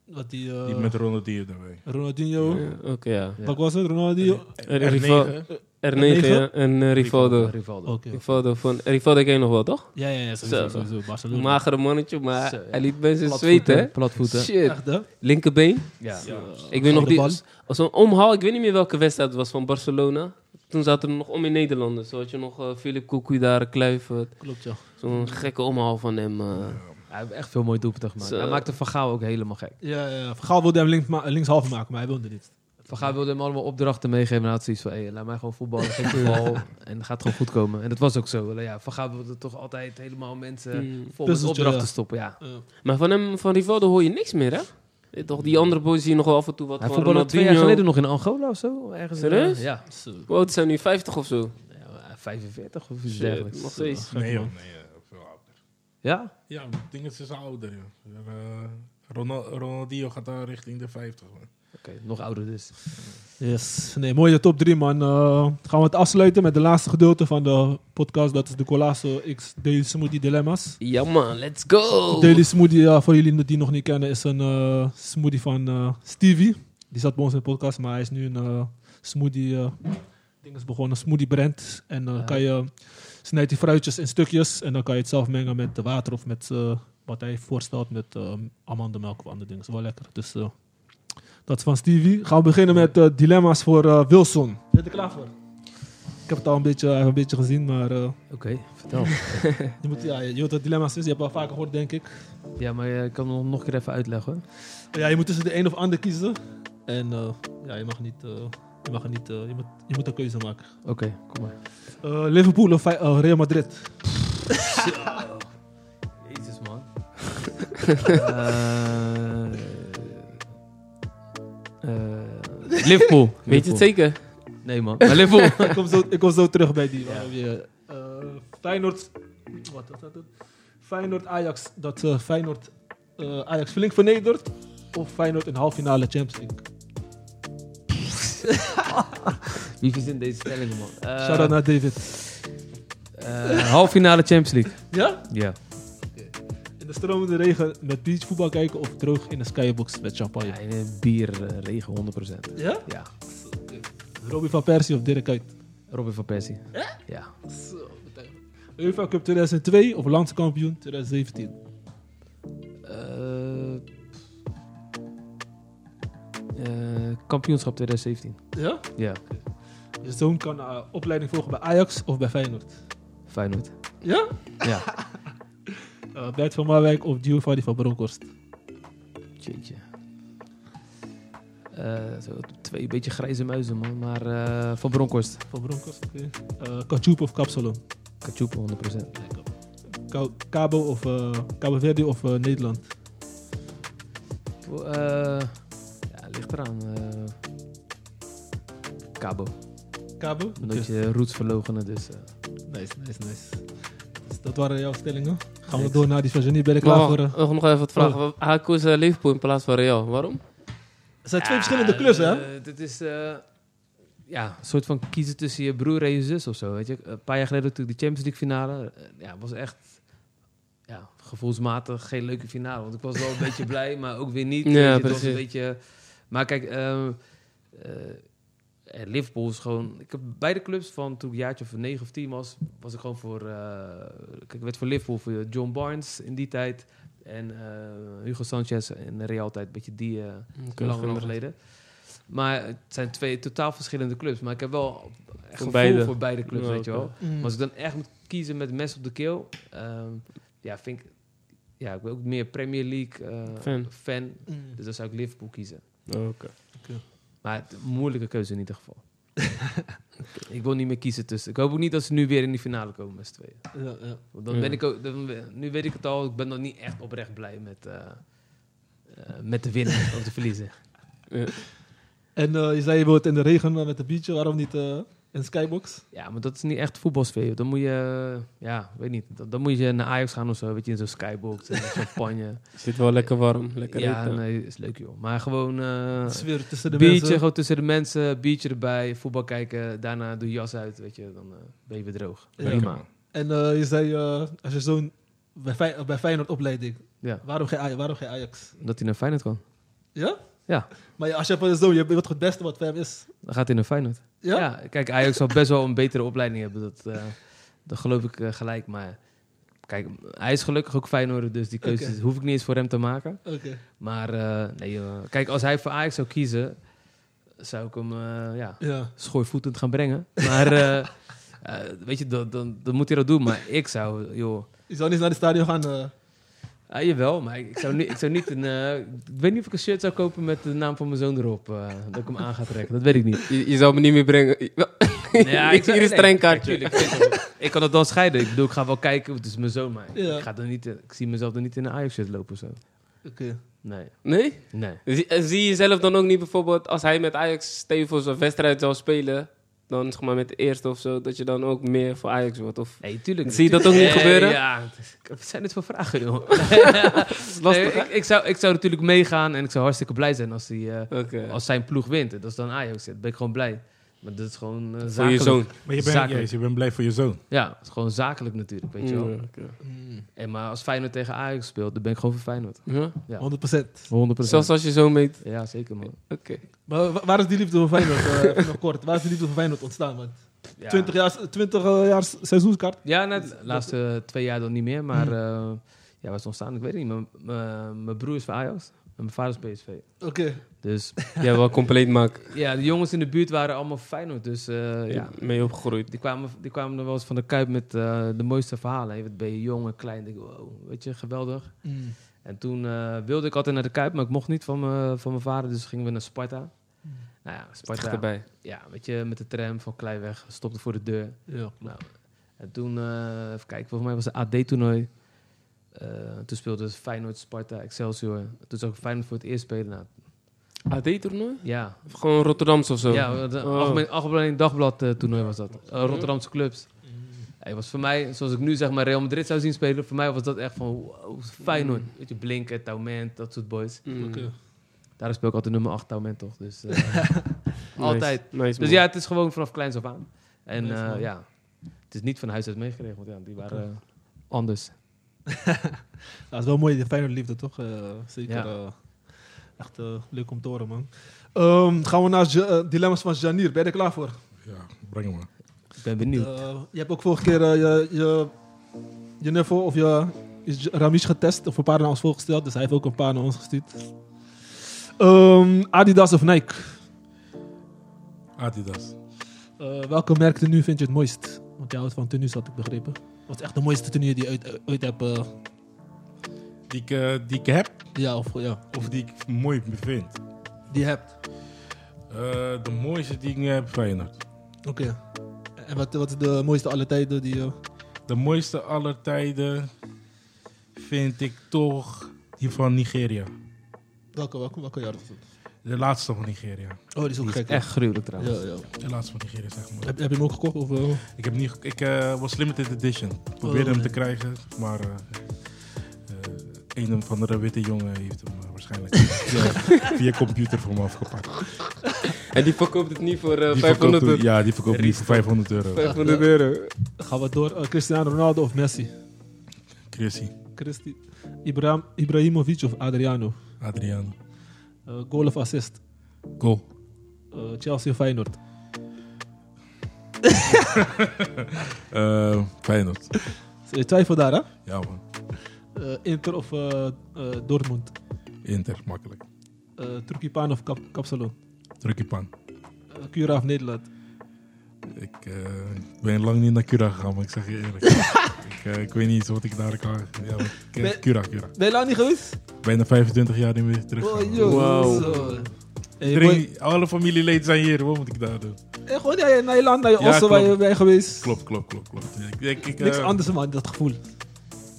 Wat die, eh, Die met Ronaldinho daarbij. Ronaldinho. Ja, Oké, ja. Ja. Wat was het? Ronaldinho? En R9, Rival- Eh, R9 ja, en eh, Rivaldo. Rivaldo. Oké. Rivaldo, van, Rivaldo ken je nog wel, toch? Ja, ja, ja. Zo. Sowieso, sowieso. Barcelona. Magere mannetje, maar Zo, ja. hij liet mensen zweten, hè? Platvoeten. Platvoeten. Shit. Echt, hè? Linkerbeen. Ja. Ik weet nog Gouden die... bal. Als een omhaal, ik weet niet meer welke wedstrijd het was van Barcelona. Toen zaten er nog om in Nederland. Zo had je nog eh, Philip Cocu daar, Kluivert. Klopt, ja. Zo'n gekke omhaal van hem. eh. Hij heeft echt veel mooie doelpunten gemaakt. Zo. Hij maakte Van Gaal ook helemaal gek. Ja, ja, ja. Van Gaal wilde hem links, ma- linkshalve maken, maar hij wilde niet. Van Gaal wilde hem allemaal opdrachten meegeven. En hij had zoiets van, hey, laat mij gewoon voetballen. <laughs> Geef me de bal en het gaat gewoon goed komen. En dat was ook zo. Alleen Ja, van Gaal wilde toch altijd helemaal mensen Mm. vol met Puzzeltje, opdrachten ja. stoppen. Ja. Eh, Maar van hem, van Rivaldo hoor je niks meer, hè? Eh, Toch die andere boys zie je nog wel af en toe wat Hij van voetbalde twee jaar Ronaldinho. geleden nog in Angola of zo. Ergens in- Serieus? Ja. zo. Hoe oud zijn nu? 50 of zo? Ja, 45 of iets Shit, dergelijks. nog steeds. Nee, joh, nee, eh, veel ouder. Ja? Ja, het ding is, ze zijn ouder, joh. Eh, Ronal- Ronaldinho gaat daar richting de 50. man. Oké, nog ouder dus. Yes, nee, mooie top 3 man. Eh, gaan we het afsluiten met de laatste gedeelte van de podcast. Dat is de Colasso X Daily Smoothie Dilemma's. Ja man, let's go! Daily Smoothie, ja, voor jullie die nog niet kennen, is een eh, smoothie van eh, Stevie. Die zat bij ons in de podcast, maar hij is nu een eh, smoothie. eh, ding is begonnen, een smoothie brand. En dan Ja. kan je snijdt die fruitjes in stukjes en dan kan je het zelf mengen met water of met eh, wat hij voorstelt met eh, amandelmelk of andere dingen. is wel lekker. Dus eh, dat is van Stevie. Gaan we beginnen met eh, dilemma's voor eh, Wilson. Ben je er klaar voor? Ik heb het al een beetje, een beetje gezien, maar eh, Oké, vertel. je, moet, ja, je weet wat dilemma's is. Je hebt al vaker gehoord, denk ik. <laughs> ja, maar eh, ik kan hem nog een keer even uitleggen. hoor. Ja, je moet tussen de een of ander kiezen. En eh, ja, je mag niet. eh, je, mag niet eh, je, moet, je moet een keuze maken. Oké, kom maar. Eh, Liverpool of Fi- eh, Real Madrid? <laughs> Jezus, man. Eh, eh, <laughs> Liverpool. Weet je het zeker? Nee, man. Maar Liverpool. ik, kom zo, ik kom zo terug bij die. waarom je, eh, Feyenoord. Wat was dat? Feyenoord Ajax. Dat eh, Feyenoord eh, Ajax flink vernedert. Of Feyenoord in halve finale Champions League. <laughs> Wie verzint deze stellingen, man? Eh, Shout out naar David. eh, half finale Champions League. Ja? Ja. In de stromende regen met beach voetbal kijken of droog in de skybox met champagne. Ja, in, eh, bier, eh, regen, 100%. Ja? Ja. Robbie van Persie of Dirk Kuyt? Robin van Persie. Ja. UEFA Cup 2002 of landskampioen 2017? Eh, eh, kampioenschap 2017. Ja? Ja, Je zoon kan eh, opleiding volgen bij Ajax of bij Feyenoord. Feyenoord. Ja? Ja. Eh Bert van Marwijk of Giovanni van Bronckhorst? Jeetje. Eh, zo, twee beetje grijze muizen, man. Maar eh, van Bronkhorst. Van Bronckhorst, oké. Eh, Kachup of Kapsalon? Kachupo 100%. Ka- Cabo of eh, Cabo Verde of eh, Nederland? Voor, eh, ja, ligt eraan. eh, Cabo. Cabo? Een beetje roots verlogenen, dus... eh, Nice, nice, nice. Dus dat waren jouw stellingen. Gaan we Niks. door naar die van Genie. Ben je er klaar Nog, voor? eh? nog nog even wat vragen. Hij koos eh, Liverpool in plaats van Real. Waarom? Het zijn twee Ja, verschillende klus, hè? eh, dit is eh, ja, een soort van kiezen tussen je broer en je zus of zo. Weet je? Een paar jaar geleden natuurlijk de Champions League finale. eh, ja, was echt ja, gevoelsmatig geen leuke finale. Want ik was wel een <laughs> beetje blij, maar ook weer niet. Ja, weet je. Het was precies. een beetje. Maar kijk, ehm, eh, eh, Liverpool is gewoon. Ik heb beide clubs van toen ik een jaartje of negen of tien was, was ik gewoon voor. eh, kijk, ik werd voor Liverpool voor John Barnes in die tijd. En eh, Hugo Sanchez in de Real tijd, een beetje die. eh, Oké, lang, lang inderdaad. geleden. Maar het zijn twee totaal verschillende clubs. Maar ik heb wel echt gevoel beide. voor beide clubs, Ja, weet je oké. wel. Mm. Maar als ik dan echt moet kiezen met mes op de keel... ehm, ja, vind ik... Ja, ik ben ook meer Premier League eh, Fan. fan. Mm. Dus dan zou ik Liverpool kiezen. Oké. <laughs> Maar het, moeilijke keuze in ieder geval. Ik wil niet meer kiezen tussen. Ik hoop ook niet dat ze nu weer in die finale komen met z'n tweeën. Ja, ja. Want Dan Ja. ben ik ook, dan we- nu weet ik het al, ik ben nog niet echt oprecht blij met, eh, eh, met de winnen of de verliezen. En eh, je zei je wilt in de regen eh, met een biertje, waarom niet eh, in Skybox? Ja, maar dat is niet echt voetbalsfeer. Dan moet je, eh, ja, weet niet, dan, dan moet je naar Ajax gaan of zo, weet je, in zo'n skybox en <laughs> champagne. Zit wel lekker warm, lekker ja, eten. nee, is leuk joh. Maar gewoon eh Sfeer tussen de biertje, mensen. gewoon tussen de mensen, biertje erbij, voetbal kijken, daarna doe je jas uit, weet je, dan eh, ben je weer droog. Ja. Prima. En eh, je zei, eh, als je zo'n bij, Fey- eh, bij Feyenoord opleiding, Ja, waarom geen, Aj- waarom geen Ajax? dat hij naar Feyenoord kan. Ja? Ja. Maar ja, als je hebt een zoon, je weet toch het beste wat voor hem is? Dan gaat hij naar Feyenoord. Ja? Ja? kijk, Ajax zal best wel een betere opleiding hebben. Dat, eh dat geloof ik eh, gelijk. Maar kijk, hij is gelukkig ook Feyenoord, dus die keuze Oké. hoef ik niet eens voor hem te maken. Oké. Maar eh, nee, eh, kijk, als hij voor Ajax zou kiezen, zou ik hem eh ja, Ja. schoorvoetend gaan brengen. Maar eh, <laughs> eh, weet je, dan, dan, dan moet hij dat doen. Maar ik zou, joh... Je zou niet naar het stadion gaan. eh. Ah, jawel, maar ik ik zou, niet, ik zou niet een... eh, ik weet niet of ik een shirt zou kopen met de naam van mijn zoon erop. eh, dat ik hem aan ga trekken, dat weet ik <laughs> niet. Je, je zou me niet meer brengen. Ja, ik zie hier een strengkaartje. Tuurlijk, ik, weet wel. ik kan het wel scheiden. Ik bedoel, ik ga wel kijken. Het is mijn zoon, maar Ja. ik, ga dan niet, eh, ik zie mezelf dan niet in een Ajax-shirt lopen of zo. Oké. Nee, Nee? nee. Zie, en zie je zelf dan ook niet bijvoorbeeld als hij met Ajax Stevens een wedstrijd zou spelen, dan zeg maar met de eerste of zo, dat je dan ook meer voor Ajax wordt? Of Nee, tuurlijk. Zie je dat ook niet Nee, gebeuren? Ja, wat zijn dit voor vragen, joh? is Nee, lastig, hè? ik, ik, zou, ik zou natuurlijk meegaan en ik zou hartstikke blij zijn als, die, eh, Oké. als zijn ploeg wint. Dat is dan Ajax. Dat ben ik gewoon blij. Maar dat is gewoon eh, Voor je zakelijk. zoon. Maar je bent, Zakelijk. yes, je bent blij voor je zoon. Ja, het is gewoon zakelijk natuurlijk, weet je wel. Mm, oké. Mm, En, maar als Feyenoord tegen Ajax speelt, dan ben ik gewoon voor Feyenoord. Ja? 100%. 100%. Zelfs als je zoon meet. Ja, zeker man. Oké. Maar wa- waar is die liefde voor Feyenoord? eh, even nog kort. Waar is die liefde voor Feyenoord ontstaan? Want Ja. 20 jaar, 20 jaar seizoenskaart. Ja, net de laatste eh, twee jaar dan niet meer. Maar eh ja, was ontstaan, ik weet het niet. Mijn- Mijn eh, mijn broer is van Ajax en mijn vader is PSV. Oké. Dus <laughs> Jij wel compleet maken. <laughs> ja, de jongens in de buurt waren allemaal Feyenoord. Dus eh, ja, Mee opgegroeid. die kwamen, die kwamen er wel eens van de Kuip met eh, de mooiste verhalen. Hè. Ben je jong en klein, denk ik, wow, weet je, geweldig. Mm. En toen eh, wilde ik altijd naar de Kuip, maar ik mocht niet van, mijn- van mijn vader. Dus gingen we naar Sparta. Nou ja, Echt Sparta. erbij. Ja, weet je, met de tram van Kleiweg, stopte voor de deur. Ja. Nou, en toen, eh even kijken, volgens mij was het AD-toernooi. Eh, toen speelde Feyenoord, Sparta, Excelsior. Toen zag ik Feyenoord voor het eerst spelen. Nou, AD-toernooi? ja, Of gewoon Rotterdamse of zo? ja het Oh. algemeen, algemeen dagblad eh, toernooi was dat. Eh, Rotterdamse clubs. Hij was voor mij, zoals ik nu zeg maar Real Madrid zou zien spelen, voor mij was dat echt van wow, Mm. Feyenoord. Weet je, Blinken, Taument, dat soort boys. Mm. Oké. Daar speel ik altijd nummer 8 Taument toch. Dus, <laughs> eh, Nice. Altijd. Nice, dus man. ja, het is gewoon vanaf kleins af aan. En Nice, eh, man. ja, het is niet van huis uit meegekregen, want ja, die waren eh, anders. Dat is wel mooi, de Feyenoord liefde toch? Eh, zeker. Ja. eh, echt eh, leuk om te horen, man. Ehm, gaan we naar Ja- eh, Dilemma's van Janier. Ben je er klaar voor? Ja, breng hem maar. Ik ben benieuwd. Eh, je hebt ook vorige keer eh, je, je, je nuffel of je, je Ramish getest of een paar naar ons voorgesteld. Dus hij heeft ook een paar naar ons gestuurd. Ehm, Adidas of Nike? Adidas. Eh, welke merk tenue vind je het mooist? Want jij houdt van tenues, had ik begrepen. Wat is echt de mooiste tenue die je ooit, ooit hebt? eh, Die ik, eh, die ik heb ja, of, ja, of die ik mooi vind. die je hebt. Eh, de mooiste die ik nu heb, Feyenoord. Oké. En wat, wat is de mooiste alle tijden die je... De mooiste aller tijden vind ik toch die van Nigeria. Welke, welke, welke jaar was het? De laatste van Nigeria. Oh, die is ook gek. hè? Echt gruwelijk Ja, trouwens. ja. De laatste van Nigeria is echt mooi. Heb, heb je hem ook gekocht? Of, eh, Ik, heb niet, ge- ik eh, was limited edition. Ik probeerde Oh, hem te nee. krijgen, maar eh eh, een of andere witte jongen heeft hem eh, waarschijnlijk via, via computer voor me afgepakt. En die verkoopt het niet voor eh, Die 500 verkoopt- euro. Ja, die verkoopt niet voor 500 euro. 500 euro. gaan we door. Eh, Cristiano Ronaldo of Messi? Chrissy, Christi, Ibrahim, Ibrahimovic of Adriano? Adriano. Eh, goal of assist? Goal. Eh, Chelsea of Feyenoord? Eh Feyenoord. Je twijfelt daar, hè? Ja man, Eh, Inter of eh, eh, Dortmund? Inter, makkelijk. Eh Turkipan of Kap Kapsalon? Druk je pan. Eh, Cura of Nederland? Ik eh, ben lang niet naar Cura gegaan, maar ik zeg je <laughs> eerlijk. ik, eh, ik weet niet eens wat ik daar kan. Ja, maar ik- Ben- Cura, Cura. Ben je lang niet geweest? Bijna 25 jaar niet meer terug. Oh, gegaan. joh. Wauw. Zo. Hey, Iedereen- alle familieleden zijn hier, wat moet ik daar doen? boy. eh, gewoon ja, ja, naar je land, naar je Ja, ossen waar je klopt. bent geweest. Klopt, klopt, klopt, klopt. Ik, ik, ik, Niks eh, anders man, dat gevoel.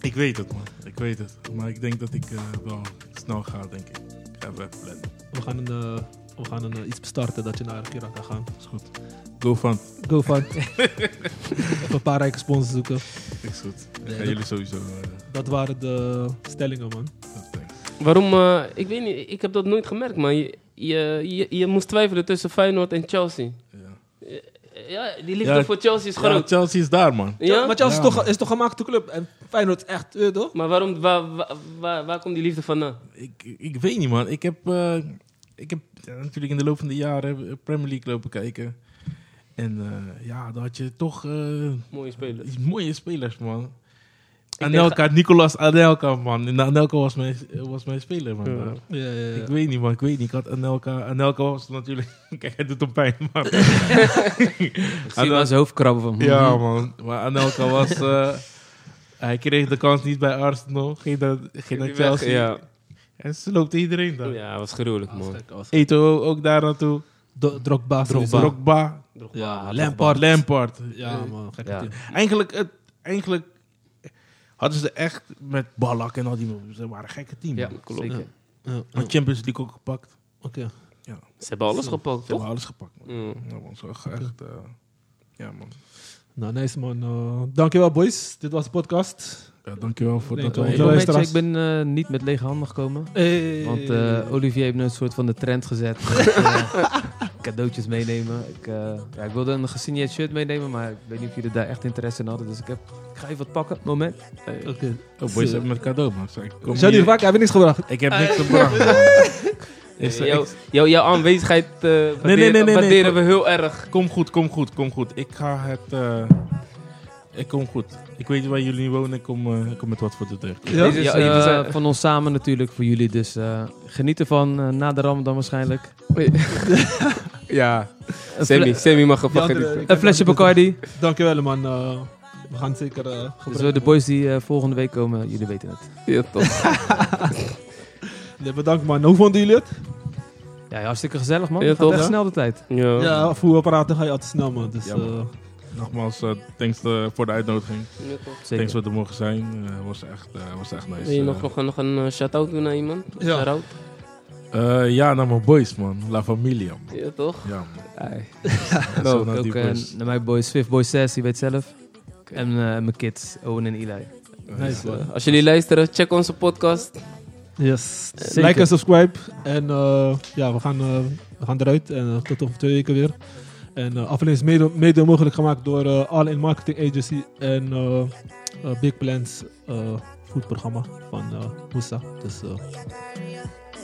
Ik weet het, man. Ik weet het. Maar ik denk dat ik eh, wel snel ga, denk ik. Ik ga even plannen. We gaan, een, eh, we gaan een, eh, iets starten dat je naar Irak kan gaan. Is goed. Go van. Go van. <laughs> Even een paar rijke sponsors zoeken. Is goed. Ik Nee, ga dat- jullie sowieso... eh, Dat waren de stellingen man. dat denken. Waarom? eh, ik weet niet, ik heb dat nooit gemerkt, man. Je, je, je, je moest twijfelen tussen Feyenoord en Chelsea. Ja. Ja, die liefde Ja, voor Chelsea is Ja, groot. Chelsea is daar, man. Ja? Maar Chelsea Ja, is, toch, is toch een gemaakte club. En Feyenoord echt, weet je toch? Maar waarom, waar, waar, waar, waar komt die liefde vandaan? Ik, ik weet niet, man. Ik heb, eh, ik heb ja, natuurlijk in de loop van de jaren eh, Premier League lopen kijken. En eh, ja, dan had je toch eh, Mooie speler. iets mooie spelers, man. denk Anelka, Nicolas Anelka, man. En Anelka was mijn, was mijn speler, man. Ja. Ja, ja, Ik weet niet, man. Ik weet niet. Ik had Anelka... Anelka was natuurlijk... <laughs> Kijk, hij doet hem pijn, <laughs> man. Ik zie hem aan zijn hoofd krabben van... Ja, man. Maar Anelka was... eh, hij kreeg de kans niet bij Arsenal. Ging naar, ging naar Die weg, Chelsea. Ja, Oh, En ze loopt iedereen daar. ja was gruwelijk, man. Eto'o ook daar naartoe. Do- Drogba. Drogba. sowieso. Ja, Ja, Lampard. Lampard. Ja, man. Gekke Ja. team. Eigenlijk, het, eigenlijk hadden ze echt met Ballack en al die... Ze waren een gekke team. Ja, man. klopt. zeker. Ja, Maar ja. Champions League ook gepakt. Ze Oké. Ze hebben alles gepakt, toch? hebben alles gepakt, man. Mm. Ja, man. Zo echt... eh, ja, man. Nou, nice man. Eh, dankjewel boys. Dit was de podcast. Ja, dankjewel voor Nee, dat eh, Hey, wij- Zo is het momentje, als- ik ben eh, niet met lege handen gekomen. Hey. Want eh, Olivier heeft nu een soort van de trend gezet. met, <laughs> eh, cadeautjes meenemen. Ik, eh, ja, ik wilde een gesigneerd shirt meenemen, maar ik weet niet of jullie daar echt interesse in hadden. Dus ik, heb, ik ga even wat pakken. Moment. Oké. Oh, boys, hebben met cadeau, man. Ik, kom Janir, hier- vaak heb je niks gebracht. ik heb niks Eh. <laughs> gebracht, man. Is- eh, Jouw- ik- jouw- jouw aanwezigheid eh waarderen, nee, nee, nee, nee. waarderen we heel erg. Kom goed, kom goed, kom goed. Ik ga het... eh, ik kom goed. Ik weet waar jullie wonen. Ik kom, eh, ik kom met wat voor de deur. Ja? Deze is Ja, jullie eh, zijn- van ons samen natuurlijk, voor jullie. Dus eh, geniet ervan, eh, na de Ramadan waarschijnlijk. Ja, Een, Sammy, fle- Sammy mag Die ervan andere- genieten. een flesje Bacardi. Dankjewel man. Eh, we gaan het zeker eh Dus gebruiken. eh, de boys die eh, volgende week komen, jullie weten het. Ja, toch. Nee, bedankt man. Hoe vonden jullie het? Ja, hartstikke gezellig man. Ja, Het gaat toch, echt hè? snel de tijd. Ja. Ja, voerapparaten ga je altijd snel man. Dus, Ja, eh, man. Nogmaals, eh, thanks eh, voor de uitnodiging. Ja, toch. Zeker. Thanks voor het mogen zijn. Eh, was, echt, eh, was echt nice. Wil je nog, Eh, nog, nog een eh, shout-out doen aan iemand? Ja. Shout-out? eh, ja, naar mijn boys, man. La Familia, man. Ja, toch? Ja, <laughs> man. Ai. Nou, Zo Ook, naar die ook eh, boys. naar mijn boys, Swift Boy 6, die weet zelf. En eh, mijn kids, Owen en Eli. nice man. Als jullie luisteren, check onze podcast. Yes. Zeker. Like en subscribe. En eh, ja, we gaan, eh, we gaan eruit. En eh, tot over twee weken weer. En eh aflevering is mede, mede mogelijk gemaakt door eh, All In Marketing Agency en eh, eh, Big Plans eh foodprogramma van eh Moussa. Dus eh,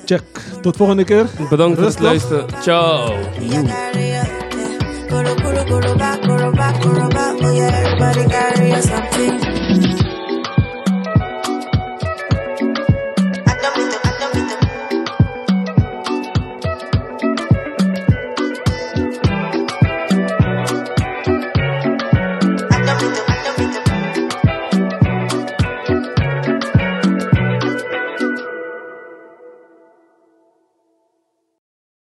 check. Tot volgende keer. Bedankt voor het Rustig. luisteren. Ciao. Carry up, yeah. Go to, go to, go to back, go to back, go to back. Oh yeah, everybody carry up something.